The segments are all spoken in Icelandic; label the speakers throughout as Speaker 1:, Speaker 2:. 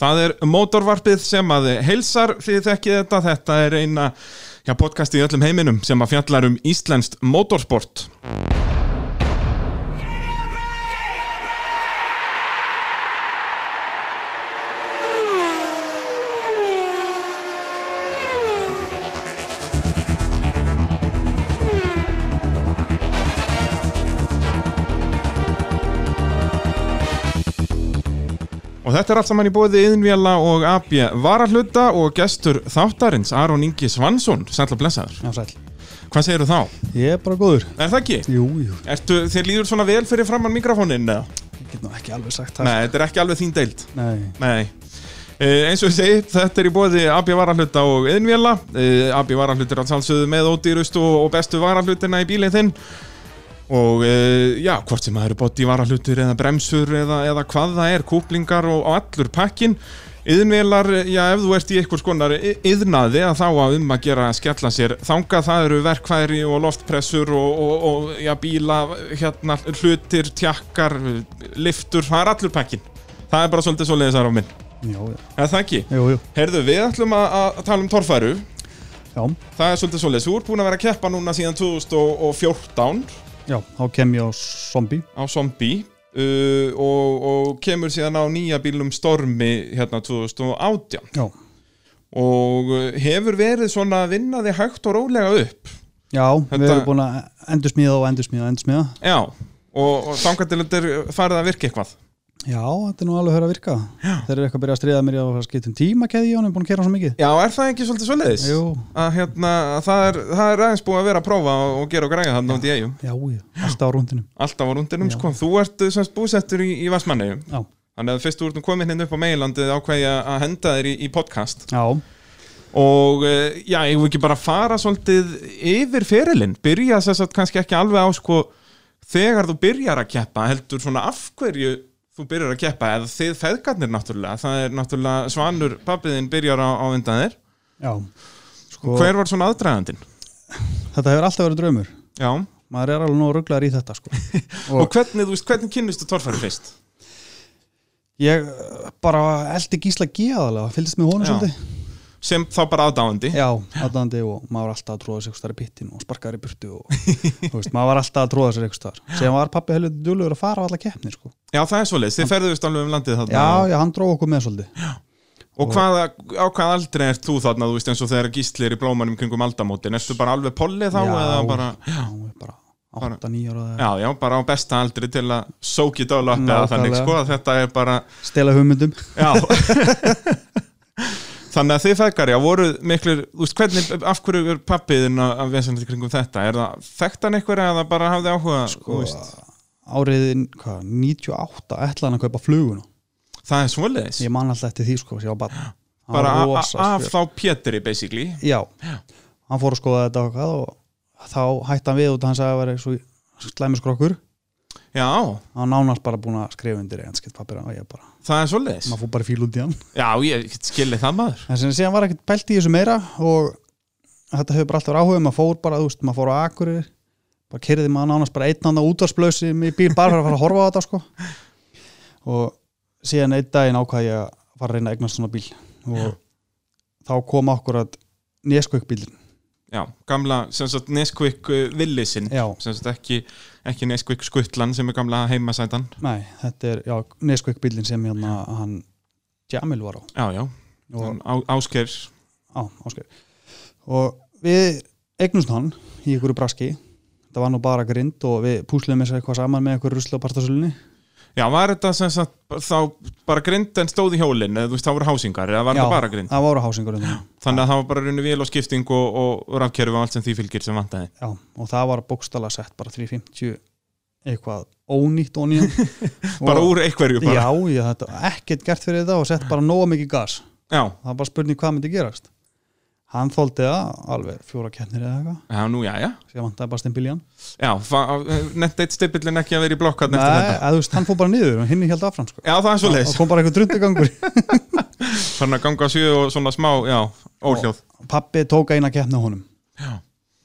Speaker 1: Það er mótorvarpið sem að heilsar því þekkið þetta. Þetta er eina já, podcast í öllum heiminum sem að fjallar um íslenskt mótorsport. Og þetta er allt saman í bóði Yðnvjala og AB Varahluta og gestur þáttarins Aron Ingi Svansson, sætla blessaður.
Speaker 2: Já, sæl.
Speaker 1: Hvað segirðu þá?
Speaker 2: Ég er bara góður.
Speaker 1: Er það ekki?
Speaker 2: Jú, jú,
Speaker 1: Ertu, þér líður svona vel fyrir framann mikrofónin? eða?
Speaker 2: ég get nú ekki alveg sagt það.
Speaker 1: Nei, þetta er ekki alveg þín deild.
Speaker 2: Nei.
Speaker 1: Nei. Uh, eins og ég segi, þetta er í bóði AB Varahluta og Yðnvjala. Uh, AB Varahluta er alls allsögðu með ódýrust og, og bestu varahlutina í bílinn þinn. Og uh, já, hvort sem það eru bótt í varahlutur eða bremsur eða, eða hvað það er, kúplingar og, og allur pakkin. Yðnvelar, já, ef þú ert í einhvers konar y- yðnaði að þá að um að gera að skella sér þanga, það eru verkfæri og loftpressur og, og, og já, bíla, hérna, hlutir, tjakkar, liftur, það er allur pakkin. Það er bara svolítið svoleiðis aðra á minn.
Speaker 2: Jú, já.
Speaker 1: Eða það ekki.
Speaker 2: jú, jú.
Speaker 1: Herðu, við ætlum að, að tala um torfæru.
Speaker 2: Já,
Speaker 1: Það er svolítið svoleiðis. Þú ert búin að vera að keppa núna síðan 2014
Speaker 2: já, þá kem ég á zombi.
Speaker 1: á Zombie uh, og, og kemur síðan á nýja bílum Stormi hérna 2018
Speaker 2: Já.
Speaker 1: og uh, hefur verið svona að vinna þig hægt og rólega upp
Speaker 2: Já,
Speaker 1: Þetta-
Speaker 2: við erum búin að endursmíða og endursmíða og endursmíða.
Speaker 1: já, og, og þangatilöndir farið að virka eitthvað
Speaker 2: Já, þetta er nú alveg að höra að virka. Já. Þeir eru eitthvað að byrja að stríða mér í að fara að skipta um tíma keði í honum, búin að kera hann svo mikið.
Speaker 1: já, er það ekki svolítið svoleiðis?
Speaker 2: Jú,
Speaker 1: að hérna, að það er, það er aðeins búið að vera að prófa og, og gera og græja þarna út í eigum
Speaker 2: já, já, alltaf á rúndinum.
Speaker 1: alltaf á rundinum,
Speaker 2: Já.
Speaker 1: sko, þú ert uh, semst búsettur í, í Vassmannegjum
Speaker 2: Já.
Speaker 1: þannig að fyrst þú ert nú komin hérna upp á meilandið ákveði að henda þér í, í podcast
Speaker 2: Já,
Speaker 1: og eh, já, ég vil ekki bara fara svolítið yfir ferilinn byrja þess að kannski ekki alveg á sko þegar þú byrjar að keppa heldur svona af hverju þú byrjar að keppa eða þið feðgarnir náttúrulega það er náttúrulega Svanur pappiðinn byrjar á, á undan þér
Speaker 2: já. Sko,
Speaker 1: hver var svona aðdragandinn?
Speaker 2: þetta hefur alltaf verið draumur.
Speaker 1: Já, og,
Speaker 2: Maður er alveg nú rugglar í þetta, sko. Og-
Speaker 1: hvernig, þú veist, hvernig kynnistu torfæri fyrst?
Speaker 2: Ég eh, bara eldi Gísla G aðalega, fylgist með honum
Speaker 1: Já.
Speaker 2: svolítið.
Speaker 1: sem þá bara aðdáandi
Speaker 2: Já, aðdandi og maður var alltaf að tróða sér eitthvað í pittin og sparkaður í burtu og þú veist, maður var alltaf að tróða sér eitthvað sem var pappi helviti duglegur að fara á alla keppni sko.
Speaker 1: já, það er svolítið, þið ferðuðust alveg um landið þarna
Speaker 2: já, já, hann dróð okkur með svolítið
Speaker 1: og hvaða, á hvað aldrei ert þú þarna þú veist eins og þegar gíslir í blómanum kringum aldamótin, ertu bara alveg polli þá eða bara
Speaker 2: já, hann var bara 8-9 ára eða-
Speaker 1: Já, já, bara á besta aldri til að sóki dóla upp eða þannig,
Speaker 2: Nákvæmlega.
Speaker 1: sko, að þetta er bara
Speaker 2: stela hugmyndum
Speaker 1: Já Þannig að þið feðgar, já, voru miklir Þú veist, hvernig, af hverju er pappiðin að að vesen þetta kringum þetta? Er það þekktan einhverja eða bara hafði áhuga,
Speaker 2: Sko,
Speaker 1: þú veist
Speaker 2: áriðin, hvað, 98 ætlaði hann að kaupa fluguna
Speaker 1: Það er svoleiðis,
Speaker 2: ég man alltaf eftir því sko, ég var bara, hann
Speaker 1: bara
Speaker 2: var
Speaker 1: a-
Speaker 2: rosa
Speaker 1: a- af
Speaker 2: spjör.
Speaker 1: þá Pétri, basically
Speaker 2: já, hann fór að skoða þetta og, hvað og þá hætti hann við út að hann sagði að það væri svo slæmi skrokkur
Speaker 1: Já,
Speaker 2: hann nánast bara búin að skrifa undir einskilt pappir og ég bara,
Speaker 1: það er svoleiðis
Speaker 2: maður fór bara í fíl út í hann
Speaker 1: Já, ég get skilið það maður
Speaker 2: en sem síðan var ekkert pælt í þessu meira og þetta hefur bara alltaf áhuga maður fór bara, þú veist, maður fór á Akurir bara kyrði maður nánast bara einn annan útvarsblösi í bíl bara fyrir að fara að horfa á þetta sko. og síðan einn daginn ákvað ég að fara að reyna að eignast svona bíl og þá kom okkur að neskvökkbílin
Speaker 1: Já, gamla, sem sagt, Nesquik villisinn
Speaker 2: já,
Speaker 1: sem sagt, ekki, ekki Nesquik skuttlan sem er gamla heimasætan
Speaker 2: nei, þetta er já, neskvökkbílin sem hérna hann Jamil var á
Speaker 1: Já, já,
Speaker 2: og
Speaker 1: Á- Ásgeir
Speaker 2: á, áskar og við eignumst hann í ykkur braski þetta var nú bara grind og við púsluðum með sér eitthvað saman með eitthvað rusla á partasölunni
Speaker 1: Já, var þetta sem sagt þá bara grind en stóð í hjólinn eða þú veist, þá voru hásingar eða var
Speaker 2: Já,
Speaker 1: þetta bara grind
Speaker 2: það voru hásingur undan.
Speaker 1: þannig að það var bara runni vél og skipting og, og rafkerfi og allt sem því fylgir sem vantaði
Speaker 2: Já, og það var bókstala sett bara 350 eitthvað ónýtt ónýjan
Speaker 1: bara úr einhverju bara
Speaker 2: já, já, þetta var ekkert gert fyrir þetta og sett bara nóga mikið gas
Speaker 1: Já,
Speaker 2: það var bara spurning hvað myndi gerast hann þóldi það alveg fjóra keppnir eða eitthvað
Speaker 1: já nú, já, já
Speaker 2: sem vantaði bara stimbiljan
Speaker 1: Já, fa- eh, nett eitt stippillin ekki að vera í blokkarn eftir
Speaker 2: Nei,
Speaker 1: þetta
Speaker 2: að þú veist, hann fór bara niður og hinn held afram sko.
Speaker 1: Já, það er svo leis
Speaker 2: og kom bara eitthvað drundagangur
Speaker 1: Þannig að ganga á sjö og svona smá, já, óhljóð
Speaker 2: pappi tók eina keppni á honum
Speaker 1: Já.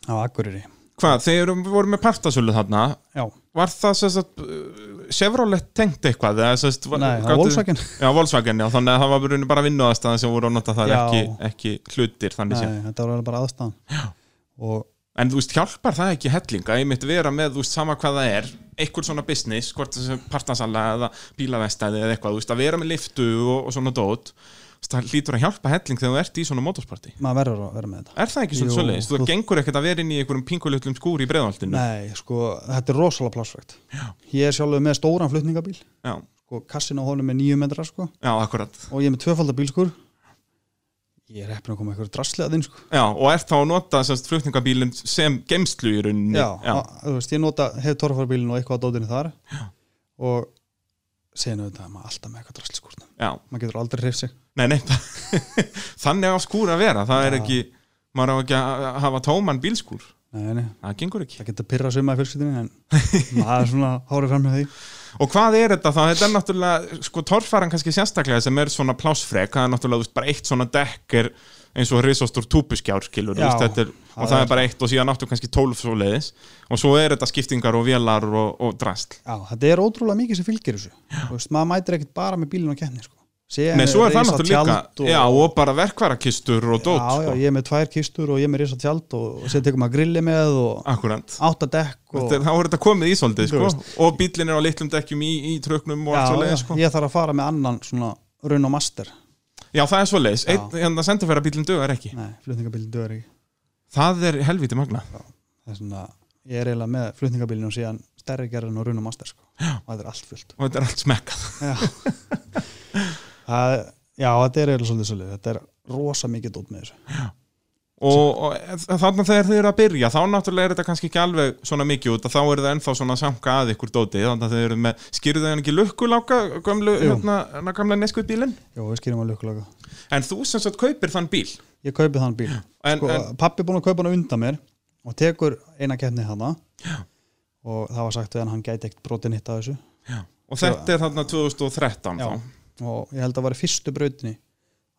Speaker 2: á Akureyri
Speaker 1: hvað, þegar við vorum með partasölu þarna
Speaker 2: já,
Speaker 1: var það sem sagt uh, Chevrolet tengt eitthvað eða sem sagt var-
Speaker 2: nei, það
Speaker 1: gátu-
Speaker 2: er Volkswagen
Speaker 1: Já, Volkswagen, já, þannig að það var bara, bara vinnuðastæðan sem voru að nota það er
Speaker 2: Já.
Speaker 1: ekki, ekki hlutir þannig sem
Speaker 2: nei, þetta var bara aðstæðan og
Speaker 1: En þú veist, hjálpar það ekki hellinga, ég mitt vera með, þú veist, sama hvað það er, einhver svona business, hvort það sem partansala eða bílavestæði eða eitthvað, þú veist, að vera með liftu og, og svona dót, þú veist, það lítur að hjálpa helling þegar þú ert í svona motorsporti.
Speaker 2: maður verður að vera með þetta
Speaker 1: Er það ekki svona
Speaker 2: Jú,
Speaker 1: svoleiðis? Þú
Speaker 2: þú-
Speaker 1: gengur ekkert að vera inn í einhverjum pingulitlum skúr í breðvaltinu.
Speaker 2: nei, sko, þetta er rosalega plássvægt ég er sjálfur með stóran flutningabíl
Speaker 1: Já,
Speaker 2: sko, kassin á honum er nýju metrar sko,
Speaker 1: já, akkurat.
Speaker 2: og ég er með tvöfaldabílskur ég er heppin að koma eitthvað drasli að þinn sko.
Speaker 1: Já, og ert þá að nota semst flutningabílinn sem gemslu í rauninni.
Speaker 2: já, að- þú veist, ég nota hef torfarbílinn og eitthvað á dótinu þar já. og segja nöðu þetta maður alltaf með eitthvað drasli skúrna
Speaker 1: já.
Speaker 2: maður getur aldrei hreif sig
Speaker 1: Nei, nei, þannig á skúr að vera, það er
Speaker 2: Já.
Speaker 1: ekki, maður á ekki að hafa tóman bílskúr,
Speaker 2: nei, nei,
Speaker 1: það gengur ekki.
Speaker 2: það getur pyrra suma í fjölskyldinu um en maður er svona hárið fram með því
Speaker 1: Og hvað er þetta þá? Þetta er náttúrulega, sko, torfaran kannski sérstaklega sem er svona plásfrek, það er náttúrulega, þú veist, bara eitt svona dekk er eins og risastór túpuskjár, skilur, þú
Speaker 2: Já,
Speaker 1: veist, þetta er, og
Speaker 2: það
Speaker 1: það er
Speaker 2: er-
Speaker 1: bara eitt og síðan áttu kannski tólf svo leiðis og svo er þetta skiptingar og vélar og, og drastl.
Speaker 2: já, þetta er ótrúlega mikið sem fylgir þessu Þú veist, maður mætir ekkert bara með bílinn á keppni sko. Sé
Speaker 1: Nei,
Speaker 2: með
Speaker 1: svo er það
Speaker 2: risa
Speaker 1: náttúrulega líka,
Speaker 2: tjald og-
Speaker 1: já, og bara verkvarakistur og dót,
Speaker 2: já, já,
Speaker 1: sko,
Speaker 2: ég er með tvær kistur og ég er með risa tjald og, og sér tekum maður grilli með og
Speaker 1: akkurant.
Speaker 2: átta dekk og,
Speaker 1: Þetta er- Þá er þetta komið í svolítið,
Speaker 2: Sko- Þú
Speaker 1: sko, og bílinn er á litlum dekkjum í, í tröknum og allt svo leiðis, sko.
Speaker 2: ég þarf að fara með annan svona raun og master
Speaker 1: Já, það er svo leiðis, einn, hérna, sendafæra bílinn dögar ekki.
Speaker 2: nei, flutningabílinn dör ekki
Speaker 1: Það er helviti magnað.
Speaker 2: það er svona, ég er eiginlega með flutningabílinn og síðan stærri gerðin og raun og master sko. og þetta er allt fullt
Speaker 1: og þetta er allt smekkað.
Speaker 2: já, það, já þetta er eiginlega svolítið svolítið þetta er rosa mikið dót með þessu
Speaker 1: og, og þannig þegar þið eru að byrja þá náttúrulega er þetta kannski ekki alveg svona mikið út að þá eru það ennþá svona að samka að ykkur dóti þannig að þið eru með, skýrðu þau ekki lukkuláka gömlu,
Speaker 2: Jú.
Speaker 1: hérna, hérna gamla neskutbílin
Speaker 2: já, við skýrum að lukkulega
Speaker 1: en þú sem sagt kaupir þann bíl
Speaker 2: ég kaupi þann bíl
Speaker 1: en,
Speaker 2: sko,
Speaker 1: en,
Speaker 2: pappi búin að kaupa hann undan mér og tekur eina keppni hana og það var sagt við hann hann gæti ekkert brotin hitt af þessu
Speaker 1: og þetta er þarna 2013 já. þá
Speaker 2: og ég held að það var í fyrstu brautinni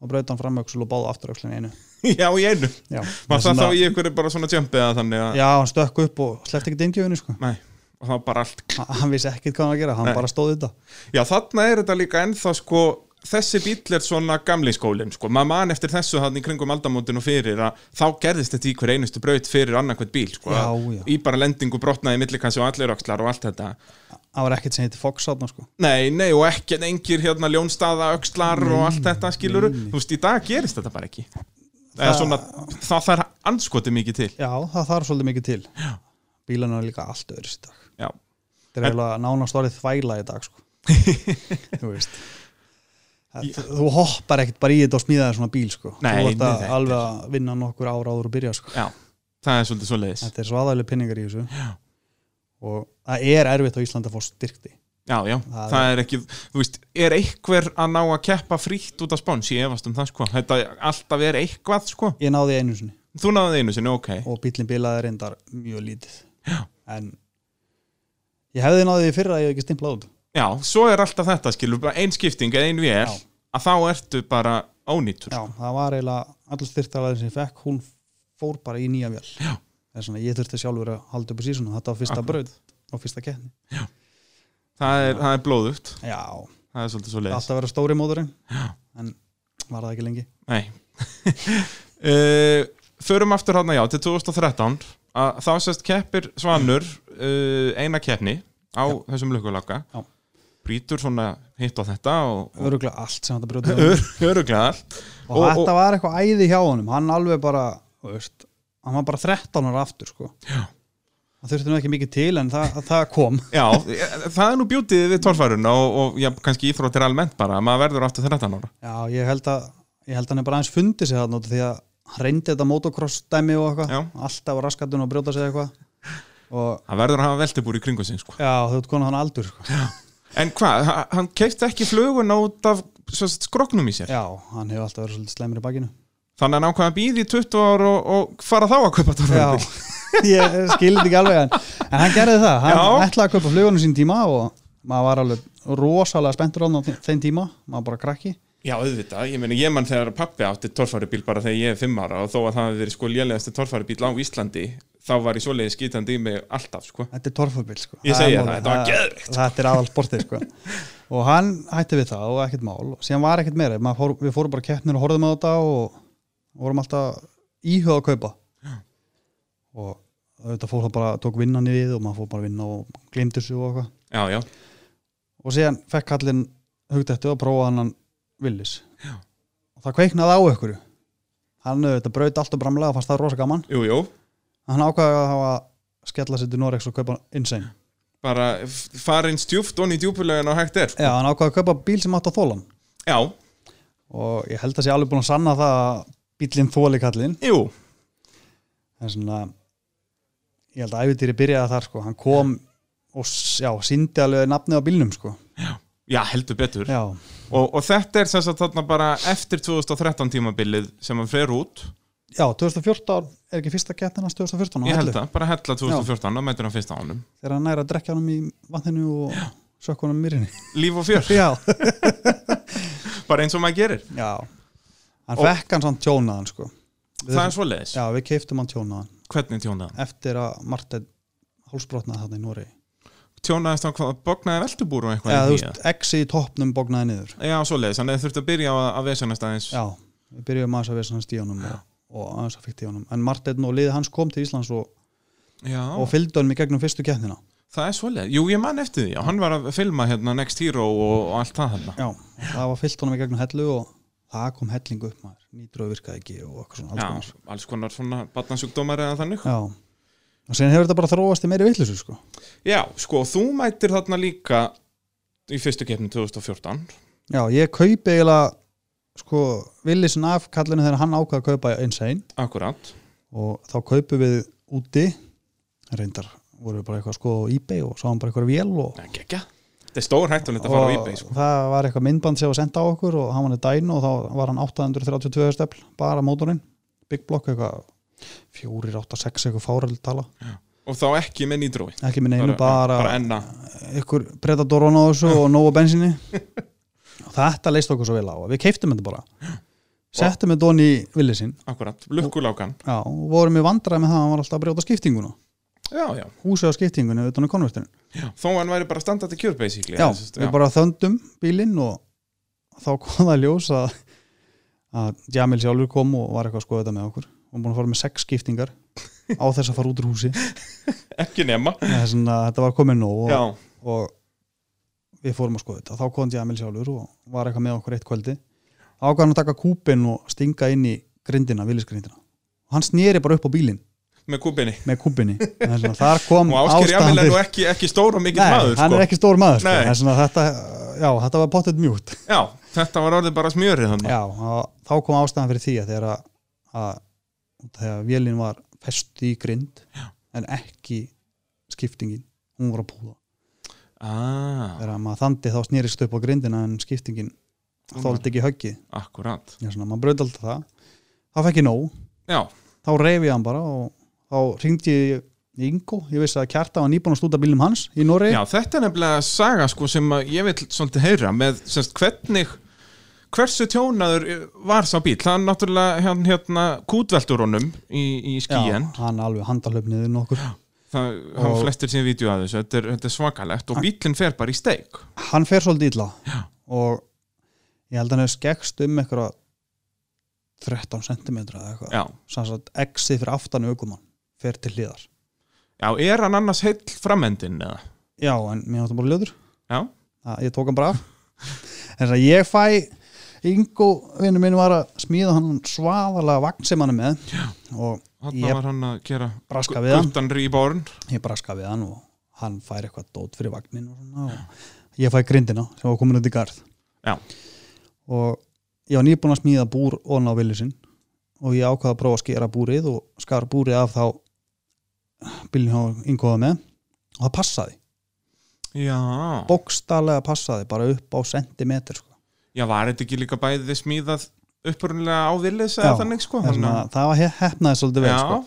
Speaker 2: og braut hann framöksul og báðu afturökslin einu
Speaker 1: já, í einu,
Speaker 2: já,
Speaker 1: var það
Speaker 2: svona-
Speaker 1: þá í einhverju bara svona jumpið að þannig að,
Speaker 2: já, hann stökk upp og sleppti ekkert indjöfinu sko.
Speaker 1: nei og það bara allt,
Speaker 2: Hann- hann vissi ekkert hvað hann var að gera, hann
Speaker 1: Nei.
Speaker 2: bara stóð þetta
Speaker 1: já þarna er þetta líka ennþá sko þessi bíl er svona gamli skólin sko, maður man eftir þessu þannig kringum aldamótinu fyrir að þá gerðist þetta í hver einustu braut fyrir annarkvæmt bíl sko,
Speaker 2: Já,
Speaker 1: Að
Speaker 2: já.
Speaker 1: í bara lendingu brotnaði millikassi og allir öxlar og allt þetta
Speaker 2: það var ekkert sem heitir Fox átna sko.
Speaker 1: nei, nei, og ekki engir hérna ljónstaða öxlar og allt þetta skilur þú veist, í dag gerist þetta bara ekki eða svona, það þarf anskoti mikið til
Speaker 2: já, það þarf svolítið mikið til já. bílan er líka allt öðru í dag
Speaker 1: já,
Speaker 2: þetta er eiginlega nánast orðið þvæla í dag sko. þú veist Það- þú hoppar ekkert bara í þetta og smíða þér svona bíl sko.
Speaker 1: Nei,
Speaker 2: þú
Speaker 1: nei,
Speaker 2: ert að
Speaker 1: þetta
Speaker 2: alveg að vinna nokkur ára áður og byrja sko.
Speaker 1: já, það er svolítið svo leiðis
Speaker 2: þetta er svo aðalega pinningar í þessu já. og það er erfitt á Íslandi að fá styrkti
Speaker 1: já, já,
Speaker 2: Það
Speaker 1: það er ekki þú veist, er einhver að ná að keppa frítt út af spons, ég efast um það sko þetta alltaf er eitthvað sko
Speaker 2: ég náði einu sinni
Speaker 1: Þú náðu einu sinni, ok
Speaker 2: og bílinn bilaði reyndar mjög lítið já. en ég hefði náði því fyrra að ég hef ekki stimplað út
Speaker 1: Já, svo er alltaf þetta, skilur, bara ein skipting eða ein vél,
Speaker 2: Já.
Speaker 1: að þá ertu bara ónýtur
Speaker 2: já, það var eiginlega allir styrktalaðin sem ég fekk hún fór bara í nýja vél
Speaker 1: Já.
Speaker 2: það er svona ég þurfti sjálfur að halda upp í sísuna þetta var fyrsta
Speaker 1: Akkurat.
Speaker 2: braut og fyrsta keppni
Speaker 1: það, er, það er blóðugt,
Speaker 2: Já,
Speaker 1: það er svolítið svo leiðis
Speaker 2: alltaf að vera stóri móðurinn en var það ekki lengi
Speaker 1: Nei uh, Förum aftur hana, já, til 2013 að þá sérst keppir Svanur uh, eina keppni á þessum lukkulaka
Speaker 2: Já.
Speaker 1: brýtur svona hitt á þetta og,
Speaker 2: Öruglega allt sem þetta brjóti
Speaker 1: og öruglega allt
Speaker 2: og, þetta var eitthvað æði hjá honum hann alveg bara, þú veist hann var bara 13 ára aftur sko
Speaker 1: Já.
Speaker 2: það þurfti nú ekki mikið til en það, það kom
Speaker 1: Já, það er nú bjútið við torfæruna og, og já, kannski íþróttir almennt bara að maður verður aftur 13 ára
Speaker 2: Já, ég held að ég held að hann er bara aðeins fundið sér þarna út af því að hann reyndi þetta motocross dæmi og
Speaker 1: Já.
Speaker 2: eitthvað alltaf á raskatun og brjóta sér eitthvað og
Speaker 1: Það verður að hafa veltibúr í kringu sig sko.
Speaker 2: já, þú veit konar hann aldur sko.
Speaker 1: En hvað, ha- hann keipti ekki fluguna út af svo sagt, skroknum í sér
Speaker 2: Já, hann hefur alltaf verið svolítið slæmur í bakinu
Speaker 1: Þannig að hann ákvað að býði í 20 ár og, og fara þá að kaupa
Speaker 2: Já,
Speaker 1: torfærubíl
Speaker 2: ég skildi ekki alveg en, en hann gerði það, hann
Speaker 1: Já.
Speaker 2: ætlaði að kaupa flugunum sín tíma og maður var alveg rosalega spenntur á hann á þe- þeim tíma maður bara krakki,
Speaker 1: Já, auðvitað, ég meni ég mann þegar pappi átti torfærubíl bara þegar ég er 5 ára og þó að það hafi verið sko lélegasti torfærubíl á Íslandi þá var ég svoleiði skítandi í mig alltaf sko.
Speaker 2: þetta er torfubil sko.
Speaker 1: Ég
Speaker 2: er
Speaker 1: segi það,
Speaker 2: málið.
Speaker 1: þetta var geðveikt,
Speaker 2: þetta er aðal sportið sko. og hann hætti við það og ekkert mál og síðan var ekkert meira, Maður fór, við fórum bara á keppnir og horfðum á þetta og vorum alltaf íhuga að kaupa og þetta fór það bara tók vinnan í við og maður fór bara að vinna og glimti sig og eitthvað
Speaker 1: já, já,
Speaker 2: og síðan fekk kallinn hugt eftir að prófa hann villis og það kveiknaði á ykkur hann auðvitað braut allt og bramlega og fannst það rosa gaman
Speaker 1: jú, jú
Speaker 2: hann ákvaði að hafa skella sér til Norex og kaupa insane
Speaker 1: bara f- farin stjúft onni í djúpulegin og hægt er
Speaker 2: Já, hann ákvaði að kaupa bíl sem átt að þóla hann
Speaker 1: já,
Speaker 2: og ég held að sé alveg búin að sanna það að bílinn þóli kallinn
Speaker 1: jú,
Speaker 2: en svona ég held að æfitýri byrjaði þar sko hann kom og s- já, síndi alveg nafnið á bílnum sko
Speaker 1: já, heldur betur
Speaker 2: já,
Speaker 1: og, og þetta er sem sagt þarna bara eftir 2013 tímabilið sem hann fer út
Speaker 2: já, 2014 er ekki fyrsta kettin hans 2014 á
Speaker 1: ég held
Speaker 2: Hellu,
Speaker 1: það, bara hella 2014 og mætur hann fyrst á honum
Speaker 2: þegar hann næra að drekja hann í vatninu og sökk hann um mýrinni
Speaker 1: líf og fjör,
Speaker 2: já,
Speaker 1: bara eins og maður gerir
Speaker 2: já hann
Speaker 1: Og-
Speaker 2: fekk hann samt tjónaðan sko Við-
Speaker 1: það er svoleiðis,
Speaker 2: já, við keiftum hann tjónaðan
Speaker 1: hvernig tjónaði hann?
Speaker 2: eftir að Martin hálsbrotnaði þarna í Nóri
Speaker 1: tjónaðist hann hvað, bognaði veltubúr og eitthvað
Speaker 2: Já, þú
Speaker 1: í því,
Speaker 2: veist, exi í toppnum bognaði niður
Speaker 1: Já, svoleiðis, þannig að þurfti að byrja að, að vesenast aðeins
Speaker 2: Já, við byrjuðum aðeins að vera svona stíðanum og, og aðeins að fykta í honum En Marteinn og liðið hans kom til Íslands og,
Speaker 1: Já,
Speaker 2: og fylgdu honum í gegnum fyrstu keppnina
Speaker 1: það er svoleiðis Jú, ég man eftir því, já, hann var að filma hérna Next Hero og, og allt það hérna
Speaker 2: Já, það var fyllt honum í gegnum hellu og það kom helling upp maður Nýtröð virkaði ekki og eitthvað svona alls konar.
Speaker 1: Já, alls konar svona batnansjúkdómar eða þannig
Speaker 2: Já, og síðan hefur þetta bara þróast í meiri vitleysu sko
Speaker 1: Já, sko, þú mætir þarna líka í fyrstu keppni 2014
Speaker 2: Já, ég kaupi eiginlega sko villisin af kallinu þegar hann ákvað að kaupa insane
Speaker 1: Akkurat
Speaker 2: og þá kaupum við úti reyndar voru við bara eitthvað sko á ebay og sáum bara eitthvað vél og
Speaker 1: Ekki, ekki Þetta er stór hættulegt að fara á eBay, sko
Speaker 2: það var eitthvað myndband sem var sendt á okkur og hann var í dæn og þá var hann 832 stefl bara mótorinn, big block eitthvað 4, 8, 6 eitthvað fáreld tala
Speaker 1: Og þá ekki með nýdrói
Speaker 2: ekki minn einu bara,
Speaker 1: bara enna
Speaker 2: ykkur predatoron á þessu og nógu bensinni og þetta leist okkur svo vel á við keiftum þetta bara settum þetta onni í villið sinn
Speaker 1: Akkurat, lukkulákan
Speaker 2: já, og vorum við vandræði með það að hann var alltaf að brjóta skiptinguna
Speaker 1: Já, já,
Speaker 2: húsið á skiptingunni utan á konvertinu
Speaker 1: já. Þó hann væri bara standart í kjör, basically
Speaker 2: já,
Speaker 1: eða sem sagt,
Speaker 2: við bara þöndum bílinn og þá kom það í ljós að, að Jamil sjálfur kom og var eitthvað að skoða þetta með okkur og búin að fara með sex skiptingar á þess að fara út úr húsi
Speaker 1: Ekki nema
Speaker 2: þess að þetta var komið nóg og,
Speaker 1: Já,
Speaker 2: og við fórum að skoða þetta þá kom Jamil sjálfur og var eitthvað með okkur eitt kvöldi ákvæðan að taka kúpin og stinga inn í grindina, villisgrindina og hann snýri bara upp á bílinn
Speaker 1: með kúbinni
Speaker 2: með kúpinni Þess að þar kom
Speaker 1: Og Ásker
Speaker 2: ástæðan
Speaker 1: Jamil er
Speaker 2: fyrir-
Speaker 1: nú ekki, ekki stór og mikill
Speaker 2: Mm, Nei,
Speaker 1: maður
Speaker 2: hann
Speaker 1: sko.
Speaker 2: er ekki stór maður sko.
Speaker 1: Nei.
Speaker 2: Þess að þetta, já, þetta var pottet mjúkt
Speaker 1: Já, þetta var orðið bara smjörið þannig
Speaker 2: Já, og þá kom ástæðan fyrir því að þegar að, að þegar vélinn var fest í grind já. en ekki skiptingin hún var að púða
Speaker 1: ah,
Speaker 2: þegar að maður þandi þá snýrist upp á grindina en skiptingin
Speaker 1: Hún var-
Speaker 2: þóldi ekki höggið
Speaker 1: Akkurat
Speaker 2: já, svona, maður bröði alltaf það þá fekk ég nóg,
Speaker 1: Já,
Speaker 2: þá reyfi ég hann bara og þá hringdi ég í Ingo ég vissi að kjarta var nýbúin að stúta bílum hans í Noregi
Speaker 1: já, þetta er nefnilega saga sko, sem að ég vil svolítið heyra með semst, hvernig hversu tjónaður var sá bíl það er náttúrulega hérna, hérna kútveldur honum í, í skíin
Speaker 2: hann alveg handalöfniði nokkur
Speaker 1: það hafa
Speaker 2: Og- Ah.
Speaker 1: flestir síðan vídeo að þessu þetta er, þetta er svakalegt og bílinn fer bara í steik
Speaker 2: hann fer svolítið illa
Speaker 1: Já.
Speaker 2: og ég held að hann hefur skekkst um eitthvað 13 cm eða eitthvað
Speaker 1: já.
Speaker 2: sanns að exið fyrir aftan aukumann fer til hliðar
Speaker 1: já, er hann annars heill framendin eða?
Speaker 2: já en mér áttum bara ljóður
Speaker 1: Já.
Speaker 2: að ég tók hann bara af en þess að ég fæ Ingo vinnu minn var að smíða hann svaðalega vagn sem hann er með já. og
Speaker 1: hann
Speaker 2: Ég-
Speaker 1: var hann að gera
Speaker 2: Braska
Speaker 1: gu-
Speaker 2: við hann.
Speaker 1: guttan rýborn
Speaker 2: ég braska við hann og hann fær eitthvað dót fyrir vagnin og, svona, og ég fæ grindina sem var komin út í garð
Speaker 1: Já.
Speaker 2: og ég var nýbúin að smíða búr og ná villisinn og ég ákvaða að prófa að skera búrið og skar búrið af þá bílinn hjá yngóða með og það passaði,
Speaker 1: já,
Speaker 2: bókstallega passaði bara upp á sentimeter sko.
Speaker 1: já, var þetta ekki líka bæði smíðað upprunlega á villis
Speaker 2: Já,
Speaker 1: eða þannig sko
Speaker 2: En
Speaker 1: þannig
Speaker 2: svona,
Speaker 1: að-
Speaker 2: það var he- hefnaði svolítið vel
Speaker 1: Já,
Speaker 2: sko.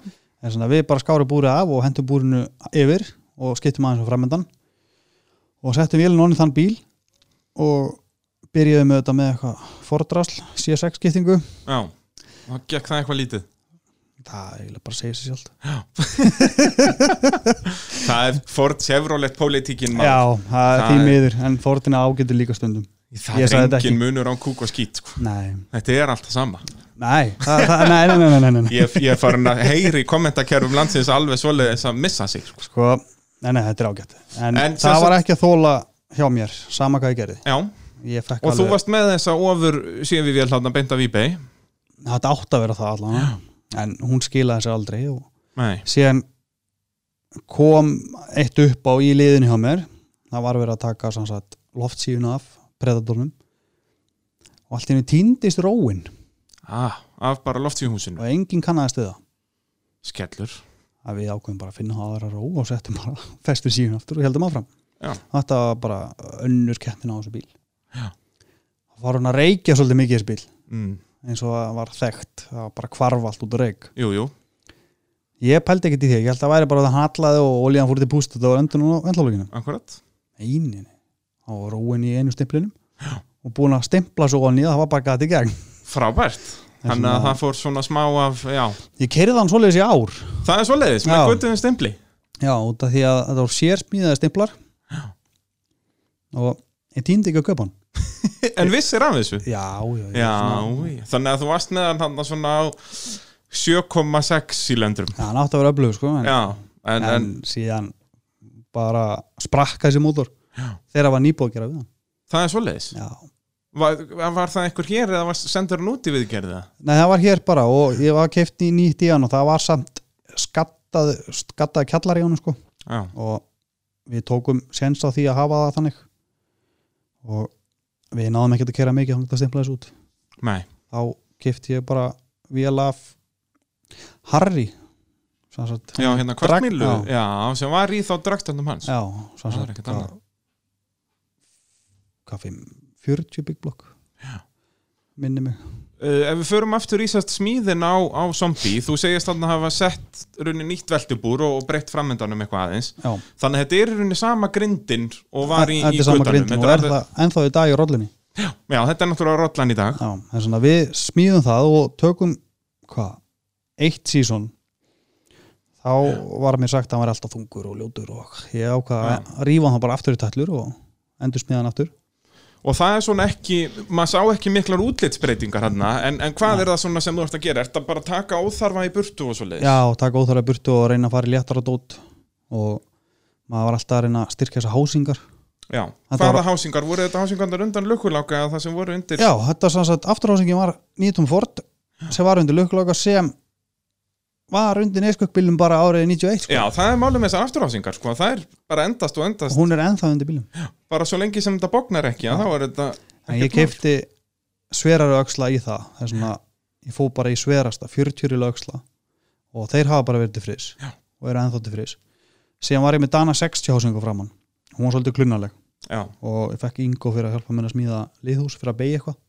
Speaker 2: en svona, við bara skárum búrið af og hentum búrinu yfir og skiptum aðeins á framendan og settum vélinn onni þann bíl og byrjuðum með þetta með eitthvað fordrasl, C6 skiptingu
Speaker 1: já, það gekk það eitthvað lítið
Speaker 2: það er eiginlega bara að segja sér sjálf
Speaker 1: það er Ford Chevrolet pólitíkin
Speaker 2: já, það er
Speaker 1: Það
Speaker 2: því
Speaker 1: er-
Speaker 2: miður en fórtina ágæti líka stundum
Speaker 1: það
Speaker 2: ég
Speaker 1: er
Speaker 2: sagði þetta
Speaker 1: engin munur á kúk og skít sko.
Speaker 2: nei,
Speaker 1: þetta er allt það sama
Speaker 2: nei, það, það, nei, nei, nei, nei, nei, nei.
Speaker 1: ég, ég er farin að heyri í kommentarkerfum landsins alveg svoleiðis að missa sig sko.
Speaker 2: sko, nei, nei, þetta er ágætt en,
Speaker 1: En sem
Speaker 2: það
Speaker 1: sagt-
Speaker 2: var ekki að þóla hjá mér sama hvað ég gerði
Speaker 1: já,
Speaker 2: ég fekk
Speaker 1: og þú
Speaker 2: alveg,
Speaker 1: varst með þessa ofur síðan við við hláðna beinta við eBay
Speaker 2: þetta átt að vera það allan en hún skilaði sér aldrei og
Speaker 1: nei,
Speaker 2: síðan kom eitt upp á í liðinu hjá mér það var verið að taka sem sagt, loftsífuna af predatornum og allt í henni týndist róin
Speaker 1: ah, af bara loftsvíhúsinu
Speaker 2: og enginn kannaðist við það
Speaker 1: skellur,
Speaker 2: að við ákveðum bara að finna það aðra ró og settum bara festum síðan aftur og heldum áfram
Speaker 1: Já.
Speaker 2: þetta var bara önnur kettin á þessu bíl
Speaker 1: Já.
Speaker 2: það var hún að reykja svolítið mikið þessu bíl
Speaker 1: mm,
Speaker 2: eins og það var þekkt, það var bara kvarf allt út að reyk
Speaker 1: jú, jú
Speaker 2: ég pældi ekkert í því, ég held að það væri bara að það hallaði og olíðan fór til púst og það var endur á endalókinu
Speaker 1: akkurat,
Speaker 2: eininni það var róin í einu stimplinum og búin að stimpla svo onni það var bara gæti í gegn
Speaker 1: frábært þannig að það fór svona smá af já,
Speaker 2: ég kerði hann svoleiðis í ár
Speaker 1: það er svoleiðis, með
Speaker 2: Já.
Speaker 1: guttuðum stimpli
Speaker 2: já, út af því að þetta var sérsmíðaði stimplar og ég týndi ekki að kaupa hann
Speaker 1: en vissir af þessu
Speaker 2: já, já, já,
Speaker 1: Já,
Speaker 2: svona-
Speaker 1: já, þannig að þú varst með hann þarna svona á 7,6 sílendrum
Speaker 2: já hann átti að vera öflug sko, en,
Speaker 1: Já, en,
Speaker 2: en,
Speaker 1: en
Speaker 2: síðan bara sprakka þessi mótor
Speaker 1: Já.
Speaker 2: þegar hann var nýbúið að gera við hann
Speaker 1: það er svoleiðis
Speaker 2: já.
Speaker 1: var, var það einhver hér eða var sendur hann út í viðgerða?
Speaker 2: Nei, það var hér bara og ég var keift í nýtt í hann og það var samt skattað, skattað kjallar í hann sko.
Speaker 1: Já,
Speaker 2: og við tókum sens á því að hafa það þannig og við náðum ekkert að kera mikið þannig að stimpla þessu út
Speaker 1: nei,
Speaker 2: þá kefti ég bara vél af Harry sem sagt,
Speaker 1: já, hérna
Speaker 2: Drag-
Speaker 1: kvartmýlu
Speaker 2: já.
Speaker 1: já. sem var í þá draktandum hans
Speaker 2: já, sem
Speaker 1: Það er
Speaker 2: sagt,
Speaker 1: ekkert
Speaker 2: hvað-
Speaker 1: annað.
Speaker 2: hvað fimm, 40 big block
Speaker 1: Já.
Speaker 2: minni mig
Speaker 1: uh, Ef við förum aftur í sérst smíðin á, á zombie, þú segist þannig að hafa sett runni nýtt veltubúr og, og breytt framöndanum eitthvað aðeins
Speaker 2: já,
Speaker 1: Þannig að þetta er í runni sama grindin og var í,
Speaker 2: þetta
Speaker 1: í
Speaker 2: er sama
Speaker 1: guttanum.
Speaker 2: grindin og
Speaker 1: Þetta
Speaker 2: er
Speaker 1: alveg-
Speaker 2: það ennþá í dag í rollinni
Speaker 1: Já, þetta er náttúrulega rollan í dag
Speaker 2: Já, það er svona við smíðum það og tökum hvað, eitt sísón þá var mér sagt að hann var alltaf þungur og ljótur og ég ákvaða að rífa hann bara aftur í tætlur og endur smíðan aftur
Speaker 1: Og það er svona ekki, maður sá ekki miklar útlitsbreytingar hann en, en hvað er það svona sem þú ert að gera? Er það bara að taka óþarfa í burtu og svo leiðis?
Speaker 2: Já, og taka óþára burtu og reyna að fara í léttara dót og maður var alltaf að reyna að styrkja þessa hásingar
Speaker 1: Já.
Speaker 2: Þetta
Speaker 1: Hvaða
Speaker 2: var-
Speaker 1: hásingar? Voru þetta hásingarnar undan lukkuláka eða það sem voru undir?
Speaker 2: Já, þetta sem sagt, afturhásingin var 19 Ford sem var undir lögloka sem var undir neyskökkbílum bara árið 91 sko.
Speaker 1: Já, það er málið með þessar afturhásingar, sko. Það er bara endast og endast.
Speaker 2: hún er ennþá undir bílum
Speaker 1: Bara svo lengi sem þetta bognar ekki, já, þá er þetta...
Speaker 2: en ég
Speaker 1: ekkert mál.
Speaker 2: keipti sverari öxla í það það er svona, ég fó bara í sverasta 40 rila öxla og þeir hafa bara verið til frís
Speaker 1: Já.
Speaker 2: og eru ennþá til frís síðan var ég með Dana 60 hásingu framann hún var svolítið klunnaleg
Speaker 1: Já.
Speaker 2: og ég fekk Ingo fyrir að hjálpa mér að smíða liðhús fyrir að beigja eitthvað,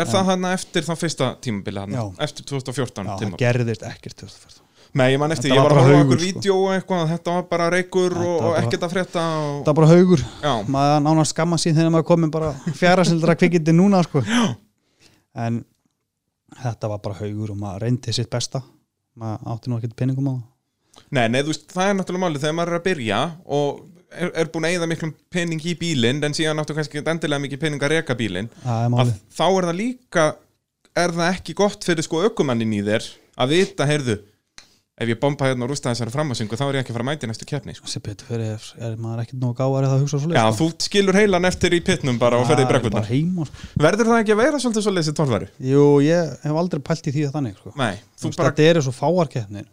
Speaker 1: Er það hann eftir þá fyrsta tímabili hann?
Speaker 2: Já.
Speaker 1: Eftir 2014
Speaker 2: já, það
Speaker 1: tímabili?
Speaker 2: gerðist ekkert 2014.
Speaker 1: Nei, ég man eftir,
Speaker 2: Þetta
Speaker 1: ég
Speaker 2: var
Speaker 1: var að
Speaker 2: bara
Speaker 1: horfa á
Speaker 2: haugur,
Speaker 1: okkur
Speaker 2: sko.
Speaker 1: vídeo og eitthvað, þetta var bara reykur
Speaker 2: Þetta
Speaker 1: og,
Speaker 2: var
Speaker 1: og
Speaker 2: bara-
Speaker 1: ekkert að frétta og...
Speaker 2: það var bara haugur
Speaker 1: Já.
Speaker 2: maður nánast skamma sín þegar maður komin bara fjárasildra kvikindi núna sko. en þetta var bara haugur og maður reyndi sitt besta maður átti nú ekkert peningum á það
Speaker 1: Nei, nei, þú veist, það er náttúrulega málið þegar maður er að byrja og er, er búin að eigða miklum pening í bílinn en síðan áttu kannski ekkert endilega mikið pening að reka bílinn
Speaker 2: það er
Speaker 1: að
Speaker 2: málið
Speaker 1: þá er það líka er það ekki gott fyrir sko ökumannin í þér að vita, heyrðu ef ég bomba hérna og rústa þessari framhásingu þá er ég ekki að fara að mæti næstu keppni sko.
Speaker 2: sem betur fyrir ef- er maður ekkert nóg gáðar eða að hugsa svo
Speaker 1: Já, þú skilur heilan eftir í pitnum bara og ferði í brekkunnar
Speaker 2: sko. bara heima sko.
Speaker 1: Verður það ekki að vera svolítið svo leysi tólfæru?
Speaker 2: jú, ég hef aldrei pælt í því að þannig sko.
Speaker 1: Nei, þú
Speaker 2: Þú veist,
Speaker 1: bara
Speaker 2: þetta eru svo fáarkeppnir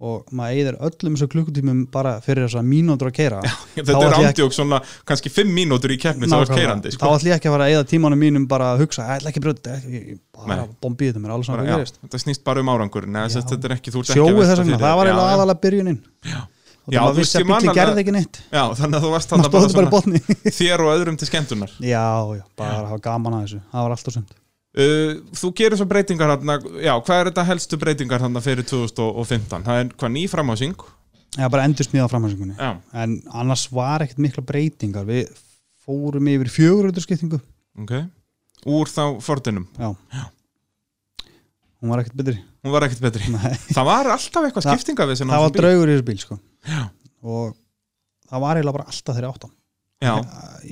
Speaker 2: og maður eigðir öllum þessu klukkutímum bara fyrir þess að mínútur að keira
Speaker 1: Þetta er andjók svona kannski fimm mínútur í keppni þá er keirandi
Speaker 2: þá
Speaker 1: sko.
Speaker 2: ætlum ég ekki að fara að eigða tímanum mínum bara að hugsa, "Æ, ég ætla ekki brjóta ég- ég- bara
Speaker 1: Nei.
Speaker 2: bombið þetta mér alls saman
Speaker 1: bara,
Speaker 2: hvað
Speaker 1: já,
Speaker 2: gerist."
Speaker 1: Þetta snýst bara um árangur Nei, þess að þetta er ekki, þú ert ekki að
Speaker 2: sjóu
Speaker 1: velta
Speaker 2: þess vegna,
Speaker 1: fyrir
Speaker 2: það var
Speaker 1: þér.
Speaker 2: eiginlega
Speaker 1: Já, já.
Speaker 2: aðalega byrjunin og
Speaker 1: Já,
Speaker 2: það
Speaker 1: þú
Speaker 2: var
Speaker 1: veist,
Speaker 2: vissi
Speaker 1: ég
Speaker 2: að
Speaker 1: man
Speaker 2: bíli
Speaker 1: alveg-
Speaker 2: gerði ekki neitt
Speaker 1: Já, þannig að þú varst
Speaker 2: maður
Speaker 1: þannig bara
Speaker 2: stóð bara í
Speaker 1: svona
Speaker 2: botni já,
Speaker 1: þér og öðrum til skemmtunar
Speaker 2: já, bara að hafa gaman að þessu það var alltaf sumt
Speaker 1: uh, Þú gerir svo breytingar hann Já, hvað er þetta helstu breytingar hann fyrir 2015? Það er hvað ný framhásing
Speaker 2: já, bara endur smíða framhansingunni
Speaker 1: Já,
Speaker 2: en annars var ekkert mikla breytingar við fórum yfir fjögur skiptingu
Speaker 1: ok Úr þá fordinum
Speaker 2: já. hún var ekkert betri
Speaker 1: hún var ekkert betri
Speaker 2: Nei.
Speaker 1: það var alltaf eitthvað
Speaker 2: Það-
Speaker 1: skiptinga við
Speaker 2: það var draugur í þessu bíl sko.
Speaker 1: Já.
Speaker 2: og það var eiginlega bara alltaf þeirri áttan
Speaker 1: já,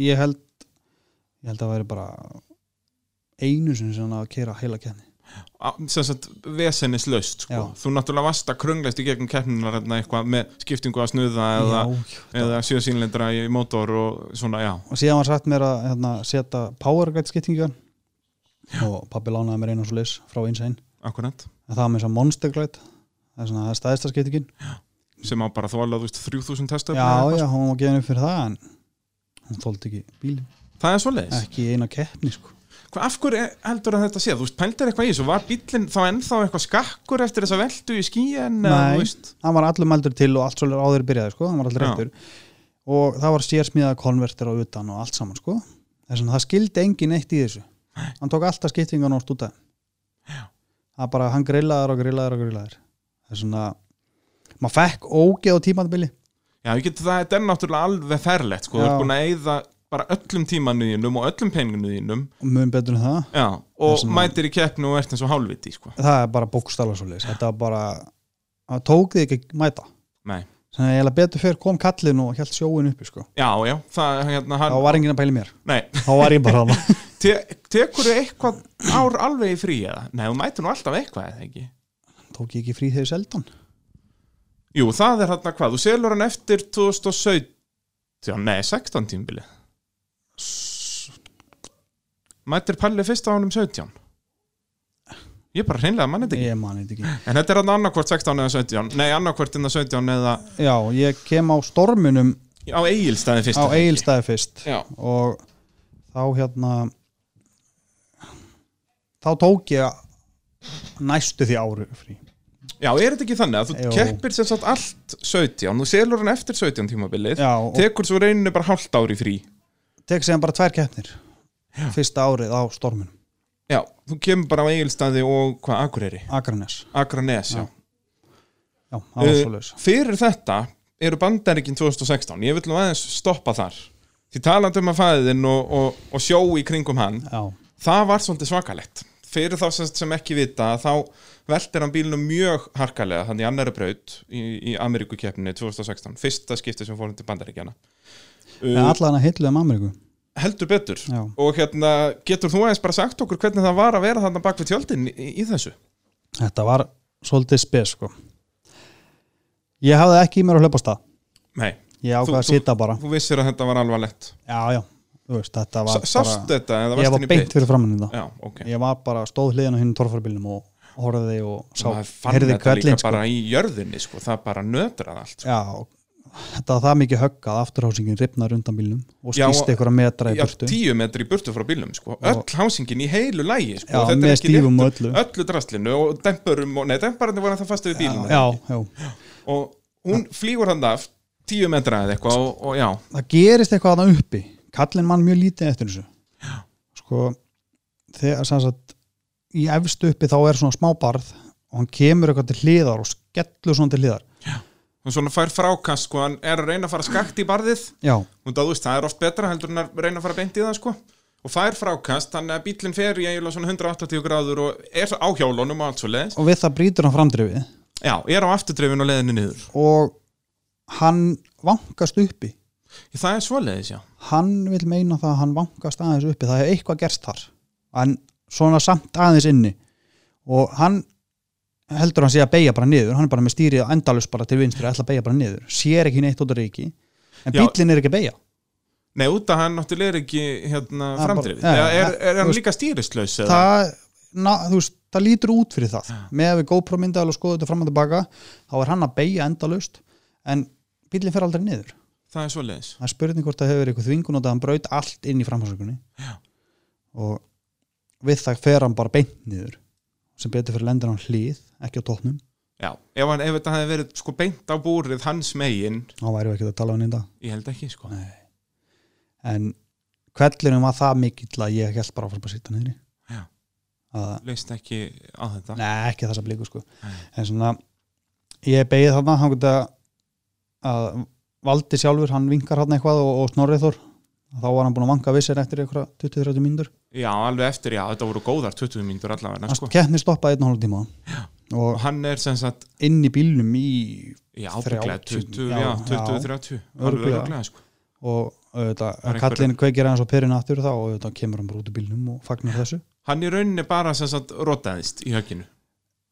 Speaker 2: ég held ég held að það væri bara einu sinni sem hann að kera heila kenni
Speaker 1: á- sem sagt vesenislaust sko.
Speaker 2: Já.
Speaker 1: þú náttúrulega varst að krönglast í gegnum keppninar eitthvað með skiptingu að snuða eða, eða sjöðsýnlendra í mótor og svona, já
Speaker 2: og síðan var sagt mér að hérna, setja powergrade skiptingan og pappi lánaði mér einu svo leys frá Insane
Speaker 1: akkurat,
Speaker 2: en það var með þess að monstergrade það er svona það er stæðista skiptingin
Speaker 1: sem á bara þóla, þú veist, 3000 testa
Speaker 2: já já, hún var gefin upp fyrir það en hún þóldi ekki bíl
Speaker 1: það er svoleiðis
Speaker 2: ekki í eina keppni sko
Speaker 1: Hva, af hverju heldur að þetta sé, þú veist, pældir eitthvað í þessu var bíllinn þá ennþá eitthvað skakkur eftir þessa veltu í skíin
Speaker 2: Nei. hann var allur mældur til og allt svolítið áður byrjaði sko, hann var allur
Speaker 1: Já.
Speaker 2: réttur og það var sérsmíðað konverter á utan og allt saman sko þess að það skildi engin eitt í þessu hann tók alltaf skiptingan og stúta það bara, hann grillaður og grillaður og grillaður það er svona maður fekk ógeð á tímandabili
Speaker 1: Já, ég get það, þetta er náttúrulega alveg ferlegt sko, þú
Speaker 2: Já.
Speaker 1: ert búin að eyða bara öllum tímanuðinum og öllum peningunuðinum
Speaker 2: og mun betur en það
Speaker 1: já, og
Speaker 2: Þessum-
Speaker 1: mætir í keppnu og ert eins og hálfviti sko.
Speaker 2: það er bara bókstala svo þetta var bara, það tók þig ekki að mæta
Speaker 1: Nei,
Speaker 2: þannig að ég held betur fyrr kom kallin og held sjóin uppi sko
Speaker 1: já, já það, hérna,
Speaker 2: þá
Speaker 1: hann,
Speaker 2: var enginn að pæli mér,
Speaker 1: nei,
Speaker 2: þá var ég bara hana
Speaker 1: te, tekur þau eitthvað ár alveg í frí eða? Nei, þú mætir nú alltaf eitthvað eða ekki
Speaker 2: tók ég ekki frí þegar ég seldi hann
Speaker 1: Jú, það er hérna hvað, þú selur hann eftir 2017, nei, 16 tímbili Mætir Palli fyrst á hann um 17 Ég bara hreinlega mann þetta ekki
Speaker 2: ég mani þetta ekki
Speaker 1: En þetta er hann annarkvort 16 eða 17 Nei, annarkvort innan 17 eða
Speaker 2: Já, ég kem á storminum
Speaker 1: á Egilstaði fyrst
Speaker 2: á
Speaker 1: er það ekki?
Speaker 2: Egilstaði fyrst
Speaker 1: Já,
Speaker 2: og þá hérna þá tók ég næstu því áru frí
Speaker 1: Já, er þetta ekki þannig að þú
Speaker 2: Jú.
Speaker 1: keppir sem sagt allt 17, þú selur hann eftir 17 tímabilið,
Speaker 2: Já, og
Speaker 1: tekur svo reyninu bara hálft ári frí
Speaker 2: tek séðan bara tvær keppnir fyrsta árið á storminum
Speaker 1: Já, þú kemur bara á Egilstaði og hvað, Akureyri?
Speaker 2: Akranes,
Speaker 1: Akranes, já,
Speaker 2: Já. já, það var
Speaker 1: Eh,
Speaker 2: svo laus
Speaker 1: Fyrir þetta eru bandaríkin 2016, ég vil nú aðeins stoppa þar Því talandi um að fæðin og, og, og sjó í kringum hann
Speaker 2: Já,
Speaker 1: það var svolítið svakalegt fyrir þá sem, sem ekki vita þá veltir hann bílnum mjög harkalega þannig í annari braut í, í Ameríkukeppninni 2016, fyrsta skipti sem fórum til bandaríkjana
Speaker 2: en
Speaker 1: uh,
Speaker 2: allan að hilluðum Ameríku
Speaker 1: heldur betur
Speaker 2: Já.
Speaker 1: og hérna, getur þú aðeins bara sagt okkur hvernig það var að vera þarna bak við tjöldin í, í þessu
Speaker 2: Þetta var svolítið spes sko Ég hafði ekki í mér að hlaupa á stað
Speaker 1: Nei,
Speaker 2: Ég ákvað að
Speaker 1: þú-
Speaker 2: sita bara
Speaker 1: þú vissir að þetta var alveg lett
Speaker 2: Já, já, þú veist, þetta var
Speaker 1: Sást þetta eða
Speaker 2: Ég
Speaker 1: varst
Speaker 2: var
Speaker 1: henni beitt?
Speaker 2: beint fyrir framann þetta
Speaker 1: Já, ok
Speaker 2: ég var bara stóð hliðin á hinn torfarbílnum og horfði og sá,
Speaker 1: Maður fann
Speaker 2: heyrði
Speaker 1: þetta líka
Speaker 2: kvöllin sko.
Speaker 1: bara í jörðinni sko, það bara nötrað allt sko.
Speaker 2: já, og þetta var það mikið högg að afturhásingin ripnar undan bílnum og
Speaker 1: Já,
Speaker 2: skýst
Speaker 1: og-
Speaker 2: einhverja metra í
Speaker 1: Já,
Speaker 2: burtu
Speaker 1: tíu metri í burtu frá bílum sko. öll hásingin í heilu lægi sko.
Speaker 2: Já,
Speaker 1: Þetta er
Speaker 2: með
Speaker 1: ekki
Speaker 2: stífum
Speaker 1: létt-
Speaker 2: og öllu.
Speaker 1: öllu draslinu og dempurum og, nei, dempararnir voru það fastið við bílum
Speaker 2: já, já,
Speaker 1: og hún flýgur hann af tíu metra eða eitthvað og, og já,
Speaker 2: það gerist eitthvað að uppi kallinn mann mjög lítið eftir þessu sko þegar sem sagt í efstu uppi þá er svona smá barð og hann kemur eitthvað til hliðar og skellur svona til hliðar
Speaker 1: hún svona fær frákast sko, hann er að reyna að fara skakt í barðið
Speaker 2: já,
Speaker 1: hún það, þú veist, það er oft betra heldur en að reyna að fara beint í það sko og fær frákast, þannig að bílinn fer í eiginlega svona 180 gráður og er á hjólunum og allt svo leiðis,
Speaker 2: og við það brýtur hann framdrifið
Speaker 1: já, er á afturdrefin og leiðinni niður,
Speaker 2: og hann vankast uppi
Speaker 1: það er svo leiðis, já
Speaker 2: hann vil meina það að hann vankast aðeins uppi það hefur eitthvað gerst þar en svona samt aðeins inni og hann heldur hann sé að beigja bara niður, hann er bara með stýrið endalus bara til vinstri, ætla að beigja bara niður sér ekki neitt út að reiki en
Speaker 1: Já.
Speaker 2: bíllinn er ekki að beigja
Speaker 1: Nei, út að hann náttúrulega er ekki hérna,
Speaker 2: Það er
Speaker 1: framdrifið.
Speaker 2: bara-
Speaker 1: Eða
Speaker 2: Já,
Speaker 1: er, er hann
Speaker 2: þú veist-
Speaker 1: líka stýristlaus? eða?
Speaker 2: það, na, þú veist, það lítur út fyrir það með að við GoPro myndaðal og skoðu þetta fram og tilbaka þá er hann að beigja endalust en bíllinn fer aldrei niður
Speaker 1: það er svoleiðis.
Speaker 2: það er spurning hvort það hefur verið eitthvað þvingun og það hann braut allt inn í framhásökunni og við það fer hann bara beint niður sem betur fyrir lendur hann hlið ekki á tóknum,
Speaker 1: Já, ef, hann, ef þetta hefði verið sko beint á búrið hans megin,
Speaker 2: þá væri við ekki að tala um þetta
Speaker 1: ég held ekki sko.
Speaker 2: Nei. en kvellinum var það mikill að ég held bara að fara bara að sitja niður
Speaker 1: Já.
Speaker 2: að,
Speaker 1: Leist ekki á þetta.
Speaker 2: neða ekki þessa bliku sko
Speaker 1: Nei.
Speaker 2: en svona ég beigði þarna hann geta að valdi sjálfur, hann vinkar hann eitthvað og, og snorrið þór þá var hann búin að vanga vissir eftir eitthvað 20-30 mínútur
Speaker 1: Já, alveg eftir, já, þetta voru góðar 20 mínútur allavega,
Speaker 2: sko.
Speaker 1: sko.
Speaker 2: keppni stoppaði einn og hálf tíma
Speaker 1: Og
Speaker 2: og
Speaker 1: hann er sem sagt,
Speaker 2: inn í bílnum í
Speaker 1: já, ábygglega
Speaker 2: 30,
Speaker 1: 20,
Speaker 2: já,
Speaker 1: já,
Speaker 2: já.
Speaker 1: 20-30.
Speaker 2: Örugglega.
Speaker 1: Örglega, sko.
Speaker 2: og auðvitað,
Speaker 1: Það er
Speaker 2: að kallin kveikir aðeins á perin aftur þá og auðvitað kemur hann bara út í bílnum og fagnar þessu
Speaker 1: Hann í rauninni bara sem sagt rotaðist í högginu.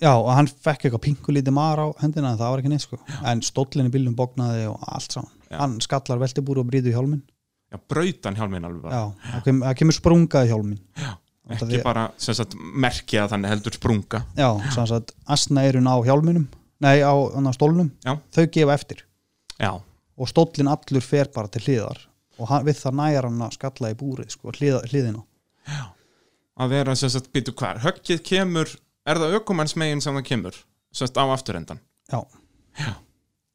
Speaker 2: já og hann fekk eitthvað pingu lítið maður á hendina en það var ekki neitt sko en stóllin í bílnum bognaði og allt saman
Speaker 1: Já.
Speaker 2: hann skallar veltibúru og brýður hjálmin
Speaker 1: Já, braut hann hjálminn alveg bara.
Speaker 2: já, það kem, það kemur sprungaði hjálmin
Speaker 1: Ekki
Speaker 2: Þetta því-
Speaker 1: bara sem sagt merkja að hann heldur sprunga.
Speaker 2: já, sem sagt asnaeirun á hjálminum nei á, á stólnum
Speaker 1: Já.
Speaker 2: þau gefa eftir
Speaker 1: Já,
Speaker 2: og stóllin allur fer bara til hliðar og hann, við það næjar hann að skalla í búrið sko, hliða, hliðina
Speaker 1: að vera sem sagt, býtu hvað, höggið kemur, er það ökumannsmegin sem það kemur, sem sagt á afturendan.
Speaker 2: já,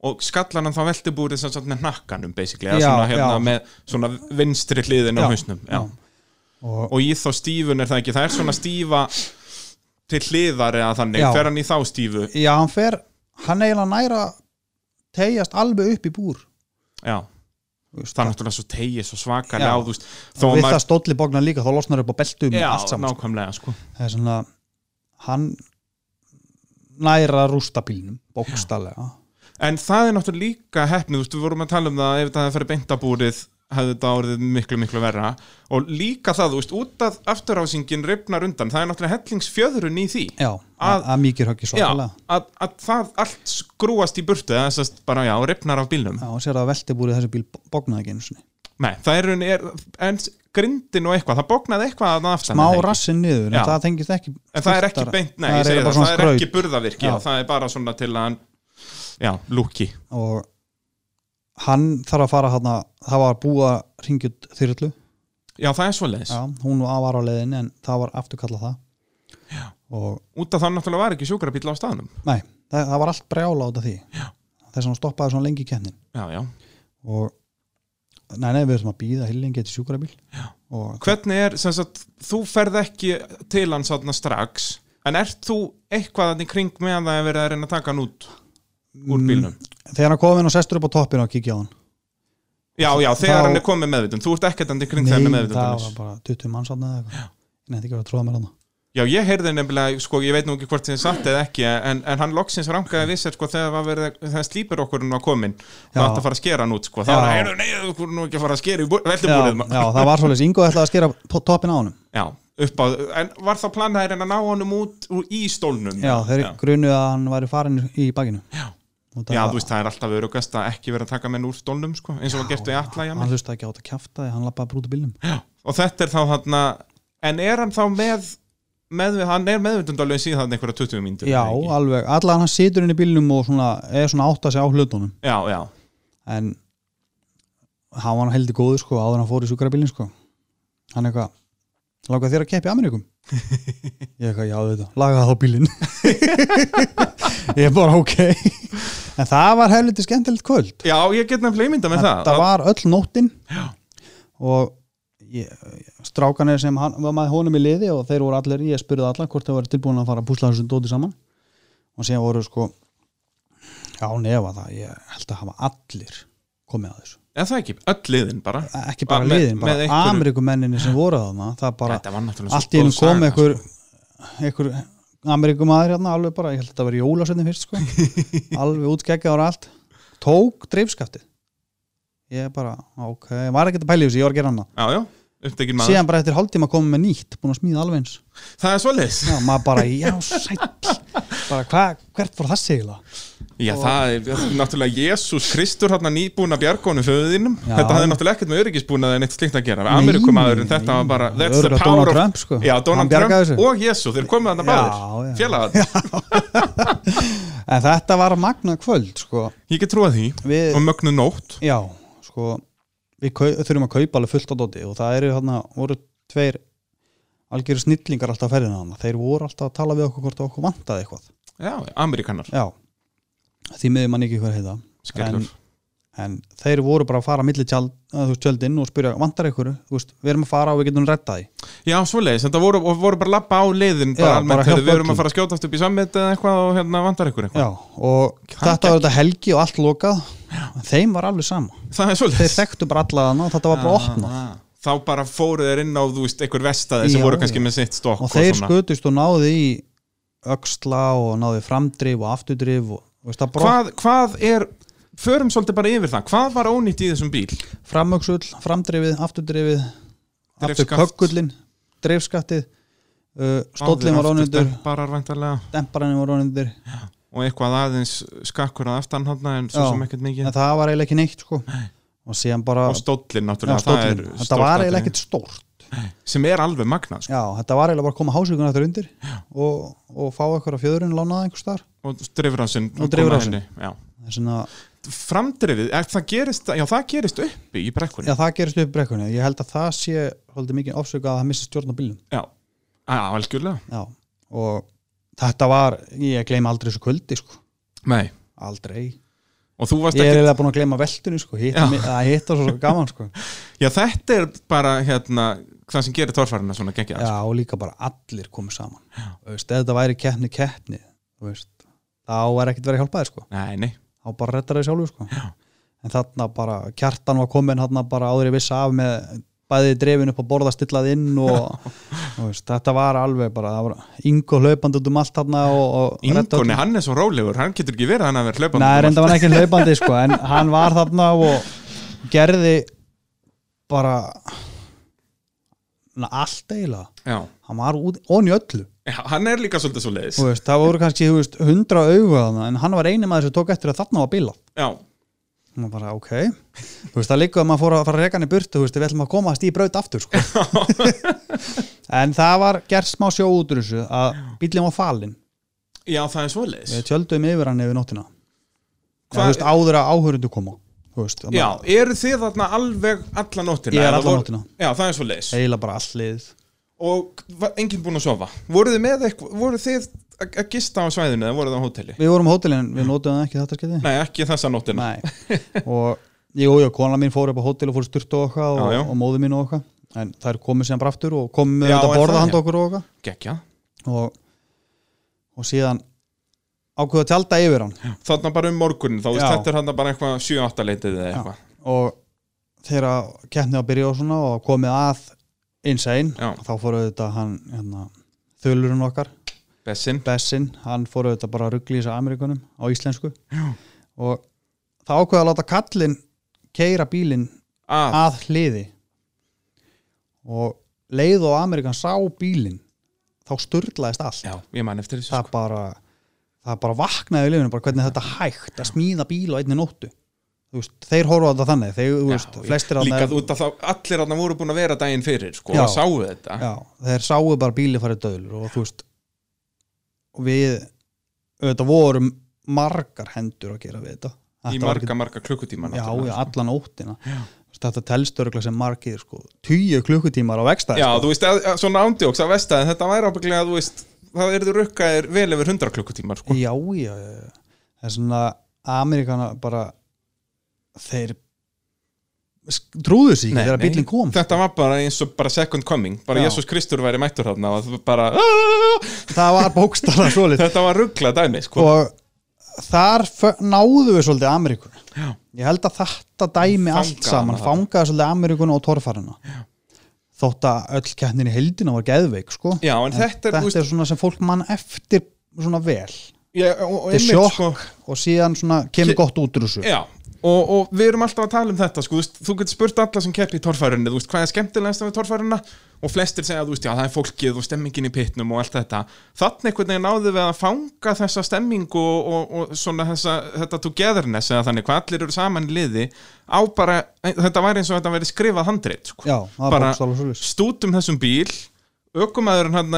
Speaker 1: Og skallar hann þá veltibúrið sem sagt með nakkanum, basically,
Speaker 2: Já,
Speaker 1: eða svona, hérna,
Speaker 2: já.
Speaker 1: með svona vinstri hliðin á
Speaker 2: Já, Mm.
Speaker 1: hausnum. Já.
Speaker 2: og,
Speaker 1: og í þá stífun er það ekki það er svona stífa til hliðar eða þannig,
Speaker 2: Já.
Speaker 1: fer hann í þá stífu
Speaker 2: já, hann fer hann eiginlega næra tegjast alveg upp í búr
Speaker 1: já,
Speaker 2: þú veist,
Speaker 1: það er náttúrulega svo tegið svo svakalega
Speaker 2: Já.
Speaker 1: á, þú veist, þó að
Speaker 2: við
Speaker 1: maður
Speaker 2: það stóli bóknar líka þá losnar upp á beltum og
Speaker 1: já,
Speaker 2: allt saman sko.
Speaker 1: nákvæmlega, sko
Speaker 2: það er svona hann næra rústa bílnum bókstallega
Speaker 1: en það er náttúrulega líka heppni, þú veist, við vorum að tala um það ef þetta hefði farið beintabúrið hefði þetta orðið miklu, miklu verra og líka það, þú veist, út að afturhásingin rifnar undan, það er náttúrulega hellingsfjöðrun í því
Speaker 2: já,
Speaker 1: Að-
Speaker 2: að, að mikið höggi
Speaker 1: já,
Speaker 2: svakalega
Speaker 1: að, að það allt skrúast í burtu eða þessast bara, já, rifnar af bílnum
Speaker 2: já, og sér að velti búrið þessi bíl bóknaði ekki einu sinni
Speaker 1: Nei, það er, er en grindin og eitthvað, það bóknaði eitthvað að aftan
Speaker 2: má
Speaker 1: er það ekki?
Speaker 2: rassin niður,
Speaker 1: Já.
Speaker 2: en það tengist ekki
Speaker 1: En það er ekki
Speaker 2: styrktara.
Speaker 1: beint, nei,
Speaker 2: það
Speaker 1: ég
Speaker 2: er
Speaker 1: segi
Speaker 2: bara
Speaker 1: það,
Speaker 2: svona
Speaker 1: það er
Speaker 2: skraut
Speaker 1: ekki burðavirki,
Speaker 2: Já.
Speaker 1: það er bara svona til að hann, já, lúki.
Speaker 2: og hann þarf að fara hann það var búið að ringja út þyrlu
Speaker 1: Já, það er svoleiðis.
Speaker 2: já, hún var á leiðin en það var afturkallað það já. og
Speaker 1: Út af það náttúrulega var ekki sjúkrabíl á staðnum.
Speaker 2: Nei, það, það var allt brjála út af því Já. þess að hann stoppaði svona lengi í kennin
Speaker 1: Já, já.
Speaker 2: og nei, nei, við erum að býða hillingi til sjúkrabíl Já. og
Speaker 1: Hvernig er, sem sagt, þú ferð ekki til hann svona strax, en ert þú eitthvað þannig kring með að það er verið að reyna að taka hann út
Speaker 2: Mm.
Speaker 1: úr bílnum?
Speaker 2: þegar hann kom inn og sestur upp á toppinu og kikið á hann
Speaker 1: Já, já, þegar
Speaker 2: Þá-
Speaker 1: hann er komið meðvitund, þú ert ekkert þannig kring þegar hann er
Speaker 2: það var
Speaker 1: meðvitund.
Speaker 2: bara 20 manns þarna eða eitthvað ég nefndi ekki að vera að tróða mér hann
Speaker 1: Já, ég heyrði nefnilega, sko, ég veit nú ekki hvort þið er satt eða ekki, en, en hann loksins rangaði vissir, sko, þegar var verið, þegar slípur okkur var komin, það
Speaker 2: Já.
Speaker 1: átti að fara að skera hann út, sko, þá
Speaker 2: Já.
Speaker 1: var það, "Heyrðu, nei, þú voru nú ekki að fara að skera í veldibúrið,
Speaker 2: Já, það var svolítið Ingo ætlaði að skera po- toppinn á hann
Speaker 1: já, upp á, en var þá planaðirinn að ná honum út úr í stólnum,
Speaker 2: Já, þeir
Speaker 1: já.
Speaker 2: grunuð að hann væri farin í bakinu Já,
Speaker 1: já, þú veist, það er alltaf örugast að ekki vera að taka menn úr stólnum, sko, eins og var gert við alla, já,
Speaker 2: Hann hlustaði ekki á þetta kjafta hann lappaði brúti bílnum
Speaker 1: og þetta er þá hann, en er hann þá með, með hann er meðvitundalögin síðan einhverja 20 mínútur,
Speaker 2: Já,
Speaker 1: eða ekki?
Speaker 2: alveg, allan hann situr inn í bílnum og svona, er svona átt að segja á hlutunum
Speaker 1: já, já,
Speaker 2: en hann var heldur góður sko áður en hann fór í sjúkrabílinn sko hann eitthvað, láka þér að keppa í Ameríkum ég eitthvað, já þetta laga þá bílinn ég bara ok en það var heldur skemmtilegt kvöld
Speaker 1: já, ég get nefnilega ímynda með það,
Speaker 2: þetta var öll nóttin
Speaker 1: Já.
Speaker 2: og ég, strákanir sem hann, var maður honum í liði og þeir voru allir, ég spurði alla hvort þeir voru tilbúin að fara að púsla þessu dóti saman og síðan voru sko já nefa það, ég held að hafa allir komið að þessu
Speaker 1: Eða það ekki, öll liðin bara
Speaker 2: ekki bara
Speaker 1: Með-
Speaker 2: liðin, bara
Speaker 1: með
Speaker 2: einhver...
Speaker 1: einhverju-
Speaker 2: Amerikumenninni sem voru þarna, það bara
Speaker 1: Þetta var náttúrulega
Speaker 2: allt í
Speaker 1: góð
Speaker 2: hennu kom
Speaker 1: saga, sko.
Speaker 2: einhver einhver Amerikumæður hérna alveg bara, ég held að þetta verið jólasveitin fyrst sko, alveg útgeggja ára allt tók dreifskaftið ég bara, ok ég var ekki að pæla í þessu, ég var að gera annað
Speaker 1: Já, já, upptekinn maður
Speaker 2: síðan bara eftir hálftíma komum með nýtt búin að smíða alveg eins,
Speaker 1: Það er svoleiðis
Speaker 2: já, maður bara, já, sæll bara, hva, hvert fór það segila
Speaker 1: Já, það er náttúrulega Jésús Kristur hann nýbúin að bjargónu föðinum
Speaker 2: Já.
Speaker 1: Þetta hafði náttúrulega ekkert með öryggisbúin að neitt slíkt að gera
Speaker 2: Nei,
Speaker 1: Amerikumaðurinn, þetta
Speaker 2: nei.
Speaker 1: var bara
Speaker 2: Það
Speaker 1: That's
Speaker 2: er
Speaker 1: the
Speaker 2: örugglega
Speaker 1: power
Speaker 2: Donald
Speaker 1: of
Speaker 2: Trump, sko.
Speaker 1: Já,
Speaker 2: Hann
Speaker 1: Donald Trump
Speaker 2: bjargaði þessu.
Speaker 1: og Jésú, þeir komið hann að
Speaker 2: Já, já.
Speaker 1: báðir Félagar,
Speaker 2: en þetta var magna kvöld, sko
Speaker 1: ég get trúað því
Speaker 2: við,
Speaker 1: Og mögnu nótt
Speaker 2: Já, sko við kau, þurfum að kaupa alveg fullt á dóti og það eru hérna, voru tveir algjöru snillingar alltaf að ferðina hana þeir voru alltaf að tala við okkur hvort okkur vantaði eitthvað
Speaker 1: Já, Amerikanar,
Speaker 2: Já, því miður mann ekki hver heita
Speaker 1: skellur
Speaker 2: en þeir voru bara að fara millir tjald, að þú veist, tjöldin og spyrja vantar ykkur, þú veist, við erum að fara og við getum retta því
Speaker 1: Já, svoleiðis, þetta voru, og voru bara lappa á leiðin bara
Speaker 2: Já,
Speaker 1: almennt,
Speaker 2: bara
Speaker 1: heyrðu,
Speaker 2: hjálpa
Speaker 1: Við erum
Speaker 2: öllum.
Speaker 1: að fara að skjótast upp í sammið eða eitthvað og hérna vantar ykkur eitthvað
Speaker 2: Já, og
Speaker 1: Hann
Speaker 2: þetta var þetta helgi og allt lokað Já. þeim var alveg sama,
Speaker 1: Það er svoleiðis
Speaker 2: þeir þekktu bara alla hana og þetta var bara opnað
Speaker 1: Ah, ah. þá bara fóru þeir inn á þú veist, einhver vestaði sem
Speaker 2: Já,
Speaker 1: voru kannski
Speaker 2: já.
Speaker 1: með sitt stokk
Speaker 2: og þeir skutust og náði í öxla og náði framdrif og afturdrif og þú veist, það brott
Speaker 1: hvað, hvað er, förum svolítið bara yfir það hvað var ónýtt í þessum bíl
Speaker 2: framöksull, framdrifið, afturdrifið aftur
Speaker 1: Drifskaft.
Speaker 2: kökkullin dreifskattið uh, stóllin var ónundur,
Speaker 1: barar væntarlega
Speaker 2: demparinn var ónundur
Speaker 1: og eitthvað aðeins skakkur að aftan hana en svo
Speaker 2: Já.
Speaker 1: sem ekkert mikið
Speaker 2: en það var eiginlega ekki neitt sko. og síðan bara
Speaker 1: og stóllin
Speaker 2: Já,
Speaker 1: náttúrulega það
Speaker 2: stóllinn.
Speaker 1: er
Speaker 2: þetta
Speaker 1: stórt
Speaker 2: var
Speaker 1: atriði.
Speaker 2: eiginlega ekkert stórt
Speaker 1: sem er alveg magnað sko.
Speaker 2: já, þetta var eiginlega bara að koma hásvíkun eftir undir og, og fá eitthvað á fjöðurinn lánaða einhvers þar
Speaker 1: og drifrásinn
Speaker 2: Og drifrásinn. svona,
Speaker 1: framdrifið, er, það, gerist, já, það gerist uppi í brekkunni
Speaker 2: já, það gerist upp í brekkunni ég held að það sé holdið mikið ofsöka að það missi stjórn á bílnum
Speaker 1: já, já algjörlega
Speaker 2: já, og þetta var ég gleyma aldrei þessu kvöldi sko.
Speaker 1: Nei.
Speaker 2: aldrei
Speaker 1: og þú varst
Speaker 2: ég er
Speaker 1: ekki
Speaker 2: eiginlega búin að gleyma veltunni sko. hitta,
Speaker 1: Já.
Speaker 2: mig- að hitta svo gaman sko.
Speaker 1: já, þetta er bara hérna, það sem gerir torfærarna svona geggjað sko.
Speaker 2: já, og líka bara allir komið saman Þú veist, ef þetta væri keppni keppni þú veist, þá er ekkert verið að hjálpa þér sko.
Speaker 1: nei, nei,
Speaker 2: þá bara rettar þér sjálfur sko. en þarna bara, kjartan var komin þarna bara áður í vissa af með bæði drefin upp á borða stillað inn og þú veist, þetta var alveg bara það var, Ingo hlaupandi út um allt þarna og, og redda
Speaker 1: Ingoni,
Speaker 2: öllu.
Speaker 1: hann er svo rólegur hann getur ekki verið hann að vera hlaupandi
Speaker 2: Nei,
Speaker 1: um
Speaker 2: reynda var hann ekki hlaupandi sko, en hann var þarna og gerði bara na, allt eiginlega
Speaker 1: allt. já.
Speaker 2: hann var út, onni öllu
Speaker 1: Já, hann er líka svolítið svo leiðis
Speaker 2: Þú veist, það voru kannski þú veist, hundra auga þarna, en hann var eini maður sem tók eftir að þarna var bíla
Speaker 1: já,
Speaker 2: og maður bara ok þú veist það líka að maður fór að fara að reka hann í burtu þú veist við ætlum að komast í braut aftur sko. en það var gert smá sjó út úr þessu að bílinn var falinn
Speaker 1: já, það er svo leiðis
Speaker 2: við tjöldum yfir hann yfir nóttina
Speaker 1: Hva-
Speaker 2: Hva, veist, áður að áhörundu koma þú veist
Speaker 1: já, eru þið þarna alveg alla nóttina
Speaker 2: Ég er
Speaker 1: Eða
Speaker 2: alla
Speaker 1: voru-
Speaker 2: nóttina.
Speaker 1: já, það er svo leiðis
Speaker 2: eila bara allið
Speaker 1: og var enginn búinn að sofa voruð þið með eitthvað, voruð þið að að gista á svæðinu eða voruð þið á hóteli
Speaker 2: við vorum á hótelin við notum það ekki þetta skeiði
Speaker 1: nei ekki þessa nóttina
Speaker 2: Nei. og jú, jú, kona mín fór upp á hótel og fór í styrtu og okkar og,
Speaker 1: Já, já.
Speaker 2: og móði mín og okkar en þær komu síðan bara aftur og komu með
Speaker 1: Já,
Speaker 2: þetta
Speaker 1: er það,
Speaker 2: borða
Speaker 1: já.
Speaker 2: handa okkur og okkar
Speaker 1: gekkja,
Speaker 2: og, og síðan ákveða að tjálta yfir hann
Speaker 1: þarna bara um morgunin þá veist
Speaker 2: Já.
Speaker 1: þetta er þarna bara eitthvað 7-8 leitið eða eitthvað
Speaker 2: og þegar keppnið að byrja og svona og komið að insane,
Speaker 1: Já.
Speaker 2: þá fór auðvitað hann hérna, þölurinn okkar,
Speaker 1: Bessin,
Speaker 2: Bessin hann fór auðvitað bara að ruggli í þessu Amerikunum á íslensku Já. og það ákveða að láta kallinn keira bílinn
Speaker 1: að,
Speaker 2: að hliði og leið og Amerikan sá bílinn þá sturlaðist allt
Speaker 1: já, ég man eftir þessu sko.
Speaker 2: það bara það bara vaknaði í lifinu, bara hvernig þetta er hægt að smíða bíl á einni nóttu Þú veist, þeir horfa á þetta þannig þeir, þú veist,
Speaker 1: Já,
Speaker 2: flestir
Speaker 1: líka
Speaker 2: þarna-
Speaker 1: út að þá, allir þarna voru búin að vera daginn fyrir sko,
Speaker 2: Já.
Speaker 1: og sáu þetta
Speaker 2: já, þeir sáu bara bíli farið döðlur og þú veist og við auðvitað vorum margar hendur að gera við þetta
Speaker 1: í sko.
Speaker 2: Þetta var
Speaker 1: marga, marga klukkutíma
Speaker 2: já,
Speaker 1: náttúrulega.
Speaker 2: já, allan óttina já. þetta telst örgla sem margir sko, tíu klukkutímar á vekstæð
Speaker 1: já, þú veist, að, að, svona ándjóks að vestaðin þetta væri ábygglega, þú veist það eru rukkaðir vel yfir 100 klukkutímar sko.
Speaker 2: já, já, já, já. það er svona Amerikana bara þeir sk- trúðu sig ekki þegar bílinn kom
Speaker 1: þetta var bara eins og bara second coming bara
Speaker 2: Já.
Speaker 1: Jésús Kristur væri mættur þarna og það var bara, "Aah!"
Speaker 2: það var bókstala svolít
Speaker 1: þetta var ruggla dæmi sko.
Speaker 2: og þar fö- náðu við svolítið Ameríkuna
Speaker 1: Já.
Speaker 2: ég held að þetta dæmi
Speaker 1: Fangaði
Speaker 2: allt saman
Speaker 1: hana.
Speaker 2: fangaði svolítið Ameríkuna og torfarina Já. þótt að öll keppnin í heildina var geðveik sko
Speaker 1: já, en, þetta er, þú veist,
Speaker 2: þetta er svona sem fólk mann eftir svona vel
Speaker 1: ég, og, og
Speaker 2: þetta er
Speaker 1: einmitt,
Speaker 2: sjokk
Speaker 1: sko,
Speaker 2: og síðan svona kemur gott út úr þessu
Speaker 1: já, og, og við erum alltaf að tala um þetta sko, þú, veist, þú getur spurt alla sem keppi í torfærunni þú veist, hvað er skemmtilegast af torfærunna og flestir segja, þú veist, já, það er fólkið og stemmingin í pitnum og allt þetta þannig einhvern veginn náðu við að fanga þessa stemmingu og, og, og svona þessa, þetta togetherness eða þannig, hvað allir eru saman í liði á bara, þetta væri eins og þetta væri skrifað handrit sko.
Speaker 2: Já, það var
Speaker 1: Bara-
Speaker 2: bókstala svolít
Speaker 1: stútum þessum bíl aukumæðurinn hann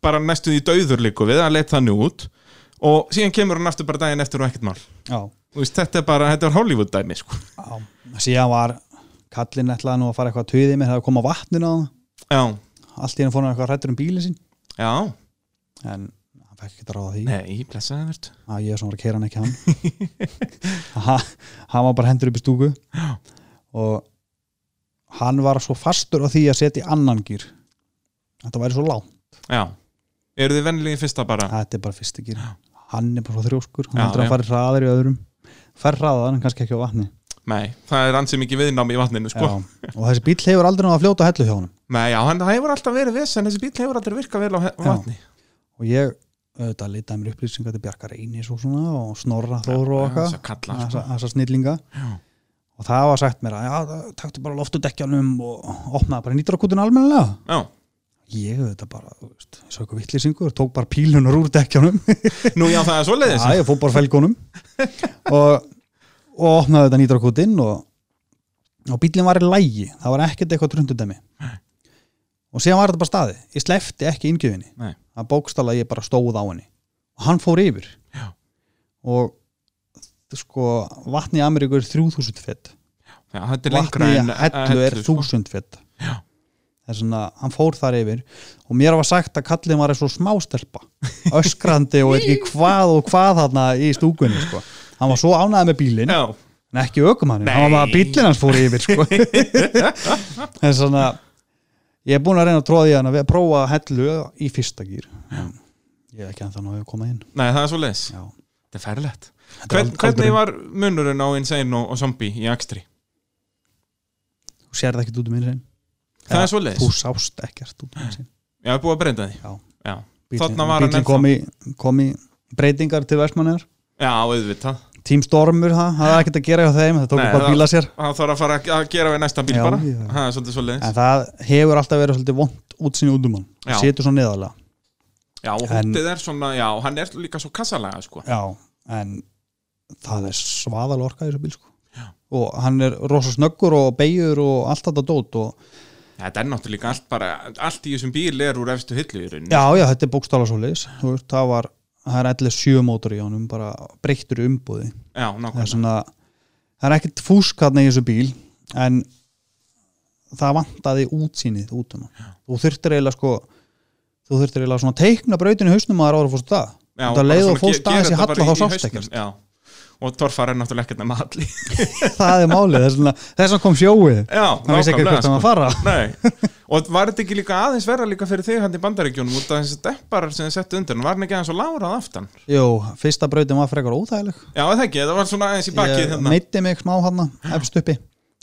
Speaker 1: bara næstu því dauður líku við að leta hann út og síðan kemur hann aftur bara daginn eftir og ekkert mál
Speaker 2: Já,
Speaker 1: Þú veist, þetta er bara, þetta er Hollywood dæmi sko.
Speaker 2: já. síðan var kallinn ætlaði nú að fara eitthvað að tuði mér það kom á vatninu á hann
Speaker 1: já,
Speaker 2: allt í henni fór hann eitthvað hrættur um bílinn sín
Speaker 1: já,
Speaker 2: en hann fekk ekki að ráða því
Speaker 1: nei, blessaði verð
Speaker 2: að ég er svona var að keira hann ekki hann Ha- hann var bara hendur upp í stúku já. og hann var svo fastur á því að setja í annan gýr þetta væri svo lág
Speaker 1: já, eru þið venlið í fyrsta bara
Speaker 2: þetta er bara fyrsti gýr hann er bara svo þrjóskur, hann
Speaker 1: Já,
Speaker 2: heldur
Speaker 1: já.
Speaker 2: að fara hraðar í öðrum fer hraðar en kannski ekki á vatni
Speaker 1: Nei, það er ansið mikið viðnám í vatninu sko.
Speaker 2: Já, og þessi bíl hefur aldrei náða að fljóta á hellu hjá honum
Speaker 1: Nei, já, hann það hefur alltaf verið viss en þessi bíl hefur aldrei virkað vel á he- á
Speaker 2: Já.
Speaker 1: vatni
Speaker 2: og ég auðvitað leitaði mér upplýsingar til Bjarkar Einis og svona og Snorra Þóru og
Speaker 1: Já,
Speaker 2: okkar
Speaker 1: þessa kalla, sko.
Speaker 2: þessar snillinga
Speaker 1: Já.
Speaker 2: og það var sagt mér að já, það- taktu bara loft úr dekkjanum og opnaði bara nýtrakútin almennilega
Speaker 1: Já.
Speaker 2: ég auðvitað bara, þú veist, svo eitthvað vittlýsingur tók bara pílunar úr dekkjanum
Speaker 1: Nú, já, það er svoleiðis
Speaker 2: Já, ég fór bara felgunum og, og opnaði þetta nýtrakútin og, og bílinn var í lægi það var ekkert eitthvað trundudæmi og síðan var þetta bara staði ég slefti ekki inngjöfinni
Speaker 1: Nei.
Speaker 2: að bókstala ég bara stóð á henni og hann fór yfir
Speaker 1: Já.
Speaker 2: og þ- sko vatni í Ameríku er 3000 fett
Speaker 1: Já, þetta er lengra
Speaker 2: vatni í
Speaker 1: en
Speaker 2: hellu er
Speaker 1: sko.
Speaker 2: 1000 fett
Speaker 1: Já.
Speaker 2: það er svona, hann fór þar yfir og mér var sagt að kallin var eins og smástelpa öskrandi og veit ekki hvað og hvað þarna í stúkunni sko. hann var svo ánæði með bílinn
Speaker 1: Já,
Speaker 2: en ekki ökumannin,
Speaker 1: Nei.
Speaker 2: hann var bara að bílinn hans fór yfir sko. en svona ég er búin að reyna að tróða í hann að við að prófa hellu í fyrsta gýr ég er ekki að það náðu að koma inn
Speaker 1: nei, það er svoleiðis
Speaker 2: Já.
Speaker 1: Þetta er ferlegt
Speaker 2: Þetta er
Speaker 1: Hvern,
Speaker 2: ald-
Speaker 1: Hvernig
Speaker 2: aldurinn.
Speaker 1: var munurinn á Insane og, og Zombie í Akstri?
Speaker 2: þú sér það ekkert út um minn sinn
Speaker 1: Það
Speaker 2: Já,
Speaker 1: er svoleiðis
Speaker 2: þú sást ekkert út um minn sinn
Speaker 1: Já, er búið að breyta því
Speaker 2: Já.
Speaker 1: Já, Þarna var hann
Speaker 2: bílinn kom, í- kom í breytingar til versmannar
Speaker 1: já auðvitað
Speaker 2: Team Stormur, það það hafði ekkert að gera hjá þeim það tók
Speaker 1: Nei,
Speaker 2: bara
Speaker 1: það-
Speaker 2: bíla sér
Speaker 1: Það þarf að fara að gera við næsta bíl
Speaker 2: Já,
Speaker 1: bara
Speaker 2: já.
Speaker 1: Það er svolítið svoleiðis
Speaker 2: en það hefur alltaf verið svolítið vond útsinni út um hann,
Speaker 1: Já.
Speaker 2: setur svo neðalega
Speaker 1: Já, og
Speaker 2: en-
Speaker 1: húttið er svona, já, hann er líka svo kassalega sko.
Speaker 2: já, en það er svaðal orka í þessu bíl sko. og hann er rosa snöggur og beigur og allt þetta dót og
Speaker 1: Þetta er náttúrulega líka allt bara Allt í þessum bíl er úr efstu hillu í rauninni
Speaker 2: já, já, þetta er bókstála svo leis það var, það er allir sjö mótor í honum bara breyttur í umbúði
Speaker 1: já
Speaker 2: það er
Speaker 1: nákvæmlega
Speaker 2: svona, það er ekkert fúsk hann í þessu bíl, en það vantaði útsýnið út um hann, þú þurftir eiginlega sko þú þurftir eiginlega svona teikna brautin í hausnum að það er ára fórst það,
Speaker 1: Já,
Speaker 2: þetta
Speaker 1: bara
Speaker 2: leið
Speaker 1: svona
Speaker 2: og fórst
Speaker 1: ge- gera
Speaker 2: aðeins í
Speaker 1: þetta bara
Speaker 2: halla þá
Speaker 1: í
Speaker 2: sást
Speaker 1: hausnum,
Speaker 2: ekkert,
Speaker 1: já. og torfar er náttúrulega ekkert nema halli
Speaker 2: það er málið þess vegna, þess vegna kom sjóið
Speaker 1: já, sko.
Speaker 2: hann vissi ekki hvert hann var að fara
Speaker 1: Nei, og var þetta ekki líka aðeins verra líka fyrir þig hann í bandaríkjónum út af þessi depparar sem þið settu undir, hann var hann ekki aðeins og lárað aftan
Speaker 2: Jú, fyrsta brautin var frekar óþægileg
Speaker 1: Já, er það ekki, það var svona aðeins í bakið
Speaker 2: ég
Speaker 1: hérna
Speaker 2: meiti mig smá hann efst uppi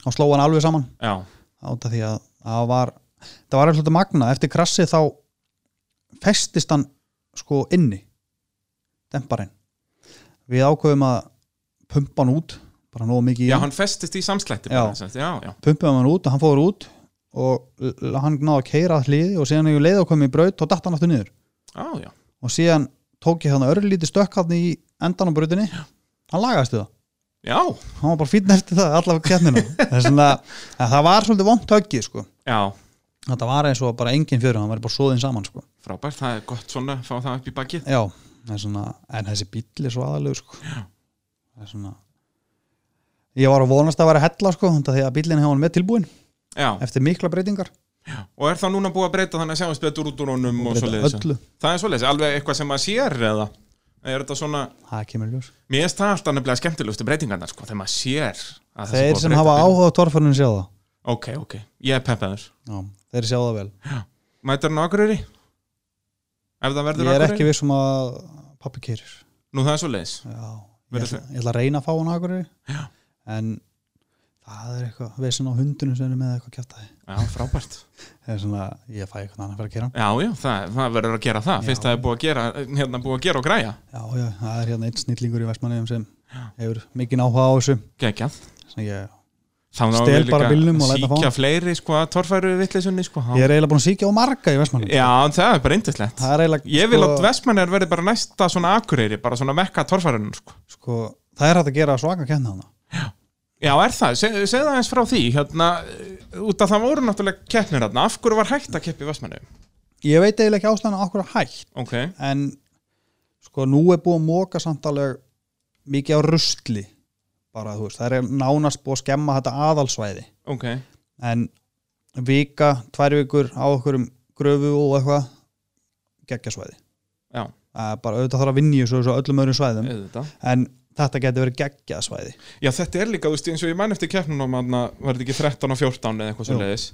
Speaker 2: og sló hann alveg saman
Speaker 1: Já,
Speaker 2: át af því að það var það var alltaf magna, eftir krassið þá festist hann sko inni demparinn við ákveðum að pumpa hann út bara nógu mikið í
Speaker 1: já,
Speaker 2: hann.
Speaker 1: hann festist í samslætti
Speaker 2: Já.
Speaker 1: bara, sem sagt. já, já,
Speaker 2: pumpum hann út og hann fóður út og l- hann náði að keira að hliði og síðan hefur leið að koma í braut og datt hann aftur niður
Speaker 1: já, já
Speaker 2: og síðan tók ég hann örlítið stökkarni í endan á brautinni hann lagaðist við það
Speaker 1: Já,
Speaker 2: hann var bara fínn eftir það allavega keppnina það, er svona, að það var svolítið vont höggið sko.
Speaker 1: já,
Speaker 2: þetta var eins og bara engin fjörun hann var bara svoðin saman sko.
Speaker 1: frábært, það er gott svona að fá það upp í bakið
Speaker 2: Já, það er svona, en þessi bíll er svo aðalegur sko. Það er svona Ég var að vonast að vera hella sko, þetta því að bíllinn hefði hann með tilbúin
Speaker 1: Já,
Speaker 2: eftir mikla breytingar
Speaker 1: og er það núna búið að breyta þannig að sjáast betur út úr honum og, og
Speaker 2: breyta
Speaker 1: svoleiðis
Speaker 2: öllu.
Speaker 1: Það er svoleiðis, alveg eitthvað sem maður sér eða Er þetta svona,
Speaker 2: Það kemur í ljós
Speaker 1: mér erst það alltaf nefnilega skemmtilegustu breytingarnar sko, þegar maður sér að það sé búið
Speaker 2: Þeir
Speaker 1: að
Speaker 2: sem
Speaker 1: breyta
Speaker 2: hafa
Speaker 1: bílnum.
Speaker 2: áhuga á torfærunum sjá það
Speaker 1: Ok, ok, ég er peppaður
Speaker 2: Já, þeir sjá það vel
Speaker 1: Mætar hann á Akureyri? Ef það verður
Speaker 2: Ég er
Speaker 1: Akureyri?
Speaker 2: ekki viss um að pappi keirir
Speaker 1: Nú það er svo leiðis
Speaker 2: Já, ég
Speaker 1: Verður
Speaker 2: ætla, ég ætla að reyna að fá hann akkur en það er eitthvað vesen á hundunum sem er með eitthvað kjartaði
Speaker 1: Já, frábært
Speaker 2: Það er svona, ég fæ eitthvað annað fyrir að kera
Speaker 1: Já, já, það, það verður að gera það
Speaker 2: Já.
Speaker 1: Fyrst það er búið að gera, hérna búið að gera og græja
Speaker 2: Já, já, það er hérna einn snillingur í Vestmanniðum sem hefur mikinn áhuga á þessu
Speaker 1: Gekkjað
Speaker 2: Svona ég,
Speaker 1: Þá náum
Speaker 2: Stel
Speaker 1: við
Speaker 2: bara bílnum og
Speaker 1: líka að
Speaker 2: læta fá
Speaker 1: síkja fleiri sko að torfæru vittlisunni sko Já,
Speaker 2: ég er eiginlega búin að síkja á marga í Vestmanni
Speaker 1: en það er bara indislegt
Speaker 2: það er eiginlega
Speaker 1: Ég vil
Speaker 2: sko,
Speaker 1: að vestmennir verði bara næsta svona Akureyri bara svona mekka torfærunum sko
Speaker 2: sko, það er hægt að gera svaka kenna hana
Speaker 1: Já, er það, Se, segðu það eins frá því hérna, út að það voru náttúrulega keppnir hérna, af hverju var hægt að keppi vestmennu?
Speaker 2: ég veit eiginlega ekki ástæðan okkur að hægt
Speaker 1: Ok,
Speaker 2: en sko nú er búið að móka samtaleg mikið á rusli bara þú veist, það er nánast búið að skemma þetta aðalsvæði
Speaker 1: ok,
Speaker 2: en vika, tvær vikur á okkur um gröfu og eitthvað geggjasvæði
Speaker 1: já,
Speaker 2: Það er bara auðvitað þarf að vinja svo, svo öllum öðrum svæðum
Speaker 1: auðvitað
Speaker 2: en þetta getur verið geggjasvæði
Speaker 1: Já, þetta er líka, þú veist, eins og ég man eftir keppnunum að var þetta ekki 13 og 14 eða eitthvað
Speaker 2: Jú.
Speaker 1: svo leiðis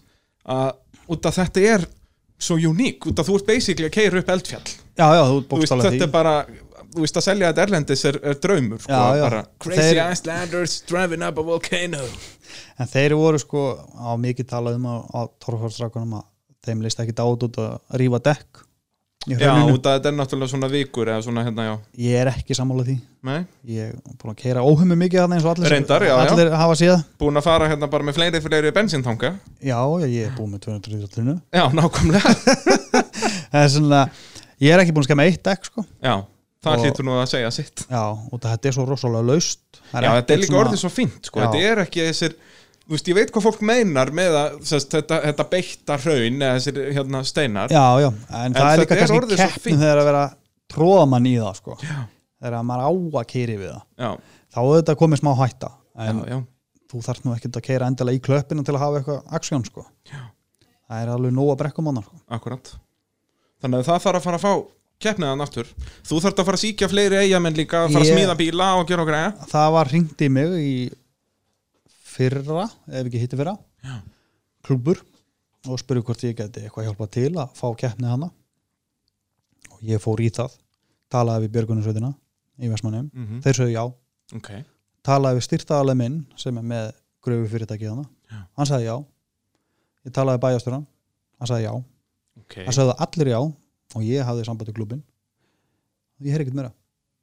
Speaker 1: að út að þetta er svo uník, út að þú ert basically að keira upp eldfjall
Speaker 2: já já, þú
Speaker 1: Þú veist,
Speaker 2: bókstálega
Speaker 1: þetta
Speaker 2: því
Speaker 1: er bara þú veist að selja þetta erlendis er, er draumur sko,
Speaker 2: Já, já.
Speaker 1: Bara, Crazy
Speaker 2: Þeir-
Speaker 1: Icelanders driving up a volcano
Speaker 2: En þeir voru sko á mikið talað um á, á Torfarsrakunum að þeim leist ekki dát út að rífa dekk í
Speaker 1: Já,
Speaker 2: hrauninu.
Speaker 1: út að þetta er náttúrulega svona vikur eða svona hérna, já
Speaker 2: Ég er ekki sammála því.
Speaker 1: Nei,
Speaker 2: Ég er búin að keira óhummi mikið þarna eins og allir, sem-
Speaker 1: Reyndar, já, já.
Speaker 2: allir hafa séð.
Speaker 1: búin að fara hérna bara með fleiri fleiri bensíntanga
Speaker 2: Já, já, ég er búin með 230
Speaker 1: Já, nákvæmlega
Speaker 2: Það er svona, ég er ekki búin að skemma eitt dekk sko.
Speaker 1: Já, það
Speaker 2: Og-
Speaker 1: hlýtur nú að segja sitt
Speaker 2: Já, og þetta er svo rosalega laust. Það
Speaker 1: Já, þetta er
Speaker 2: ekkert
Speaker 1: líka
Speaker 2: svona-
Speaker 1: orðið svo fínt sko.
Speaker 2: Já.
Speaker 1: Þetta er ekki þessir Þú veist, ég veit hvað fólk meinar með að sest, þetta, þetta beitta hraun eða þessir hérna, steinar
Speaker 2: Já, já, en, það er
Speaker 1: þetta
Speaker 2: líka
Speaker 1: er
Speaker 2: kannski
Speaker 1: orðið svo
Speaker 2: keppnum
Speaker 1: fínt.
Speaker 2: þegar að vera tróðamann í það sko. Þegar að maður á að keiri við það.
Speaker 1: Já,
Speaker 2: Þá er þetta komið smá hætta.
Speaker 1: já,
Speaker 2: En
Speaker 1: já,
Speaker 2: þú þarf nú ekkert að keira endilega í klöppina til að hafa eitthvað aksjón sko. það er alveg nóg að brekkum annar sko.
Speaker 1: akkurat Þannig að það þarf að fara að fá keppniðan aftur Þú þarft að fara að síkja fleiri eigamenn líka fara að
Speaker 2: Ég-
Speaker 1: smíða bíla og gera okkur eh? eða
Speaker 2: það var hringt í mig í fyrra, ef ekki hitti fyrra
Speaker 1: Já.
Speaker 2: klubur og spurði hvort ég geti eitthvað hjálpa til að fá keppni hana og ég fór í það talaði við Björgunarsveitina í Vestmannum,
Speaker 1: mm
Speaker 2: þeir sögðu já
Speaker 1: Ok,
Speaker 2: talaði við styrtaðalega minn sem er með gröfu fyrirtækið hana
Speaker 1: Já.
Speaker 2: hann sagði já ég talaði við bæjasturinn, hann sagði já
Speaker 1: ok
Speaker 2: Það sagði allir já og ég hafði sambandi klubin Ég heyr ekkert meira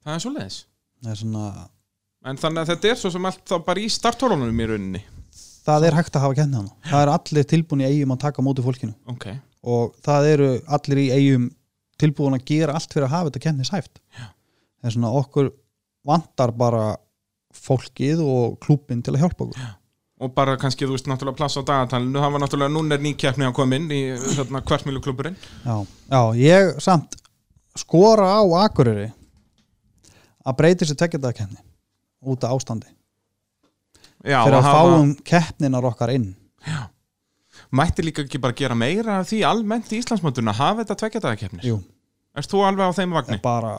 Speaker 1: Það er svo leiðis
Speaker 2: Það er, svona,
Speaker 1: En þannig að þetta er svo sem allt þá bara í startólunum í rauninni
Speaker 2: það er hægt að hafa kenni hana Það eru allir tilbúin í eigum að taka á móti fólkinu
Speaker 1: Ok,
Speaker 2: og það eru allir í eigum tilbúin að gera allt fyrir að hafa þetta kenni sæft
Speaker 1: Já.
Speaker 2: Það er svona okkur vantar bara fólkið og klubin til að hjálpa okkur
Speaker 1: og bara kannski þú veist náttúrulega pláss á dagatalinu það var náttúrulega núna er nýkeppni að koma inn í hérna, hvertmýlukluburinn
Speaker 2: Já, já ég samt skora á Akureyri að breyti sér tekjadakenni út af ástandi
Speaker 1: Já, að
Speaker 2: fyrir að
Speaker 1: hafa-
Speaker 2: fáum keppninar okkar inn
Speaker 1: mætti líka ekki bara gera meira af því almennt í Íslandsmótuna hafa þetta tveggjadagakeppnir
Speaker 2: Jú
Speaker 1: Erst þú alveg á þeim
Speaker 2: er
Speaker 1: vagnir?
Speaker 2: bara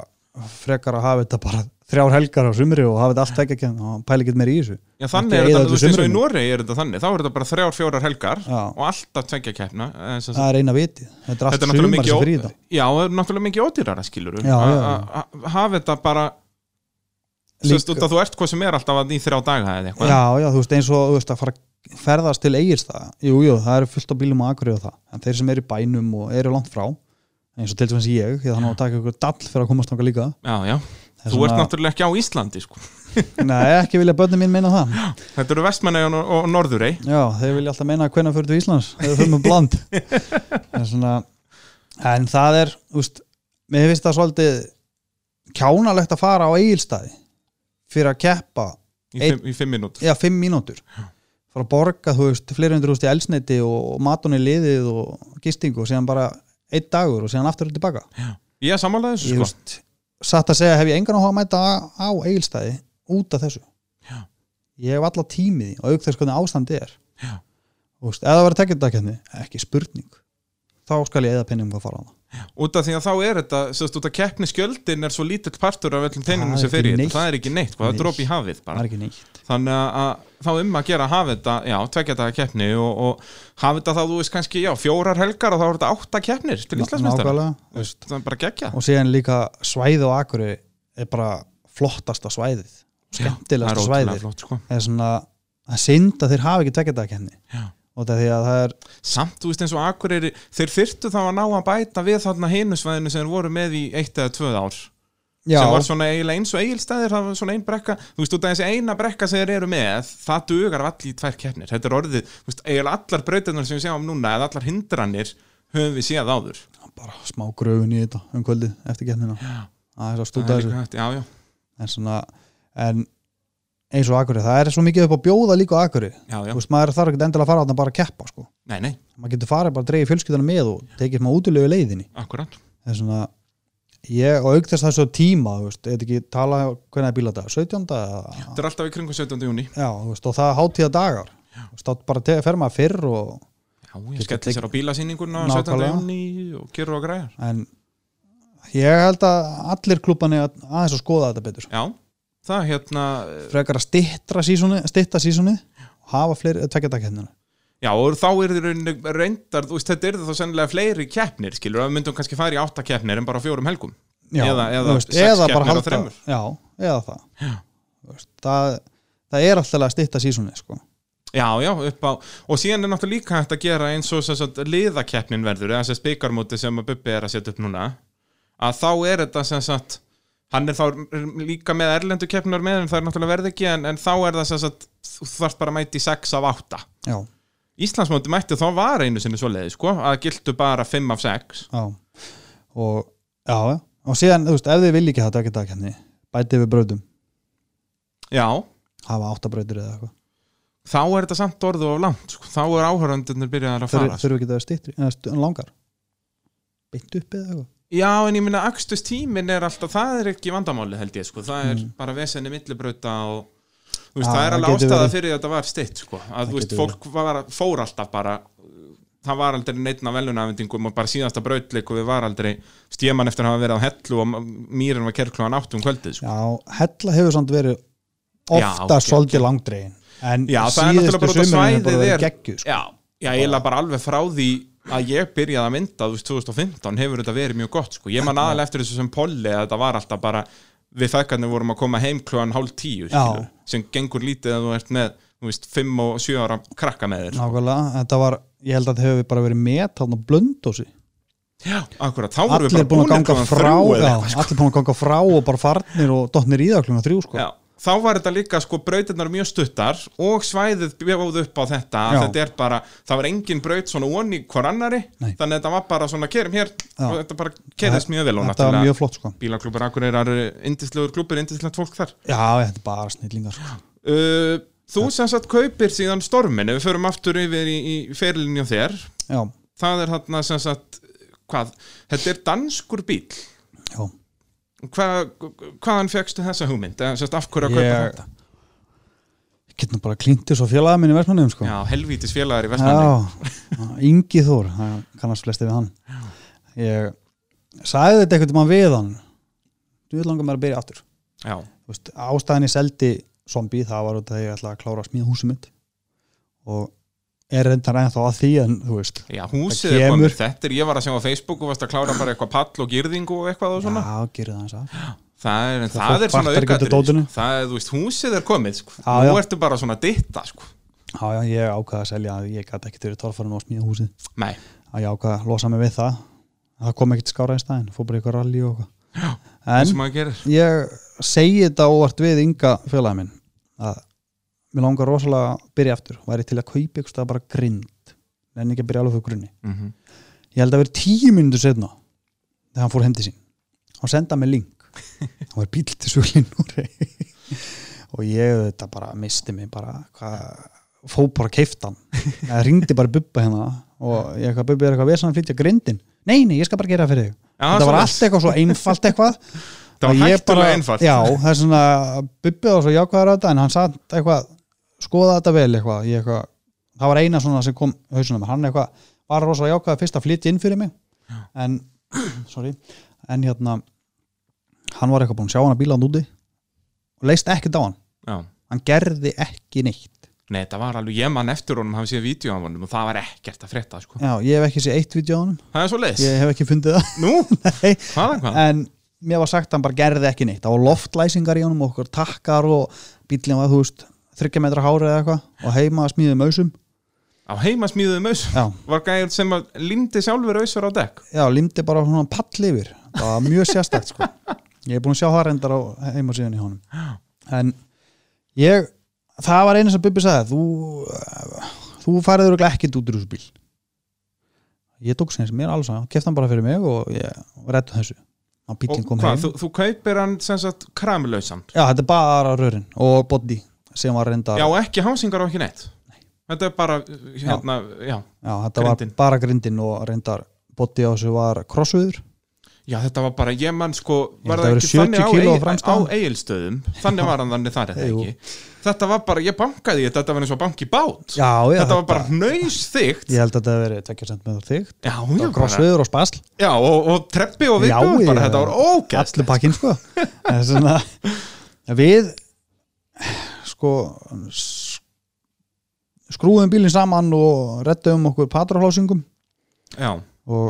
Speaker 2: frekar að hafa þetta bara þrjár helgar á sumri og hafa þetta allt ekki að og pæla ekki meir í þessu
Speaker 1: Já, þannig
Speaker 2: Ekki
Speaker 1: er
Speaker 2: eyða
Speaker 1: þetta,
Speaker 2: öllu
Speaker 1: þú veist, eins og í
Speaker 2: sumrinu.
Speaker 1: Noregi er þetta þannig þá er þetta bara þrjár, fjórar helgar
Speaker 2: Já.
Speaker 1: og alltaf tveggjakeppna eh, sem sagt.
Speaker 2: það er eina viti, þetta er allt
Speaker 1: Þetta er náttúrulega
Speaker 2: sumar sem
Speaker 1: mikið,
Speaker 2: fyrir í
Speaker 1: ó-
Speaker 2: það
Speaker 1: já, það er náttúrulega mikið ódýrara skilur
Speaker 2: Já, já, já.
Speaker 1: hafa þetta bara sérst,
Speaker 2: Líka-
Speaker 1: út að þú ert hvað sem er alltaf að í þrjá daga eða eitthvað
Speaker 2: já, já, þú veist eins og þú veist, að fara að ferðast til eigist það jú, jú, það eru fullt á bílum á Akureyri og það en þeir sem eru í bænum og eru langt frá eins og til dæmis ég, því að þannig að taka ykkur dall fyrir að komast nokkar líka
Speaker 1: já, já.
Speaker 2: Það er
Speaker 1: þú ert
Speaker 2: svona-
Speaker 1: náttúrulega ekki á Íslandi sko.
Speaker 2: Nei, ekki vilja börnin mín meina það
Speaker 1: þetta eru vestmennegan og, og norðurei
Speaker 2: Já, þeir vilja alltaf meina hvenær fyrir til Íslands þegar fyrir með bland en, svona, en það er úst, mér finnst það svolítið kjánalegt að fara á eigilstaði fyrir að keppa
Speaker 1: í,
Speaker 2: Einn-
Speaker 1: fimm, í fimm mínútur
Speaker 2: já, fimm mínútur fara að borga, þú veist, fleiri hundur úst í elsneiti og matunni liðið og gistingu og síðan bara einn dagur og síðan aftur tilbaka
Speaker 1: ég er sammálaðið þessu
Speaker 2: ég
Speaker 1: sko.
Speaker 2: veist, satt að segja hef ég engan áhuga að mæta á, á eigilstaði út af þessu
Speaker 1: Já.
Speaker 2: ég hef alla tímið og auk þess hvernig ástandi er
Speaker 1: Já.
Speaker 2: Þú veist, eða það verið tekjandakefni, ekki spurning þá skal ég eða penningum að fara á það
Speaker 1: út af því að þá er þetta sérst, út af keppnisgjöldin er svo lítill partur af öllum
Speaker 2: Það
Speaker 1: teiningum
Speaker 2: er
Speaker 1: sem
Speaker 2: ekki
Speaker 1: fyrir
Speaker 2: neitt.
Speaker 1: þetta, það er ekki neitt hvað, það er
Speaker 2: Neitt.
Speaker 1: dropi í hafið
Speaker 2: það
Speaker 1: bara
Speaker 2: er ekki neitt
Speaker 1: þannig að- að þá um að gera að hafa þetta já, tvekja daga keppni og, og hafa þetta þá þú veist kannski, já, fjórar helgar og þá er þetta átta keppnir til Íslandsmeistar
Speaker 2: Nákvæmlega.
Speaker 1: það er bara geggja
Speaker 2: og síðan líka svæði og akkur er bara flottasta svæðið
Speaker 1: það er
Speaker 2: skemmtilegasta
Speaker 1: ótrúlega
Speaker 2: svæðið
Speaker 1: flott sko.
Speaker 2: það er svona að synd að þeir hafa ekki tekjandakefni
Speaker 1: Já.
Speaker 2: og það er því að það er
Speaker 1: samt, þú veist eins og Akureyri þeir þyrtu þá að ná að bæta við þarna hinusvæðinu sem þeir voru með í eitt eða tvöð ár sem var svona eiginlega eins og eigilstæðir það var svona ein brekka, þú veist út af þessi eina brekka sem þeir eru með, það dugar allir í tvær keppnir, þetta er orðið, þú veist, eiginlega allar breytunar sem við séum núna, eða allar hindranir höfum við séð áður
Speaker 2: bara smá gröfun í þetta um kvöldið eftir keppnina það er svo
Speaker 1: Það
Speaker 2: stúta
Speaker 1: er
Speaker 2: þessu
Speaker 1: líka hægt, já, já,
Speaker 2: en svona en eins og Akureyri, það er svo mikið upp á bjóða líka á Akureyri,
Speaker 1: já, já,
Speaker 2: þú veist, maður þarf ekki endilega að fara þarna bara að keppa, sko,
Speaker 1: nei, nei,
Speaker 2: maður getur farið bara að dreigja fjölskyldana með og tekið maður útilegu leiðinni
Speaker 1: akkurat
Speaker 2: það er svona, ég og auk þess það er svo tíma, þú veist, eða ekki tala hvernig er bíladagur, 17. eða-
Speaker 1: Þetta er alltaf í kringum 17. júni
Speaker 2: já, þú veist, og það er hátíða dagar þú veist, þá bara te- fer maður fyrr og,
Speaker 1: Já, ég
Speaker 2: Getur
Speaker 1: skelli
Speaker 2: tekið-
Speaker 1: sér á bílasýninguna
Speaker 2: Nákvæmlega.
Speaker 1: 17. júni og gerur og græjar
Speaker 2: en ég held að allir klúbani aðeins að skoða þetta betur sko.
Speaker 1: Já, það hérna eh,
Speaker 2: frekar að stittra sísoni, stitta sísoni og hafa fleiri, hérna. tvekja dagkefnina
Speaker 1: Já, og þá er það reyndar, þú veist, þetta er þá sennilega fleiri keppnir, skilur, að við myndum kannski fara í átta keppnir en bara á fjórum helgum
Speaker 2: já,
Speaker 1: eða,
Speaker 2: þú
Speaker 1: eða,
Speaker 2: veist,
Speaker 1: sex
Speaker 2: eða bara
Speaker 1: keppnir á
Speaker 2: halda
Speaker 1: þremur.
Speaker 2: já, eða það Þú veist, það, það er alltaf að stytta sísunni sko.
Speaker 1: Já, já, upp á, og síðan er náttúrulega líka hægt að gera eins og sem sagt liðakeppnin verður, eða sem spikarmóti sem að Bubbi er að setja upp núna, að þá er þetta sem sagt, hann er þá líka með erlendu keppnar með, en það er náttúrulega verð ekki, en, en þá er það sem sagt, þú þarft bara að mæti 6 af 8.
Speaker 2: já,
Speaker 1: Íslandsmóti mætti þá var einu sinni svo leiði, sko, að gildu bara 5 af 6.
Speaker 2: já og já, já. og síðan, þú veist, ef þið vilji ekki það dagir dagkenni, bætið við bröðum
Speaker 1: Já,
Speaker 2: hafa áttabröður eða eitthvað
Speaker 1: þá er þetta samt orðu of langt, sko, þá er áhöröndunir byrjaðar að
Speaker 2: Þur-
Speaker 1: fara.
Speaker 2: þurfi ekki það styttri, eða stu, langar beint upp eða eitthvað
Speaker 1: Já, en ég minna akstustímin er alltaf, það er ekki vandamáli held ég, sko, það er
Speaker 2: Mm.
Speaker 1: bara vesenni millibrauta og þú veist,
Speaker 2: Já,
Speaker 1: það er
Speaker 2: það
Speaker 1: alveg
Speaker 2: getur
Speaker 1: ástæða
Speaker 2: verið.
Speaker 1: fyrir að þetta var stitt, sko, að
Speaker 2: Það
Speaker 1: þú veist,
Speaker 2: getur
Speaker 1: fólk var, fór alltaf bara, uh, það var aldrei neittna velunafendingum og bara síðasta brautleik og við var aldrei, stjeman eftir að hafa verið á hellu og mýrin var kerkluðan átt um kvöldið, sko.
Speaker 2: já, hella hefur samt verið
Speaker 1: Já,
Speaker 2: ofta
Speaker 1: ok,
Speaker 2: svolítið langdregin en
Speaker 1: Já, það er náttúrulega
Speaker 2: síðustu
Speaker 1: bara út af
Speaker 2: sumurinn er bara
Speaker 1: svæðið
Speaker 2: verið
Speaker 1: er-
Speaker 2: geggju sko.
Speaker 1: Já, já, ég er bara alveg frá því að ég byrjaði að mynda, þú veist, 2015 hefur þetta verið mjög gott, sko, ég man aðalega eftir þessu sem polli að þetta var alltaf bara við þekkarnir vorum að koma heim klúan hálf tíu, skilur, sem gengur lítið að þú ert með, þú veist, 5 og 7 ára krakka með þér,
Speaker 2: nákvæmlega, þetta var, ég held að það hefur bara verið með þarna blöndósi
Speaker 1: já, akkurat, þá vorum við
Speaker 2: allir
Speaker 1: bara
Speaker 2: búin að ganga
Speaker 1: klukkan
Speaker 2: frá
Speaker 1: þrjú eða
Speaker 2: já,
Speaker 1: eitthvað, sko.
Speaker 2: allir búin að ganga frá og bara farnir og dottnir í það klunga þrjú sko.
Speaker 1: Já, þá var þetta líka sko brautirnar mjög stuttar og svæðið bjóð upp á þetta að
Speaker 2: Já.
Speaker 1: þetta er bara, það var engin braut svona onni hvar annari,
Speaker 2: Nei.
Speaker 1: þannig að þetta var bara svona kerum hér
Speaker 2: Já.
Speaker 1: og þetta bara kerðist mjög vel og
Speaker 2: þetta var
Speaker 1: náttúrulega
Speaker 2: mjög flott sko.
Speaker 1: bílaklúpur Akureyrar, indislegur klúpur, indislegt fólk þar
Speaker 2: já, þetta er bara snillingar sko.
Speaker 1: uh, Þú sem sagt kaupir síðan stormin, ef við förum aftur yfir í, í ferilinni á þér,
Speaker 2: já,
Speaker 1: það er þarna sem sagt, hvað, þetta er danskur bíl
Speaker 2: já
Speaker 1: Hva, hvaðan fegstu þessa hugmynd, eða sem sagt af hverju að kaupa
Speaker 2: Ég-
Speaker 1: þetta?
Speaker 2: ég get nú bara klingtið svo fjölaða minni versmanniðum sko.
Speaker 1: Já, helvítis félagar í Vestmanni
Speaker 2: já, Ingi Þór það kannast flesti við hann ég sagði þetta einhvern veginn við hann þú langar mér að byrja aftur
Speaker 1: Já,
Speaker 2: Þú veist, ástæðan ég seldi zombi það var út af því að ég ætlaði að klára að smíða húsið mitt og er reyndar ennþá að því en þú veist
Speaker 1: Já, húsið
Speaker 2: Það
Speaker 1: er komið
Speaker 2: kemur.
Speaker 1: þetta er, ég var að sjá á Facebook og varst að klára bara eitthvað pall og girðingu og eitthvað og svona
Speaker 2: já, gerðu það eins að
Speaker 1: Það er, en
Speaker 2: Það
Speaker 1: það er
Speaker 2: fólk
Speaker 1: svona
Speaker 2: kvartar ekki undan
Speaker 1: aukaðrið sko.
Speaker 2: dótinu.
Speaker 1: Það er, þú veist, húsið er komið sko.
Speaker 2: Já,
Speaker 1: Nú
Speaker 2: já.
Speaker 1: ertu bara svona að ditta sko.
Speaker 2: já, já, ég ákvaði að selja ég gæti ekkert verið torfarinn og smíða húsið
Speaker 1: Nei,
Speaker 2: að ég ákvaði að losa mig við það það kom ekkert skára í staðinn, fór bara í eitthvað rally og
Speaker 1: það
Speaker 2: eitthvað
Speaker 1: sem maður gerir
Speaker 2: en ég segi þetta óvart við Inga félagið minn að mér langar rosalega að byrja aftur væri til að kaupa ykkur stað bara grind en ekki að byrja alveg fyrir grunni
Speaker 1: mm -hmm.
Speaker 2: ég held að vera tíu minnundur setna þegar hann fór heim til sín og senda mig link hann var bíl til svolín og ég þetta bara misti mig bara hvað, fó bara keiftan ég ringdi bara bubba hérna og ég eitthvað bubba er eitthvað vesan að flytja grindin nei, nei, ég skal bara gera það fyrir þig
Speaker 1: Já, Ah,
Speaker 2: þetta var
Speaker 1: svoleiðis.
Speaker 2: allt eitthvað svo einfalt eitthvað
Speaker 1: Það var
Speaker 2: að ég
Speaker 1: hættulega einfalt
Speaker 2: já, það er svona bubbi og svo jákvæður á þetta en hann satt eitthvað, skoða þetta vel eitthvað, ég eitthvað það var eina svona sem kom í hausunum hann eitthvað, var rosa jákvæður fyrst að flytja inn fyrir mig en, sorry en hérna hann var eitthvað búinn að sjá hann að bíla hann úti og leist ekkert á hann,
Speaker 1: Já.
Speaker 2: hann gerði ekki neitt
Speaker 1: Nei, það var alveg, ég man eftir honum hafi séð vídeo af honum og það var ekkert að frétta sko.
Speaker 2: já, ég hef ekki séð eitt vídeo á hann
Speaker 1: Það er svo leiðis
Speaker 2: ég hef ekki fundið það,
Speaker 1: Nú,
Speaker 2: nei
Speaker 1: hvaðan hvað?
Speaker 2: en mér var sagt að hann bara gerði ekki neitt það var loftlæsingar í honum og okkur takkar og bílinn var þú veist 30 metra hári eða eitthvað og heima að smíðum ausum
Speaker 1: Á heimasmíðuðum aus
Speaker 2: já,
Speaker 1: var gæður sem að lindi sjálfur ausur á dekk
Speaker 2: já, limdi bara svona pall yfir það var mjög sérstakt sko ég er búin að sjá það reyndar á heima síðan í honum en ég það var einu sem Bubbi sagði þú, þú farið örugglega ekkert út úr þessu bíl ég tók sem mér alls að kefti hann bara fyrir mig og ég rettu þessu og
Speaker 1: Og
Speaker 2: bílinn kom
Speaker 1: hvað,
Speaker 2: heim
Speaker 1: þú, þú kaupir hann sem sagt kramlausan
Speaker 2: Já, þetta er bara rörin og body sem var reyndar
Speaker 1: Já, ekki hásingar og ekki neitt Þetta er bara, hérna, já
Speaker 2: Já, þetta
Speaker 1: grindin.
Speaker 2: var bara grindin og reyndar body á þessu var krossuður
Speaker 1: Já, þetta var bara, ég mann sko
Speaker 2: Ég
Speaker 1: var
Speaker 2: held að
Speaker 1: það
Speaker 2: það
Speaker 1: ekki þannig
Speaker 2: væru 70
Speaker 1: á,
Speaker 2: kíló á
Speaker 1: á
Speaker 2: framstæðan.
Speaker 1: eigilstöðum þannig var hann þannig þar eða
Speaker 2: Jú.
Speaker 1: ekki Þetta var bara, ég bankaði í þetta, þetta var eins og banki bát
Speaker 2: Já, já,
Speaker 1: Þetta var bara hnaus þygt
Speaker 2: Ég held að þetta hafi verið 2 cm þygt
Speaker 1: Já,
Speaker 2: Þetta
Speaker 1: já,
Speaker 2: var
Speaker 1: bara,
Speaker 2: krossuður og spasl
Speaker 1: já og, og treppi og
Speaker 2: Já,
Speaker 1: viðbjóð bara,
Speaker 2: já.
Speaker 1: þetta var ógæst
Speaker 2: Allir pakkinn, sko Það er svona, Við sko s- skrúðum bílinn saman og rettum okkur patraflásingum
Speaker 1: Já,
Speaker 2: og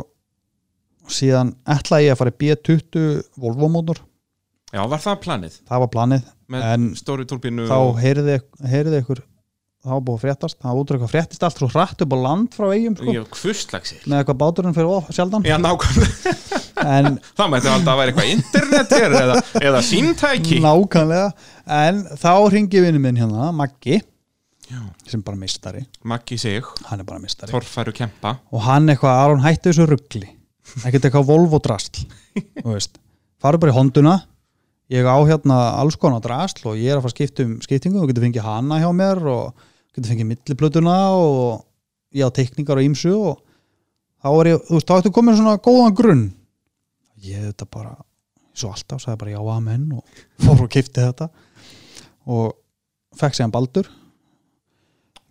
Speaker 2: síðan ætlaði ég að fara í B20 Volvo mótor,
Speaker 1: Já, var það planið
Speaker 2: það var planið
Speaker 1: með
Speaker 2: En
Speaker 1: stóri turbínu
Speaker 2: þá
Speaker 1: og-
Speaker 2: heyrði, heyrði ykkur það var búið að fréttast, það var út úr eitthvað fréttist allt svo hratt upp á land frá eigum sko,
Speaker 3: ég hvustlagsir
Speaker 2: með eitthvað báturinn fyrir of sjaldan
Speaker 1: Já, nákvæmlega,
Speaker 2: en
Speaker 1: það mætti alltaf að vera eitthvað internet hér eða, eða síntæki
Speaker 2: nákvæmlega en þá ringi vinnu minn hérna, Maggi sem bara mistari,
Speaker 1: Maggi sig,
Speaker 2: hann er bara mistari
Speaker 1: torfæru kempa
Speaker 2: og hann eitthvað, Aron hætti þessu ruggli ekkert eitthvað Volvo drasl þú veist, farðu bara í honduna ég á hérna alls konar drasl og ég er að fara að skipta um skiptingu þú getur fengið hana hjá mér og getur fengið milliplötuna og ég á teikningar og ímsu og þá er ég, þú veist, þá ertu komin svona góðan grunn ég þetta bara svo alltaf, sagði bara já amen og fór og kipti þetta og fekk sér hann Baldur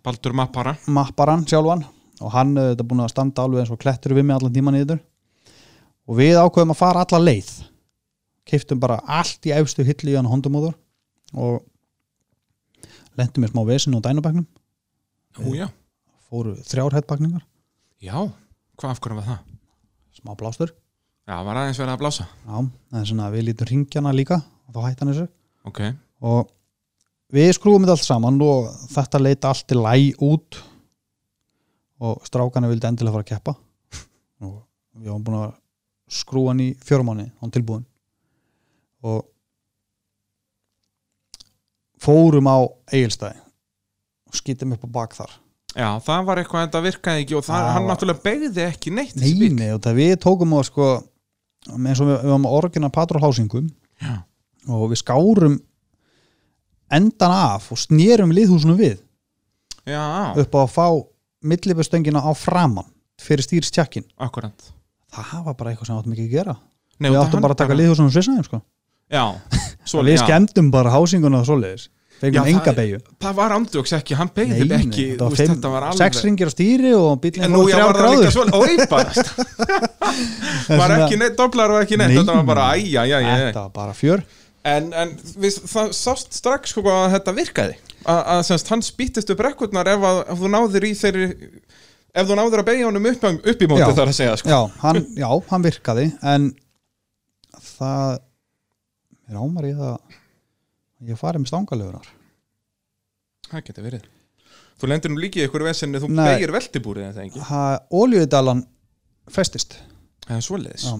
Speaker 1: Baldur Mappara
Speaker 2: mapparann sjálfan og hann eh, þetta búin að standa alveg eins og klettur við mig allan tíman niður og við ákveðum að fara alla leið keiftum bara allt í efstu hillu í hann hondumóður og lentum við smá vesinn og dænabæknum
Speaker 1: Ú, já.
Speaker 2: fóru þrjár hettbækningar,
Speaker 1: já, hvað af hverju var það?
Speaker 2: smá blástur
Speaker 1: Já, var aðeins verið að blása
Speaker 2: já, það er svona að við lítum ringjana líka og þá hættan þessu
Speaker 1: Ok,
Speaker 2: og við skrúum þetta allt saman og þetta leita allt í læ út og strákana vildi endilega fara að keppa og við varum búin að skrúa hann í fjörmáni hann tilbúin og fórum á Egilstæði og skýtum upp á bak þar
Speaker 1: já, það var eitthvað þetta virkaði ekki og það,
Speaker 2: Það
Speaker 1: hann
Speaker 2: var-
Speaker 1: náttúrulega beigði ekki neitt þessi bíll.
Speaker 2: Neini, og það við tókum og sko eins og við, við varum orginna patrólhásingum
Speaker 1: Já.
Speaker 2: og við skárum endan af og snérum liðhúsunum við
Speaker 1: Já,
Speaker 2: upp á að fá millibustöngina á framann fyrir stýrstjakkin
Speaker 1: akkurat
Speaker 2: það var bara eitthvað sem áttum ekki að gera
Speaker 1: Nei, og
Speaker 2: við
Speaker 1: það
Speaker 2: áttum
Speaker 1: hann
Speaker 2: bara að taka liðhúsum og svissaðum sko.
Speaker 1: Já, svo
Speaker 2: og við
Speaker 1: já.
Speaker 2: skemmtum bara hásinguna og svoleiðis
Speaker 1: Já,
Speaker 2: fengum
Speaker 1: það-
Speaker 2: enga beigju
Speaker 1: Það var andjóks ekki, hann beigði
Speaker 2: Nei, nei,
Speaker 1: ekki
Speaker 2: þetta var
Speaker 1: þú veist,
Speaker 2: fimm-
Speaker 1: Þetta var alveg
Speaker 2: sex ringir á stýri og
Speaker 1: En
Speaker 2: bílinn
Speaker 1: nú
Speaker 2: fór
Speaker 1: ég
Speaker 2: þrjár
Speaker 1: var það líka
Speaker 2: gráður
Speaker 1: svona óýparast Var ekki neitt doblar og ekki neitt
Speaker 2: Nei,
Speaker 1: Þetta var bara
Speaker 2: nei.
Speaker 1: æja, já, já, já
Speaker 2: þetta var bara fjör
Speaker 1: En, en við, það sást strax sko að þetta virkaði A, Að semst, hann spýttist upp rekkurnar ef, að, ef þú náðir í þeirri Ef þú náðir að beigja honum upp, upp í móti
Speaker 2: Já.
Speaker 1: þar að segja sko.
Speaker 2: já hann, já, hann virkaði en það er ámar ég að ég farið með stangalöfunar
Speaker 1: Það getur verið Þú lendir nú líka í ykkur vesenni, þú
Speaker 2: Nei.
Speaker 1: beigir veltibúrið þetta ekki
Speaker 2: oljudalan festist
Speaker 1: Það er svoleiðis
Speaker 2: Já.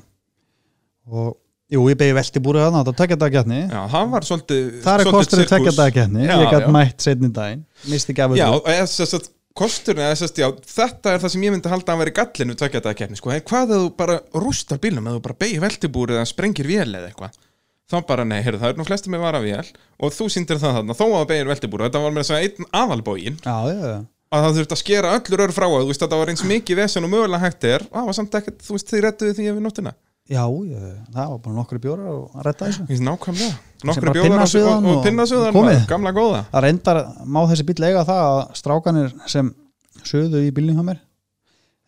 Speaker 2: og jú, ég beigði veltibúrið þarna, þetta tekja þetta gætni
Speaker 1: Já, það var svolítið
Speaker 2: Það er
Speaker 1: svolítið
Speaker 2: kosturinn
Speaker 1: sirkus.
Speaker 2: tekja dagakefni
Speaker 1: Já,
Speaker 2: Ég gætt
Speaker 1: já.
Speaker 2: mætt setni daginn Misti gafið
Speaker 1: Já,
Speaker 2: upp.
Speaker 1: og eða sem sagt, kosturinn eða sem sagt, já, þetta er það sem ég myndi halda að vera í gallinu tvekja daga keppni, sko, en hvað ef þú bara rústar bílnum, ef þú bara beigir veltibúrið eða sprengir vél eða eitthvað þá bara, nei, heyrðu, það er nú flestum með vara vél og þú sýndir það þarna, þó að það beigir veltibúrið þetta var með þess að segja einn aðalbógin
Speaker 2: já, já, já.
Speaker 1: að það þurfti að skera öllur ör frá að þú veist, þetta var eins mikið vesen og mögulega hægt er og það var samt ekkert, þú veist, þið rettuðu því yfir nóttina
Speaker 2: já, já, það var bara nokkru bjórar og að retta þessu
Speaker 1: Ég finnst nákvæmlega,
Speaker 2: bara
Speaker 1: nokkra bjóðar og, og,
Speaker 2: pinnasuðan
Speaker 1: og
Speaker 2: og-
Speaker 1: pinnasuðan,
Speaker 2: komið.
Speaker 1: maður, gamla góða
Speaker 2: Það reyndar, má þessi bíl eiga það að strákanir sem söðu í bílnum hjá mér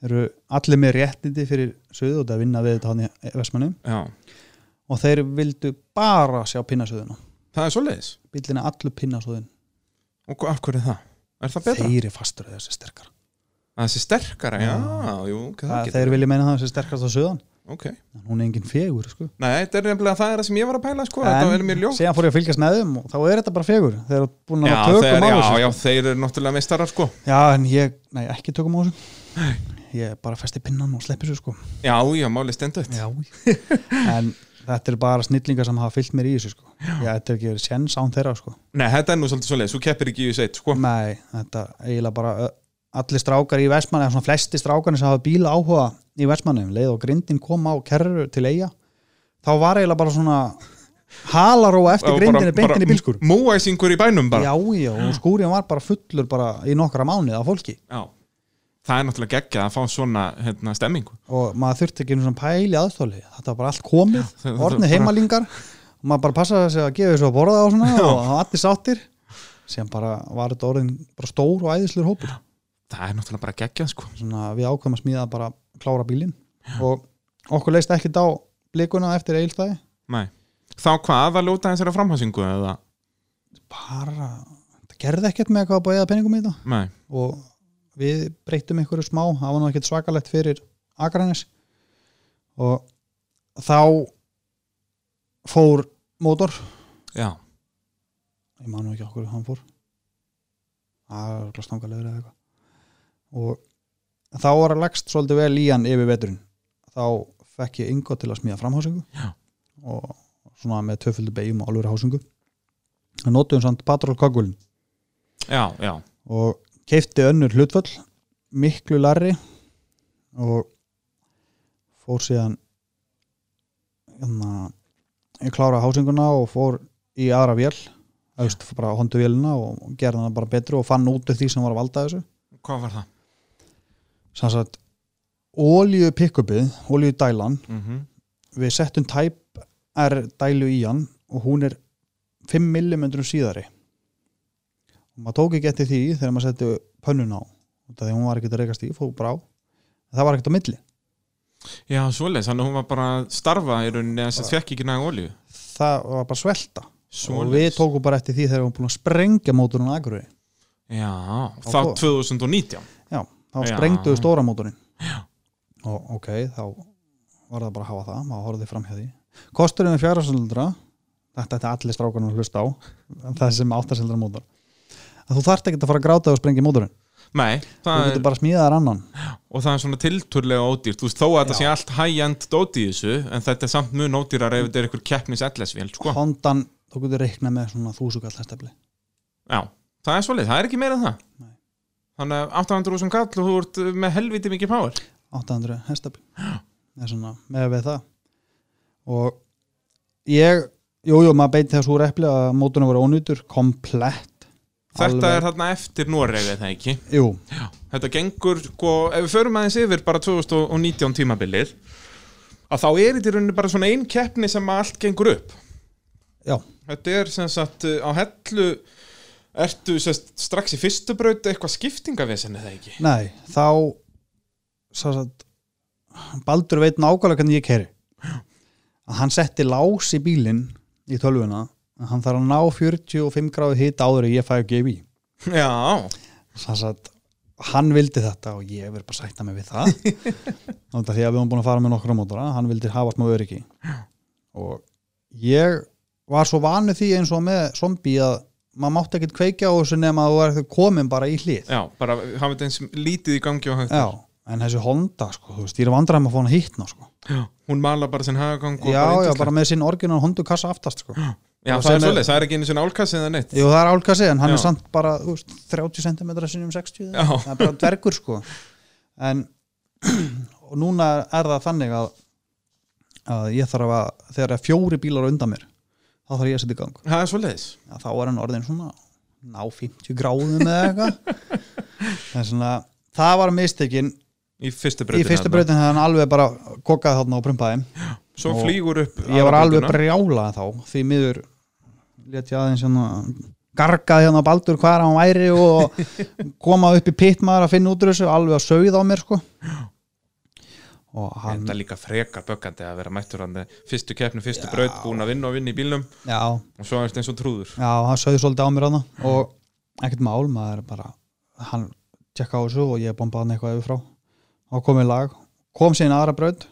Speaker 2: eru allir með réttindi fyrir söðu og það vinna við þetta hann í Vestmannum
Speaker 1: Já,
Speaker 2: og þeir vildu bara sjá pinnasöðuna
Speaker 1: það er svoleiðis
Speaker 2: bílinn er allur pinnasöðin
Speaker 1: Og hva- af hverju er það? Er það betra?
Speaker 2: þeir er fastur að þessi sterkar
Speaker 1: að þessi sterkara, já, jú, ok, það
Speaker 2: það,
Speaker 1: getur
Speaker 2: þeir vilja meina það þessi sterkast á söðan
Speaker 1: ok,
Speaker 2: en hún er engin fegur sko.
Speaker 1: nei, þetta er nefnilega það er það sem ég var að pæla, sko, þetta er mér
Speaker 2: en
Speaker 1: ljótt
Speaker 2: síðan fór ég að fylgjast með þeim og þá er þetta bara fegur þeir eru búin að
Speaker 1: já,
Speaker 2: hafa
Speaker 1: þeir,
Speaker 2: tökum á
Speaker 1: já,
Speaker 2: þessu sko.
Speaker 1: já, þeir eru náttúrulega meistarar, sko
Speaker 2: Já, en ég, nei, ekki tökum á þessu Ég bara festi pinnan og sleppi svo sko
Speaker 1: já, já, máli stenduð
Speaker 2: Já En þetta eru bara snillingar sem hafa fyllt mér í þessu sko Já, þetta er ekki verið sjens án þeirra sko
Speaker 1: nei, þetta er nú svolítið svoleiðis, þú keppir ekki í þessu eitt, sko
Speaker 2: Nei, þetta er eiginlega bara ö, allir strákar í Vestmanni, svona flesti strákarnir sem hafa bíla áhuga í Vestmanni leið og grindin kom á kerru til eiga þá var eiginlega bara svona halaróa eftir
Speaker 1: Og
Speaker 2: grindinni beintinni bílskur
Speaker 1: múæsingur í bænum bara,
Speaker 2: Já, já, og skúrin var bara fullur bara í nokkra mánuð af fólki
Speaker 1: Já. það er náttúrulega geggjað að fá svona, hérna, stemmingu
Speaker 2: og maður þurfti ekki einhvern pæli aðstóli þetta var bara allt komið,
Speaker 1: það- það-
Speaker 2: orðnið
Speaker 1: bara-
Speaker 2: heimalingar og maður bara passaði sig að gefa þessu að borða og svona og það var allir sáttir sem bara var þetta orðin bara stór og æðislur hópur
Speaker 1: það er náttúrulega bara geggjað, sko
Speaker 2: svona við ákveðum að smíða bara klára bílinn og okkur leist ekkert á blikuna eftir eilstæði
Speaker 1: nei. þá hvað að lúta þessara framhásingu eða,
Speaker 2: bara, það gerði ekkert með eitthvað að bæða peningum í þetta
Speaker 1: nei,
Speaker 2: og við breytum einhverju smá, það var nú ekkert svakalegt fyrir Akranes og þá fór mótor
Speaker 1: já,
Speaker 2: ég man nú ekki okkur hann fór að stanga leður eða eitthvað og þá var að lagst svolítið vel í hann yfir veturinn þá fekk ég yngo til að smíða framhásingu
Speaker 1: Já.
Speaker 2: og svona með töföldu beigjum og alvöru hásingu og notuðum samt patrókagulin
Speaker 1: já, já
Speaker 2: og keifti önnur hlutföll miklu larri og fór síðan hérna, ég kláraði hásinguna og fór í aðra vél auðvist bara hondu vélina og gerði hana bara betri og fann út af því sem var að valda þessu
Speaker 1: hvað var það?
Speaker 2: sannsagt ólíu pickupið, ólíu dælan
Speaker 1: Mm
Speaker 2: við settum Type R dælu í hann og hún er 5 mm síðari og maður tók ekki eftir því þegar maður setti pönnun á út af því að hún var ekkert að reykast í, fór brá en það var ekkert á milli
Speaker 1: já, svoleiðis, þannig að hún var bara að starfa í rauninni að þess að fekk ekki næg olju
Speaker 2: það var bara svelta og við
Speaker 1: svoleiðis,
Speaker 2: tókum bara eftir því þegar við varum búin að sprengja mótorinn á Akureyri
Speaker 1: já, þá
Speaker 2: Og-
Speaker 1: 2019
Speaker 2: já, þá
Speaker 1: Já.
Speaker 2: sprengduðu stóra mótorinn og ok, þá var það bara að hafa það, maður horfði fram hjá því kosturinn er fjara sildra þetta er allir strákarnir að hlusta á það sem áttasildra mótor að þú þarft ekki að fara að gráta og sprengja mótorinn
Speaker 1: nei,
Speaker 2: þú
Speaker 1: það er,
Speaker 2: getur bara að smíða þar annan
Speaker 1: og það er svona tilturlega ódýrt þú veist, þó að þetta
Speaker 2: Já.
Speaker 1: sé allt high-end dót í þessu en þetta er samt mun ódýrar ef þetta er einhver keppnis LS-vél, sko
Speaker 2: Hondan, þú getur reikna með svona þúsugall hestafli
Speaker 1: já, það er svoleiðis, það er ekki meira en það
Speaker 2: Nei.
Speaker 1: þannig að 800 úr kall og þú ert með helviti mikið power
Speaker 2: 800 hestafli eða svona með við það og ég jújú, jú, maður beiti þessu úr epli að mótorinn voru ónýtur, komplett
Speaker 1: þetta
Speaker 2: Alveg.
Speaker 1: er þarna eftir Noreg eða ekki
Speaker 2: jú,
Speaker 1: þetta gengur, sko, ef við förum aðeins yfir bara 2019 tímabilið að þá er þetta í rauninni bara svona ein keppni sem að allt gengur upp
Speaker 2: já,
Speaker 1: þetta er sem sagt uh, á hellu ertu sem sagt, strax í fyrstu braut eitthvað skiptingavesenni eða ekki
Speaker 2: nei, þá sá satt Baldur veit nákvæmlega hvernig ég keri að hann setti lás í bílinn í tölvuna að hann þarf að ná 45 gráðu hita áður en ég fæ að gefa í
Speaker 1: já,
Speaker 2: Sannsagt, hann vildi þetta og ég verið bara að sætta mig við það þannig að því að við höfum búin að fara með nokkra mótora hann vildi hafa smá öryggi og ég var svo vanu því eins og með zombi að maður mátti ekkert kveikja á þessu nema að þú er komin bara í hlið
Speaker 1: já, bara hafa þetta eins lítið í gangi og hægt
Speaker 2: Já, en þessi Honda sko, þú veist, ég er vandræðum að fá hann að hittna sko.
Speaker 1: hún mala bara sinn hagagang og
Speaker 2: Já,
Speaker 1: bara
Speaker 2: já,
Speaker 1: yndislegt.
Speaker 2: bara með sinn orginal Honda kassa aftast sko. Jú,
Speaker 1: já, það
Speaker 2: og sem
Speaker 1: er
Speaker 2: er-
Speaker 1: svolítið, það er ekki einu svona álkassi eða neitt
Speaker 2: það er álkassi, en hann
Speaker 1: Já.
Speaker 2: er samt bara þú veist, 30 cm sinni um 60
Speaker 1: Já.
Speaker 2: það er bara dvergur sko. en og núna er það þannig að, að ég þarf að þegar það er fjóri bílar á undan mér þá þarf ég að setja í gang
Speaker 1: það er svolítið,
Speaker 2: að þá er hann orðin svona ná 50 gráðum eða eitthvað en svona, það var mistekin
Speaker 1: í fyrstu
Speaker 2: í
Speaker 1: brautin
Speaker 2: fyrstu breytin hefði hann alveg bara kokkaði þarna og prumpaði
Speaker 1: svo
Speaker 2: og
Speaker 1: flýgur upp
Speaker 2: ég var
Speaker 1: aðra
Speaker 2: alveg
Speaker 1: brautina.
Speaker 2: brjála þá því miður let ég aðeins hérna gargaði hérna á Baldur hvar hann væri og koma upp í pittmaður að finna út úr þessu alveg að sauð á mér sko og hann
Speaker 1: Þetta er líka frekar bökkandi að vera mættur hann fyrstu keppni, fyrstu braut, búin að vinna og vinna í bílnum
Speaker 2: já,
Speaker 1: og svo er þetta eins og trúður
Speaker 2: já, hann sauð svolítið á mér hann og ekkert mál, maður er bara hann tjekka á þessu og ég bombaði hann eitthvað yfir frá og komið lag, kom síðan aðra braut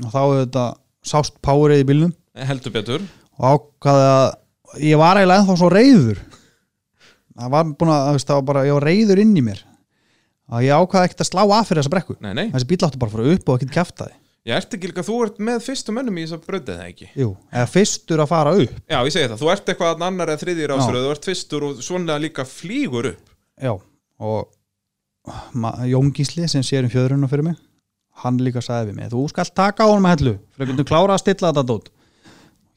Speaker 2: og þá þetta sást powerið í bílnum
Speaker 1: Eh, heldur betur
Speaker 2: og ákvaði að ég var eiginlega ennþá svo reyður það var búin að, þú veist, það var bara ég var reyður inn í mér að ég ákvaði ekkert að slá af fyrir þessa brekku
Speaker 1: Nei, nei,
Speaker 2: þessi bíl átti bara að fara upp og ekkert kæfta þið
Speaker 1: ég ert ekki líka, þú ert með fyrstu mönnum í þess að brauta það ekki
Speaker 2: Jú, eða fyrstur að fara upp
Speaker 1: Já, ég segi það, þú ert eitthvað annar eða þriðjir ásröð, þú ert fyrstur og svona líka flýgur upp
Speaker 2: Já, og ma- Jón Gísli sem sér um fjöðrunum fyrir mig hann líka sagði við mig, þú skalt taka á honum að hellu fyrir að klára að stilla þetta dót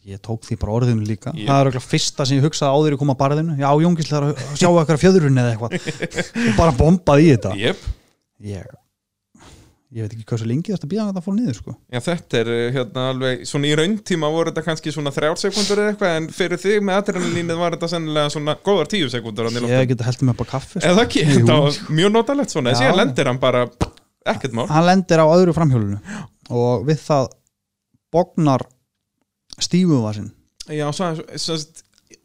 Speaker 2: ég tók því bara orðinu líka
Speaker 1: Jú.
Speaker 2: það er örugglega fyrsta sem ég hugsaði áður í að koma að barðinu já, Jón Gísli þarf að sjá okkar fjöðrun eða eitthvað og bara bombaði í þetta
Speaker 1: Jep,
Speaker 2: ég ég veit ekki hversu lengi þetta býðan að það fór niður sko
Speaker 1: já þetta er eh, hérna alveg, svona í rauntíma voru þetta kannski svona þrjár sekundur eða eitthvað en fyrir þig með adrenalínið var þetta sennilega svona góðar tíu sekundur
Speaker 2: ég geti heldur mig upp á kaffi sko.
Speaker 1: Eða ekki,
Speaker 2: Jú.
Speaker 1: það var mjög notalegt svona,
Speaker 2: Já.
Speaker 1: síðan lendir hann bara ekkert mál
Speaker 2: hann lendir á öðru framhjólinu og við það bognar stífuvasinn
Speaker 1: Já, svo, svo,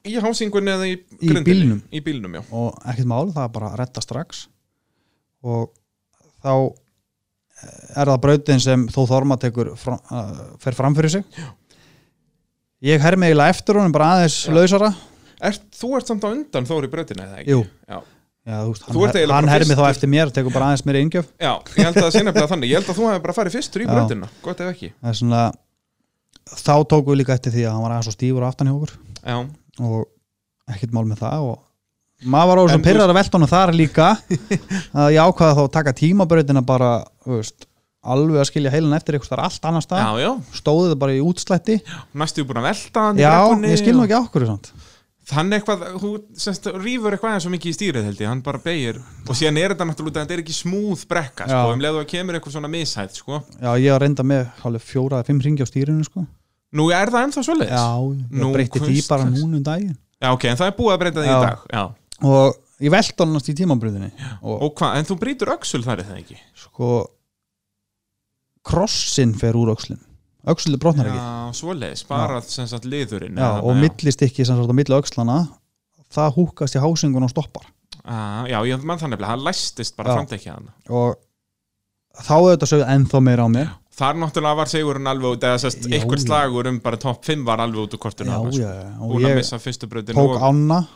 Speaker 1: í hásingunni eða í,
Speaker 2: Í
Speaker 1: grindinni?
Speaker 2: bílnum.
Speaker 1: Í bílnum, já
Speaker 2: og ekkert mál, það er bara að retta strax og þá eh, er það brautin sem þó Þorma tekur fram, uh, fer fram fyrir sig ég herr mig eiginlega eftir honum bara aðeins lausara
Speaker 1: Ert, þú ert samt á undan Þóri brautina, eða ekki?
Speaker 2: Jú.
Speaker 1: Já,
Speaker 2: Já, þú veist,
Speaker 1: Þú ert
Speaker 2: hann,
Speaker 1: eiginlega
Speaker 2: her- hann
Speaker 1: bara
Speaker 2: hermi þá
Speaker 1: fyrstur.
Speaker 2: eftir mér tekur bara aðeins mér ingjöf
Speaker 1: Já, ég held að það sé nefnilega þannig. Ég held að þú hefði bara farið fyrstur í
Speaker 2: Já.
Speaker 1: brautina, gott ef ekki.
Speaker 2: það er svona þá tókum við líka eftir því að hann var aðeins svo stífur á aftan hjá okkur
Speaker 1: Já,
Speaker 2: og ekkert mál með það og maður var á
Speaker 1: En
Speaker 2: þessum
Speaker 1: þú-
Speaker 2: pyrrar að velta honum þar líka að ég ákvaða þá að taka tímabrautina bara þú veist, alveg að skilja heilan eftir eitthvað allt annar stað,
Speaker 1: já, já.
Speaker 2: stóðu það bara í útslætti
Speaker 1: Næstu búin að velta hann í
Speaker 2: Já,
Speaker 1: brekkunni
Speaker 2: ég skil nú
Speaker 1: og-
Speaker 2: ekki okkur samt.
Speaker 1: Þannig eitthvað, þú semst, rýfur eitthvað eins og mikið í stýrið held ég, hann bara beigir og síðan er þetta náttúrulega, þetta er ekki smúð brekka,
Speaker 2: Já.
Speaker 1: sko, um leiðu að kemur eitthvað svona mishætt, sko.
Speaker 2: Já, ég var reynda með hálfur fjóra eða fimm ringi á stýrinu sko.
Speaker 1: Nú er það ennþá svoleiðis?
Speaker 2: Já,
Speaker 1: Nú,
Speaker 2: ég breytti því
Speaker 1: hvers-
Speaker 2: bara núna um daginn
Speaker 1: Já, ok, en það er búið að breyta því í
Speaker 2: Já.
Speaker 1: dag, já.
Speaker 2: og ég velta hann í tímabröðinni og
Speaker 1: Og hvað, en þú brýtur öxul þar eða ekki?
Speaker 2: sko krossin fer úr öxlin öxlin brotnar ekki
Speaker 1: Já, svoleiðis, bara sem sagt liðurinn.
Speaker 2: já,
Speaker 1: eða
Speaker 2: og
Speaker 1: þarna,
Speaker 2: millist ekki sem sagt á milli öxlana það húkast í hásingun og stoppar
Speaker 1: Ah, já, ég mann þannig að hann læstist bara
Speaker 2: Já.
Speaker 1: framdekja hann
Speaker 2: og þá auðvitað sögðu ennþá meira á mér
Speaker 1: Þar náttúrulega var segurinn alveg út eða sest,
Speaker 2: Já,
Speaker 1: einhver
Speaker 2: já.
Speaker 1: slagur um bara topp 5 var alveg út úr kortinu
Speaker 2: já,
Speaker 1: hann,
Speaker 2: já, já. og
Speaker 1: Búin að
Speaker 2: ég
Speaker 1: missa fyrstu bröðinu
Speaker 2: tók
Speaker 1: og,
Speaker 2: ána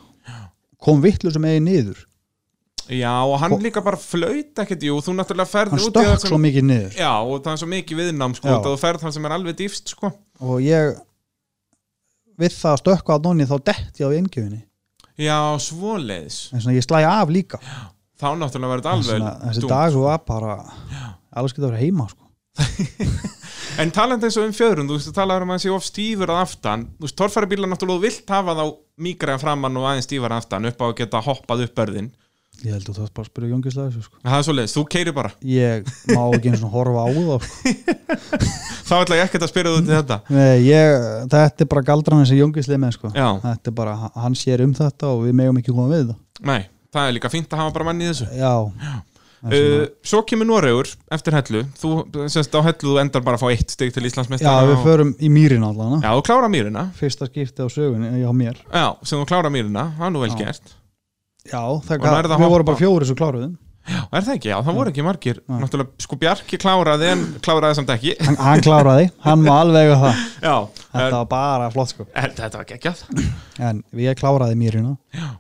Speaker 2: kom vittlu sem eigi niður
Speaker 1: Já, og hann
Speaker 2: og-
Speaker 1: líka bara flaut ekkert Jú, þú náttúrulega ferð
Speaker 2: hann
Speaker 1: út í það
Speaker 2: stökk svo mikið niður
Speaker 1: Já, og það er svo mikið viðnám sko,
Speaker 2: Já.
Speaker 1: og þú ferð hann sem er alveg dýfst sko.
Speaker 2: og ég við það að stökka á nonni þá dett ég á yngjöfinni
Speaker 1: Já, svoleiðis
Speaker 2: en svona ég slæ af líka
Speaker 1: Þá náttúrulega var þetta
Speaker 2: En
Speaker 1: alveg
Speaker 2: svona, þessi
Speaker 1: dúmt.
Speaker 2: dag var bara alveg skilt að vera heima sko.
Speaker 1: En talandi eins og um fjöðrun, þú veist, þú talaður um að hann sé of stífur að aftan, þú veist, torfæribílar náttúrulega þú vilt hafa þá mýgra framann og aðeins stífar að aftan upp á að geta hoppað upp börðin.
Speaker 2: ég held að þú þarf bara að spyrja Jóngislega þessu sko.
Speaker 1: Það er svo leiðis, þú keiri bara.
Speaker 2: ég má ekki eins og horfa á það sko.
Speaker 1: Þá ætla ég ekkert að spyrja þú til þetta.
Speaker 2: Nei, ég, þetta er bara galdran sem Jóngis leið með sko.
Speaker 1: Já,
Speaker 2: þetta er bara, hann sér um þetta og við megum ekki koma við það
Speaker 1: nei, það er líka fínt að hafa bara mann í þessu.
Speaker 2: já, En
Speaker 1: Uh,
Speaker 2: svona-
Speaker 1: svo kemur Noregur eftir hellu, þú, semst á hellu þú endar bara að fá eitt stig til
Speaker 2: já,
Speaker 1: Íslandsmeistara.
Speaker 2: við förum í mýrin allan
Speaker 1: Já, þú klára mýrina.
Speaker 2: fyrsta skipti á sögunni, já mér
Speaker 1: Já, sem þú klára mýrina, það er nú vel
Speaker 2: Já.
Speaker 1: gert.
Speaker 2: já, það
Speaker 1: Og
Speaker 2: gat,
Speaker 1: nærðu að
Speaker 2: við
Speaker 1: hoppa?
Speaker 2: vorum bara fjóri svo kláruðum
Speaker 1: Já, er það ekki? Já, það voru ekki margir.
Speaker 2: Nei.
Speaker 1: Náttúrulega, sko Bjarki kláraði en kláraði samt ekki.
Speaker 2: hann, hann kláraði, hann má alveg eiga það
Speaker 1: Já, en,
Speaker 2: þetta var bara flott sko
Speaker 1: en þetta var geggjað.
Speaker 2: en við kláraði mýrina
Speaker 1: Já.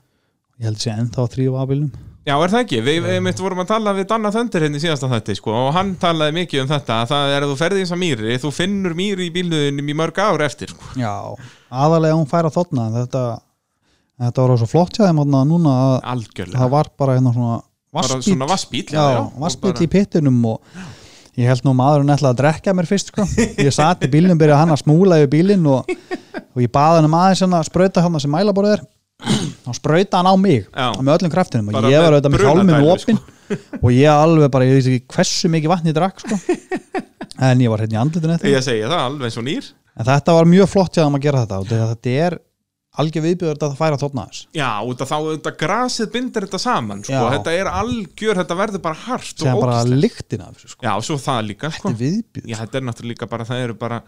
Speaker 2: ég held að sé ennþá þrjú afbílum
Speaker 1: Já, er það ekki? Við mitt vorum að tala við Danna Þöndir hérna í síðasta þætti, sko, og hann talaði mikið um þetta, að það er að þú ferði eins að mýri, þú finnur mýri í bíluðunum í mörg ár eftir, sko.
Speaker 2: já, aðalega hún fær að þotna en þetta, þetta var svo flott hjá þeim þarna núna að
Speaker 1: Algjörlega.
Speaker 2: það var bara hérna svona
Speaker 1: Bara
Speaker 2: vassbíl,
Speaker 1: svona vassbíl.
Speaker 2: já,
Speaker 1: og
Speaker 2: vassbíl
Speaker 1: bara-
Speaker 2: í pittinum og ég held nú maðurinn ætlaði að drekja mér fyrst sko. ég sat í bílnum, byrjaði hann að smúla yfir bílinn og, og ég baði hann um aðeins hérna að sprauta hann sem mælaborðið er og sprauta hann á mig
Speaker 1: Já.
Speaker 2: með öllum kraftinum
Speaker 1: Bara
Speaker 2: og
Speaker 1: með
Speaker 2: ég
Speaker 1: sko.
Speaker 2: var auðvitað með hjálminn
Speaker 1: brunadælu,
Speaker 2: opinn og ég alveg bara, ég veist ekki hversu mikið vatn ég drakk sko. en ég var hérna í andlutinu eftir
Speaker 1: Ég segi það alveg eins og nýr.
Speaker 2: en þetta var mjög flott hjá þeim að gera þetta og þetta- þetta er algjör viðbjörð að það færa þóna þess
Speaker 1: Já, út af þá, þetta grasið bindir þetta saman, sko,
Speaker 2: Já.
Speaker 1: þetta er algjör, þetta verður bara hart
Speaker 2: sem
Speaker 1: og
Speaker 2: bara
Speaker 1: ógst.
Speaker 2: lyktina af þessu sko.
Speaker 1: Já, svo það líka, sko.
Speaker 2: þetta er viðbjörð
Speaker 1: Já, þetta er náttúrulega líka bara, það eru bara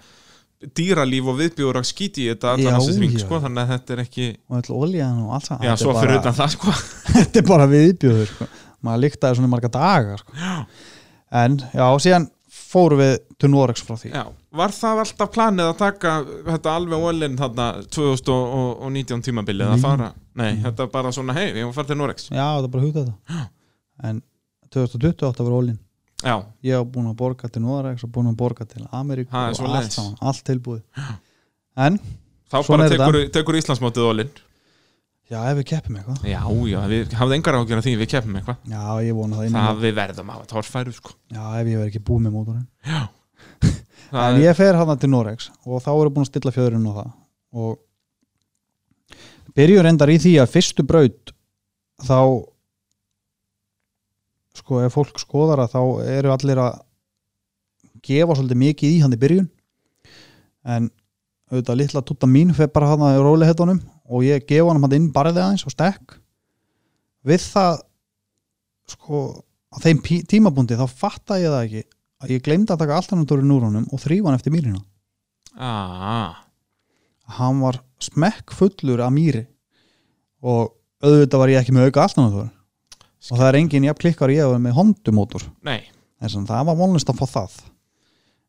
Speaker 1: dýralíf og viðbjóður að skíti í þetta allan
Speaker 2: Já,
Speaker 1: þessi þring,
Speaker 2: já.
Speaker 1: sko, þannig að þetta er ekki,
Speaker 2: og öll olíðan og allt það
Speaker 1: já,
Speaker 2: Þetta er
Speaker 1: svo fyrir
Speaker 2: bara-
Speaker 1: utan það, sko.
Speaker 2: þetta er bara viðbjöður sko. maður líktaði svona í marga daga sko. en já, síðan fórum við til Norex frá því
Speaker 1: Já, var það alltaf planið að taka þetta alveg ólinn þarna 2019 tímabilið að
Speaker 2: Nei.
Speaker 1: fara? Nei, þetta er bara svona, hei, ég var farið til Norex.
Speaker 2: já, þetta er bara hugtað það en 2020 átt að vera ólinn
Speaker 1: Já,
Speaker 2: ég hef búin að borga til Norex og búin að borga til Ameríku
Speaker 1: Ha,
Speaker 2: og
Speaker 1: svoleiðis.
Speaker 2: allt, saman, allt tilbúið en,
Speaker 1: þá bara
Speaker 2: Svona er
Speaker 1: tekur, tekur Íslandsmótið ólinn.
Speaker 2: já, ef við keppum eitthvað
Speaker 1: Já, já, við hafðum engar ágjör af því, við keppum eitthvað.
Speaker 2: já, ég vona það,
Speaker 1: Það
Speaker 2: það...
Speaker 1: við verðum að hafa torfæru, sko.
Speaker 2: já, ef ég verð ekki búið með mótorinn
Speaker 1: Það
Speaker 2: en
Speaker 1: er,
Speaker 2: ég fer hann til Norex og þá eru búin að stilla fjöðurinn á það og byrjum reyndar í því að fyrstu braut þá sko ef fólk skoðar að þá eru allir að gefa svolítið mikið í hann í byrjun en auðvitað litla tutta mín fer bara hann að rólihetunum og ég gefa hann hann inn barðið aðeins og stekk við það sko á þeim pí- tímabundi þá fatta ég það ekki að ég glemdi að taka alternatorinn úr honum og þrýfa hann eftir mýrina
Speaker 1: ah,
Speaker 2: hann var smekk fullur af mýri og auðvitað var ég ekki með auka alternator og það er engin jafn klikkar ég að vera með hondumótor
Speaker 1: nei,
Speaker 2: en sem, það var vonlust að fá það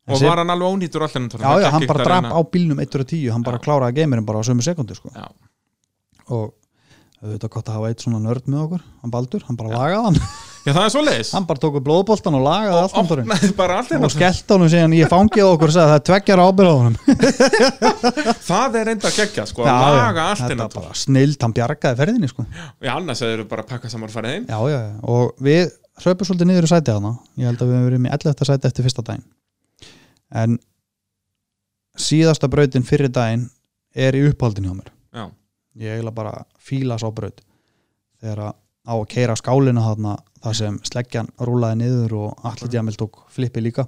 Speaker 2: En
Speaker 1: og
Speaker 2: Seb-
Speaker 1: var hann alveg ónýttur allan
Speaker 2: já, já, hann bara drap á bílnum 1.10, hann bara
Speaker 1: Já.
Speaker 2: kláraði geimurinn bara á sömu sekundu sko.
Speaker 1: hérna. Já.
Speaker 2: og auðvitað gott að hafa eitt svona nörd með okkur hann Baldur, hann bara lagaði hann
Speaker 1: já, það er svoleiðis
Speaker 2: hann bara tók upp blóðboltan og lagaði allt andurinn
Speaker 1: Opnaði bara allt
Speaker 2: og
Speaker 1: hérna
Speaker 2: skellt honum síðan ég fangið okkur og sagði það er tveggjar ábyrð á honum
Speaker 1: það er enda geggja sko,
Speaker 2: Já,
Speaker 1: að
Speaker 2: já,
Speaker 1: laga allt
Speaker 2: þetta
Speaker 1: hérna
Speaker 2: bara snild, hann bjargaði ferðinni sko.
Speaker 1: já, annars hefur bara að pakka saman og farið heim
Speaker 2: já, já, já, og við hröpum svolítið niður í sætið hana ég held að við hefum verið með 11. sæti eftir fyrsta daginn en síðasta brautin fyrir daginn er í upphaldin hjá mér
Speaker 1: já,
Speaker 2: ég eiginlega bara fíla sá braut þegar að á að keira skálina þarna þar sem sleggjan rúlaði niður og allir djamil tók flippi líka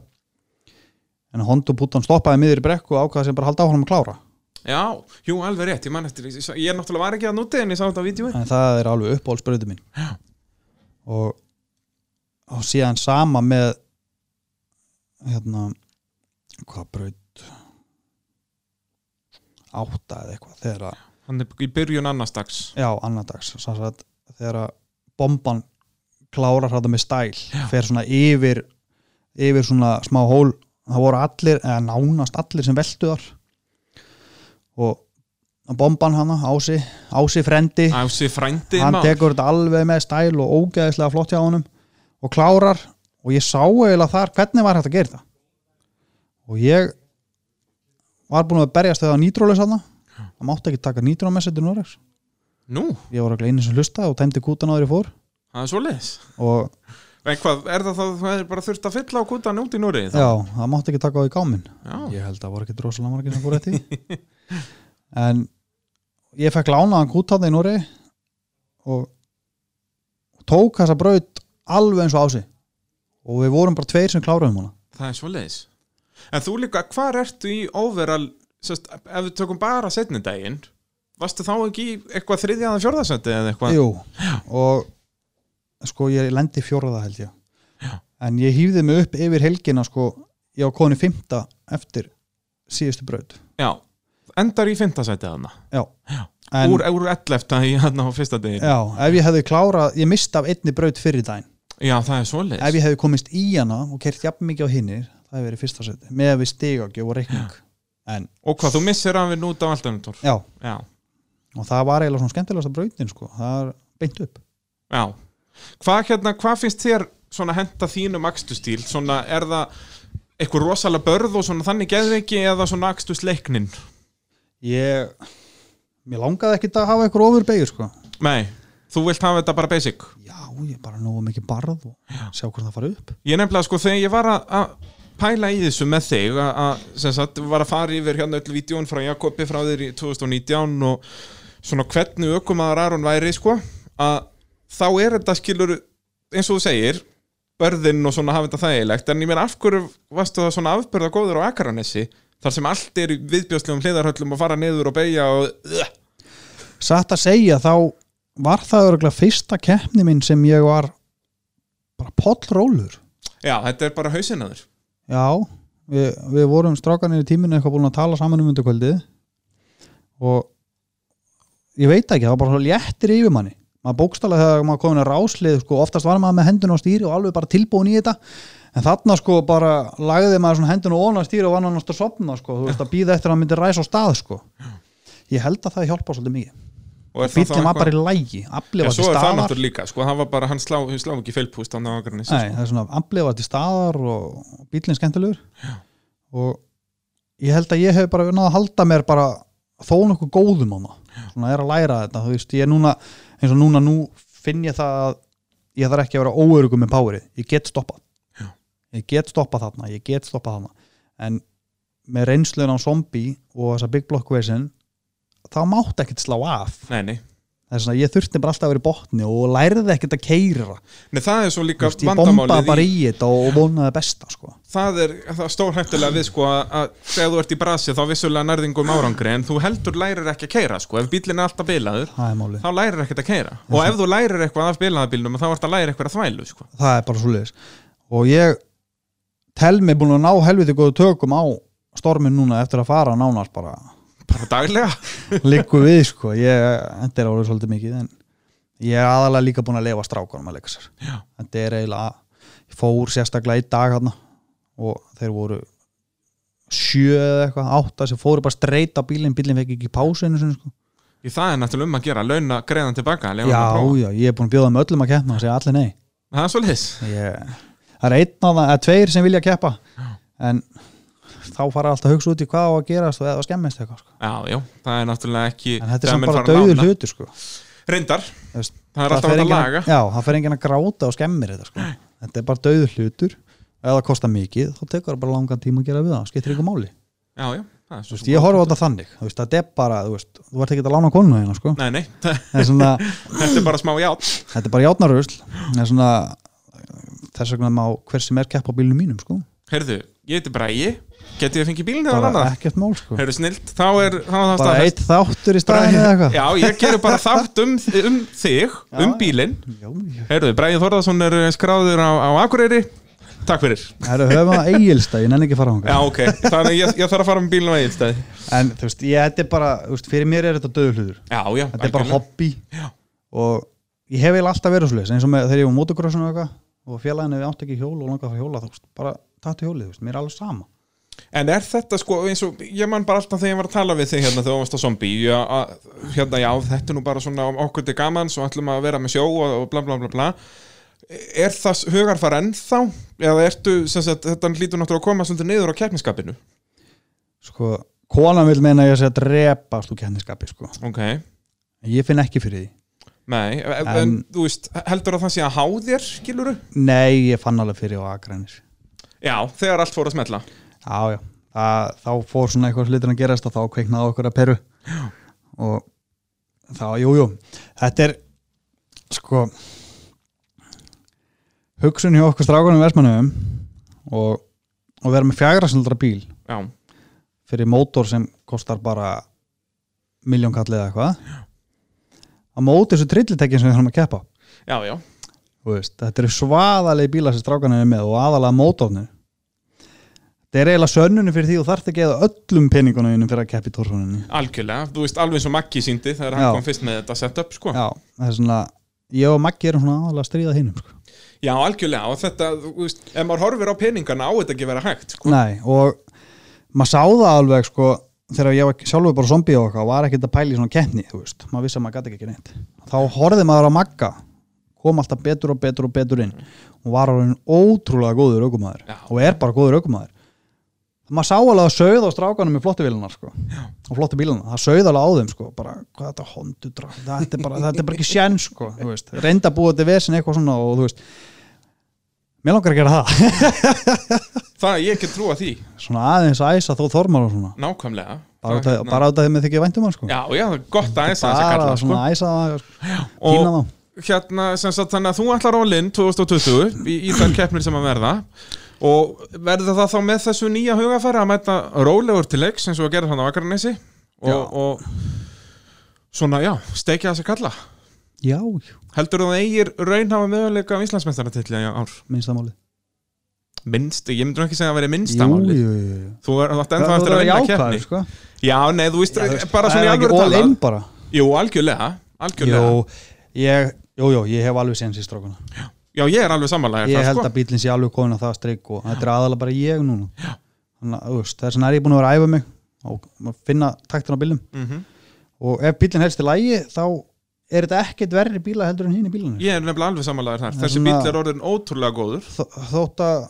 Speaker 2: en Hondo Búton stoppaði miður í brekku og ákvaði sem bara að halda áfram að klára
Speaker 1: já, jú, alveg rétt ég man eftir, ég, ég náttúrulega var ekki að núti en ég sá þetta á vídeo
Speaker 2: en það er alveg uppáhaldsbrautin mín
Speaker 1: Já.
Speaker 2: og, og síðan sama með hérna hvað braut átta eða eitthvað þegar að
Speaker 1: hann er í byrjun annars dags
Speaker 2: Já, annardags sem sagt, þegar að bomban klárar þetta með stæl
Speaker 1: Já.
Speaker 2: fer svona yfir yfir svona smá hól það voru allir, eða nánast allir sem veltu þar og bomban hana, Ási Ási frendi,
Speaker 1: Ási frændi
Speaker 2: hann
Speaker 1: maður.
Speaker 2: tekur þetta alveg með stæl og ógeðislega flott hjá honum og klárar og ég sá eiginlega þar hvernig var hægt að gera það og ég var búin að berjast þegar nýtróleis hana það mátti ekki taka nýtró með sér til Noregs
Speaker 1: nú,
Speaker 2: ég var ekki einu sem hlustaði og tæmdi kútan áður ég fór
Speaker 1: það er svoleiðis
Speaker 2: og
Speaker 1: en hvað, er það það, það er bara þurft að fylla á kútan út í Núri já,
Speaker 2: já, það mátti ekki taka á í gáminn
Speaker 1: já,
Speaker 2: ég held að það voru ekki drosalega margir sem fór eftir því. en ég fekk lánaðan kútan í Núri og og tók þessa braut alveg eins og ási og við vorum bara tveir sem kláruðum hana
Speaker 1: það er svoleiðis en þú líka, hvar ertu í overall sest, ef við tökum bara setni daginn varstu þá ekki í eitthvað þriðjaðan fjórðasendi eða eitthvað
Speaker 2: Jú, og sko ég lendi fjórða held ég
Speaker 1: Já.
Speaker 2: en ég hýfði mig upp yfir helgina sko, ég var konu fymta eftir síðustu braut
Speaker 1: já, endar í fymtasendi þarna
Speaker 2: já,
Speaker 1: Já.
Speaker 2: En-
Speaker 1: úr, úr 11. í hann á fyrsta degi já.
Speaker 2: Já, ef ég hefði klárað, ég misti af einni braut fyrir daginn
Speaker 1: það er svoleiðis
Speaker 2: Ef ég hefði komist í hana og kert jafn mikið á hinnir það hefði verið fyrsta seti, með að við stigagjöf og reikning En,
Speaker 1: og hvað, þú missir af við nút á alltaf um tór
Speaker 2: já,
Speaker 1: já,
Speaker 2: og það var eiginlega svona skemmtilegasta brautin sko, það er beint upp
Speaker 1: já hvað hérna, hvað finnst þér svona henda þínum akstustýl, svona er það eitthvað rosalega börð og svona þannig geðveiki eða svona akstusleiknin
Speaker 2: Ég, mér langaði ekkit að hafa eitthvað ofur beigir sko
Speaker 1: nei, þú vilt hafa þetta bara basic
Speaker 2: Já, ég bara nógu mikið barð og sjá hvernig það fara upp
Speaker 1: ég nefnilega sko þegar ég var að- að pæla í þessu með þig að- að sem sagt var að fara yfir hérna öll vídjón frá Jakobi frá þér í 2019 og svona hvernig ökumaður Aron væri sko að þá er þetta skilur eins og þú segir börðinn og svona hafa þetta þægilegt en ég meina af hverju varstu það svona afbörða góður á Akaranesi þar sem allt er í viðbjóðslegum hliðarhöllum og fara niður og beigja og Ugh.
Speaker 2: Satt að segja, þá var það örgulega fyrsta keppni minn sem ég var bara pollrólur
Speaker 1: já þetta er bara hausinaður
Speaker 2: Já, við, við vorum strákanir í tíminu eitthvað búin að tala saman um undarkvöldið og ég veit ekki, það var bara svo léttir yfir manni maður bókstala þegar maður komin að ráslið sko, oftast var maður með hendun á stýri og alveg bara tilbúin í þetta en þarna sko bara lagði maður svona hendun og ofan á stýri og var náttúrulega að sopna sko, þú veist að býða eftir að hann myndi ræsa á stað sko ég held að það hjálpa svolítið mikið
Speaker 1: og er það þá
Speaker 2: bíllinn var
Speaker 1: eitthvað-
Speaker 2: bara í lægi, aflið
Speaker 1: Já,
Speaker 2: var
Speaker 1: svo
Speaker 2: til
Speaker 1: er það
Speaker 2: staðar
Speaker 1: náttúrulega líka, sko, hann var bara, hann slá, hann slá ekki feilpúst hann á Akranesi,
Speaker 2: Nei,
Speaker 1: sko.
Speaker 2: það er svona amblið var til staðar og og bíllinn skemmtilegur og ég held að ég hef bara náð að halda mér bara þó nokkuð góðum á maður svona er að læra þetta, þú veist, ég er núna eins og núna nú finn ég það að ég þarf ekki að vera óörugum með powerið ég get stoppað
Speaker 1: Já.
Speaker 2: ég get stoppað þarna, ég get stoppað þarna en með reynslun á zombie og þessa big block version þá mátti ekkert slá af
Speaker 1: Nei, nei.
Speaker 2: það er svona, ég þurfti bara alltaf að vera í botni og lærði ekkert að keira
Speaker 1: Nei, það er svo líka
Speaker 2: Vist, ég bombaði
Speaker 1: vandamálið
Speaker 2: bara
Speaker 1: í,
Speaker 2: í þetta og vonaði besta sko.
Speaker 1: það er, það er stórhættilega við, sko, að- að þegar þú ert í brasi þá vissulega nærðingum árangri, en þú heldur lærir ekki að keira, sko, ef bílinn er alltaf bilaður,
Speaker 2: það er málið,
Speaker 1: þá lærir ekkert að keira. Og ef þú lærir eitthvað af bilaðabílnum, þá ert að læra eitthvað að þvælu, sko.
Speaker 2: það er bara svo leiðis og ég tel mig búin að ná helviti góðu tökum á stormin núna eftir að fara nánast bara
Speaker 1: Bara daglega.
Speaker 2: liggu við sko, ég, þetta er alveg svolítið mikið en ég er aðalega líka búin að lefa strákunum að leika sér
Speaker 1: Já.
Speaker 2: þetta er eiginlega, fór sérstaklega í dag hann og þeir voru sjö eða eitthvað, átta sem fóru bara streyta bílinn, bílinn fekk ekki pásu einu sinni sko.
Speaker 1: Í það er náttúrulega um að gera, launa greiðan tilbaka
Speaker 2: Já,
Speaker 1: leyfa honum að prófa.
Speaker 2: já, ég er búin að bjóða um öllum að keppna og segja allir nei
Speaker 1: Það er svolítið
Speaker 2: ég, Það er einn að það, eða tveir sem vilja keppa en þá fara alltaf að hugsa út í hvað á að gerast og eða skemmist eitthvað sko.
Speaker 1: Já, já, það er náttúrulega ekki
Speaker 2: en þetta
Speaker 1: þegar
Speaker 2: er samt
Speaker 1: menn
Speaker 2: bara
Speaker 1: fara að
Speaker 2: döður
Speaker 1: lána.
Speaker 2: hlutur sko.
Speaker 1: Reyndar,
Speaker 2: Þú veist,
Speaker 1: það er alltaf
Speaker 2: fer
Speaker 1: hægt að
Speaker 2: enginn
Speaker 1: laga
Speaker 2: Já, það fer enginn að gráta og skemmir þetta sko. Þetta er bara döður hlutur ef það kostar mikið, þá tekur það bara langan tíma að gera við það, skiptir ykkur máli
Speaker 1: Já, já, það er
Speaker 2: Þú
Speaker 1: svo
Speaker 2: veist, ég horfa á þetta þannig, þú veist, þetta er bara þú veist, þú ert ekki að lána konuna hérna sko.
Speaker 1: Nei, nei,
Speaker 2: En svona,
Speaker 1: þetta er bara smá ját
Speaker 2: þetta er bara játnarusl en svona, þess vegna má hver sem er keppa á bílunum mínum sko.
Speaker 1: Heyrðu, ég heiti Bræi Getið þið fengið bílinn eða
Speaker 2: bara
Speaker 1: annað?
Speaker 2: ekkert mál sko.
Speaker 1: Heyrðu, snilt, þá er þá er það
Speaker 2: bara
Speaker 1: staðfest.
Speaker 2: eitt þáttur í staðinu eða eitthvað
Speaker 1: Já, ég gerir bara þátt um, um þig, um
Speaker 2: já.
Speaker 1: bílinn
Speaker 2: Já, já.
Speaker 1: Heyrðu, Bræi Þorðarsson er eh, skráður á, á Akureyri Takk fyrir
Speaker 2: Það eru höfum að eigilsta, ég nenni ekki að fara
Speaker 1: Já,
Speaker 2: hanga
Speaker 1: ok, þannig ég, ég þarf að fara með bílinn á eiginstæði
Speaker 2: En þú veist, ég, þetta er bara, þú veist, fyrir mér er þetta döðhluður
Speaker 1: Já, já,
Speaker 2: Þetta er bara
Speaker 1: algjörlega.
Speaker 2: hobby
Speaker 1: Já.
Speaker 2: Og ég hef eiginlega alltaf verið svoleiðis eins og með, þegar ég var motocrossun og eitthvað og félaginu átt ekki hjól og langaði að fara að hjóla þú veist, bara tattu hjólið, þú veist, mér er alveg sama
Speaker 1: En er þetta sko eins og ég man bara alltaf þegar ég var að tala við þig hérna þegar þú varst á zombi hérna já þetta er nú bara svona okkur til gamans og ætlum að vera með sjó og, og bla bla bla bla Er það hugarfar ennþá eða ertu sem sagt þetta hlýtur náttúrulega að koma svolítið niður á keppniskapinu
Speaker 2: sko, konan vil meina að ég sé að drepast úr kenniskapi, sko
Speaker 1: Ok,
Speaker 2: en ég finn ekki fyrir því
Speaker 1: nei e, en, en
Speaker 2: En-
Speaker 1: þú veist heldur að það sé að há þér skiluru?
Speaker 2: Nei, ég fann alveg fyrir á agrænir
Speaker 1: Já, þegar allt fór að smetla
Speaker 2: Já, já, það, þá fór svona eitthvað slutin að gerast og þá kveiknaði okkur að peru og þá, jú, jú þetta er sko hugsun hjá okkur strákunum versmanum og, og vera með fjagrarsildra bíl
Speaker 1: Já,
Speaker 2: fyrir mótor sem kostar bara miljón kallið eða eitthvað á móti þessu trillitekkin sem við þurfum að keppa
Speaker 1: já, já,
Speaker 2: Þú veist, þetta eru svaðalegi bílar sem strákanir er með og aðalega mótornu þetta er eiginlega sönnunni fyrir því og þarf ekki eða öllum peningunum fyrir að keppi tórsóninni
Speaker 1: algjörlega Þú veist alveg eins og Maggi síndi þegar hann
Speaker 2: Já.
Speaker 1: kom fyrst með þetta setup sko
Speaker 2: já, það er svona ég og Maggi erum svona aðalega að stríða hinnum sko.
Speaker 1: Já, algjörlega og þetta, þú veist, ef maður horfir á peningana á þetta ekki að vera hægt sko.
Speaker 2: nei, og maður sá það alveg sko, þegar ég var sjálfur bara zombi og okkar var ekkert að pæla í svona keppni þú veist, maður vissi að maður gæti ekki neitt þá horfði maður á Magga kom alltaf betur og betur og betur inn og var hann ótrúlega góður aukumæður
Speaker 1: Já.
Speaker 2: og er bara góður aukumæður maður sá alveg að sögð á strákanum með flottu vilunar sko. og flottu bílunar, það sögð alveg á þeim sko. bara, hvað er þetta hondu þetta er bara, þetta er bara ekki sjens sko. þú veist. reynda að búa þetta vesin eitthvað svona og þú veist mér langar að gera það
Speaker 1: Það, ég ekki trúa því,
Speaker 2: svona aðeins æsa þó þormar og svona
Speaker 1: nákvæmlega það,
Speaker 2: bara út af- bara út af því með þykja væntum hann sko.
Speaker 1: Já, já, gott aðeins að þessa
Speaker 2: bara
Speaker 1: kalla sko.
Speaker 2: svona æsa það sko. pína
Speaker 1: Og
Speaker 2: þá
Speaker 1: hérna, sem sagt, þannig að þú ætlar á Linn 2020 í, í þær keppnir sem að verða Og verður það þá með þessu nýja hugafæri að mæta rólegur til leiks eins og að gera þannig á Akranesi
Speaker 2: Já.
Speaker 1: og, og svona, já, steikja þessa kalla
Speaker 2: já, já,
Speaker 1: Heldur það eigir raunhafa möguleika á Íslandsmestaratill í ár?
Speaker 2: minnsta máli
Speaker 1: Minnst, ég myndi nú ekki segja að vera minnsta
Speaker 2: jú,
Speaker 1: máli
Speaker 2: jú, jú, jú.
Speaker 1: Þú er- þú átt
Speaker 2: Það
Speaker 1: ennþá
Speaker 2: verður
Speaker 1: eftir að
Speaker 2: að
Speaker 1: vinna
Speaker 2: vera jákvæður,
Speaker 1: keppni
Speaker 2: sko.
Speaker 1: Já, nei, þú veist,
Speaker 2: Já, þú veist,
Speaker 1: bara
Speaker 2: það
Speaker 1: svona í
Speaker 2: er
Speaker 1: alvöru
Speaker 2: ekki all
Speaker 1: talað
Speaker 2: in bara
Speaker 1: Jú, algjörlega, algjörlega
Speaker 2: Jú, ég, jú, jú, ég hef alveg séns í strókuna
Speaker 1: Já, ég er sko? alveg sammálaðið
Speaker 2: Ég held að bílinn sé alveg komin að það streik og þetta er aðalega bara ég núna Þannig að þú veist, þess vegna er ég búin að vera að æfa mig og finna taktin á bílum
Speaker 1: mm -hmm.
Speaker 2: og ef bílinn helst í lægi þá er þetta ekkert verri bíla heldur en hinn í bílunum
Speaker 1: Ég er nefnilega alveg sammálaðið þar
Speaker 2: Það er
Speaker 1: Þessi
Speaker 2: svona-
Speaker 1: bíll er orðin ótrúlega góður
Speaker 2: Þótt að,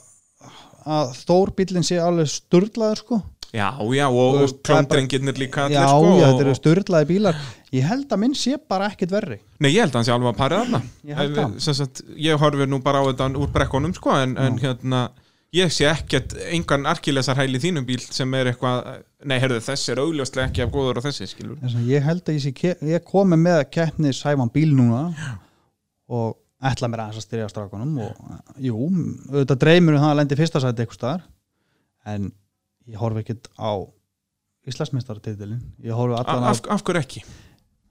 Speaker 2: að Þór bílinn sé alveg sturlaður sko
Speaker 1: Já, já, og,
Speaker 2: Þú
Speaker 1: og
Speaker 2: veist, það er bara-
Speaker 1: klóndrengirnir líka allir,
Speaker 2: Já,
Speaker 1: sko,
Speaker 2: já,
Speaker 1: og-
Speaker 2: þetta eru sturlaði bílar Ég held að minn sé bara ekkert verri
Speaker 1: Nei, ég held að hann sé alveg að parið þarna
Speaker 2: Ég held
Speaker 1: Ef-
Speaker 2: það.
Speaker 1: sem sagt, Ég horfi nú bara á þetta úr brekkunum sko, en, en hérna Ég sé ekkert engan arkilesar hæli þínum bíl sem er eitthvað, nei, herðu, þessi er augljóslega ekki af góður og þessi, skilur.
Speaker 2: Þess að ég held að ég, sé, ke- ég komi með keppni sæfan bíl núna og ætla mér aðeins að styrja á strákunum og jú, auðvitað dreymir um það að lendi í fyrsta sæti eitthvað staðar en ég horfi ekkert á Íslandsmeistaratitilin ég horfi
Speaker 1: A-
Speaker 2: allan á,
Speaker 1: Af, af hverju ekki?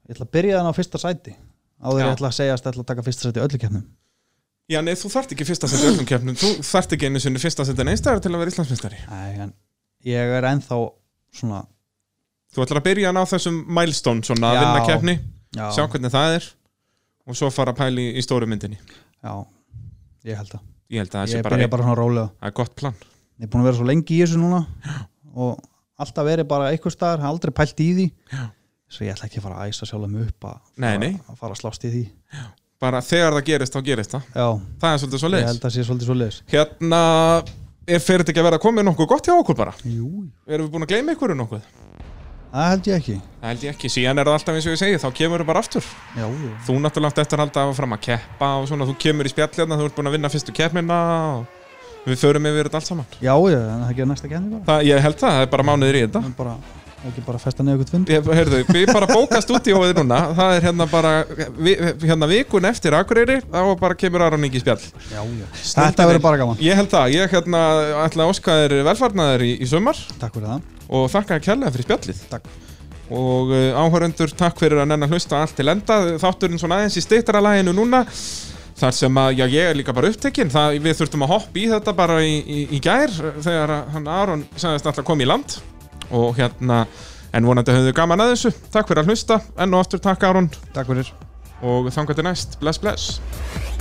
Speaker 2: ég ætla að byrja þann á fyrsta sæti áður
Speaker 1: Já.
Speaker 2: ég ætla að segja að ætla að taka fyrsta sæti í öllu keppnum
Speaker 1: Já, nei, þú þarft ekki fyrsta setja öllum keppnum, þú þarft ekki einu sinni fyrsta setja neinstæðar til að vera Íslandsmeistari.
Speaker 2: Æ, en ég er ennþá svona
Speaker 1: Þú ætlar að byrja að ná þessum milestone svona að
Speaker 2: Já.
Speaker 1: vinna keppni,
Speaker 2: já,
Speaker 1: sjá hvernig það er og svo fara að pæli í stóru myndinni.
Speaker 2: já, ég held að
Speaker 1: ég held að það sé
Speaker 2: ég
Speaker 1: bara,
Speaker 2: byrja
Speaker 1: bara...
Speaker 2: bara svona rólega
Speaker 1: það er gott plan
Speaker 2: ég er búin að vera svo lengi í þessu núna og alltaf verið bara eitthvað staðar aldrei pælt í því
Speaker 1: Já.
Speaker 2: svo ég ætla ekki að fara að æsa sjálf um upp að
Speaker 1: Nei,
Speaker 2: fara,
Speaker 1: nei.
Speaker 2: að fara að slást í því
Speaker 1: bara þegar það gerist þá gerist það
Speaker 2: já,
Speaker 1: það er svolítið svo
Speaker 2: ég
Speaker 1: leiðis
Speaker 2: held að sé svolítið svo leiðis
Speaker 1: hérna er fyrir þetta ekki að vera komið nokkuð gott hjá okkur bara
Speaker 2: jú,
Speaker 1: erum við búin að gleyma ykkur um nokkuð
Speaker 2: það held ég ekki
Speaker 1: það held ég ekki, síðan er það alltaf eins og ég segi þá kemur við bara aftur
Speaker 2: já, já.
Speaker 1: þú náttúrulega átt eftir að halda fram að keppa og svona, þú kemur í spjallina, þú ert búin að vinna fyrstu keppnina og við förum yfir þetta allt saman
Speaker 2: já, já, en það gerir næsta genni bara
Speaker 1: það, ég held það, það er bara mánuður í þetta
Speaker 2: en bara, ekki bara festa neðu eitthvað vind
Speaker 1: ég, heyrðu, við bara bóka stúdíóið núna það er hérna bara vi, hérna vikun eftir Akureyri, þá bara kemur Aron Ingi í spjall
Speaker 2: já, já. þetta verður bara gaman
Speaker 1: ég held það, ég hérna ætla að óska þér velfarnaðir í, í sumar
Speaker 2: takk fyrir það,
Speaker 1: og þakka þér kærlega fyrir spjallið
Speaker 2: takk
Speaker 1: og uh, áhörundur, takk fyrir að nennan hlusta allt til enda, þátturinn svona aðeins í steytara laginu núna þar sem að, já ég er líka bara upptekinn það, við þurftum að hoppa í þetta bara í, í, í gær þegar að hann Aron sagðist alltaf kom í land og hérna, en vonandi höfðu gaman að þessu takk fyrir að hlusta, enn og aftur takk Aron
Speaker 2: takk fyrir
Speaker 1: og þangar til næst, bless bless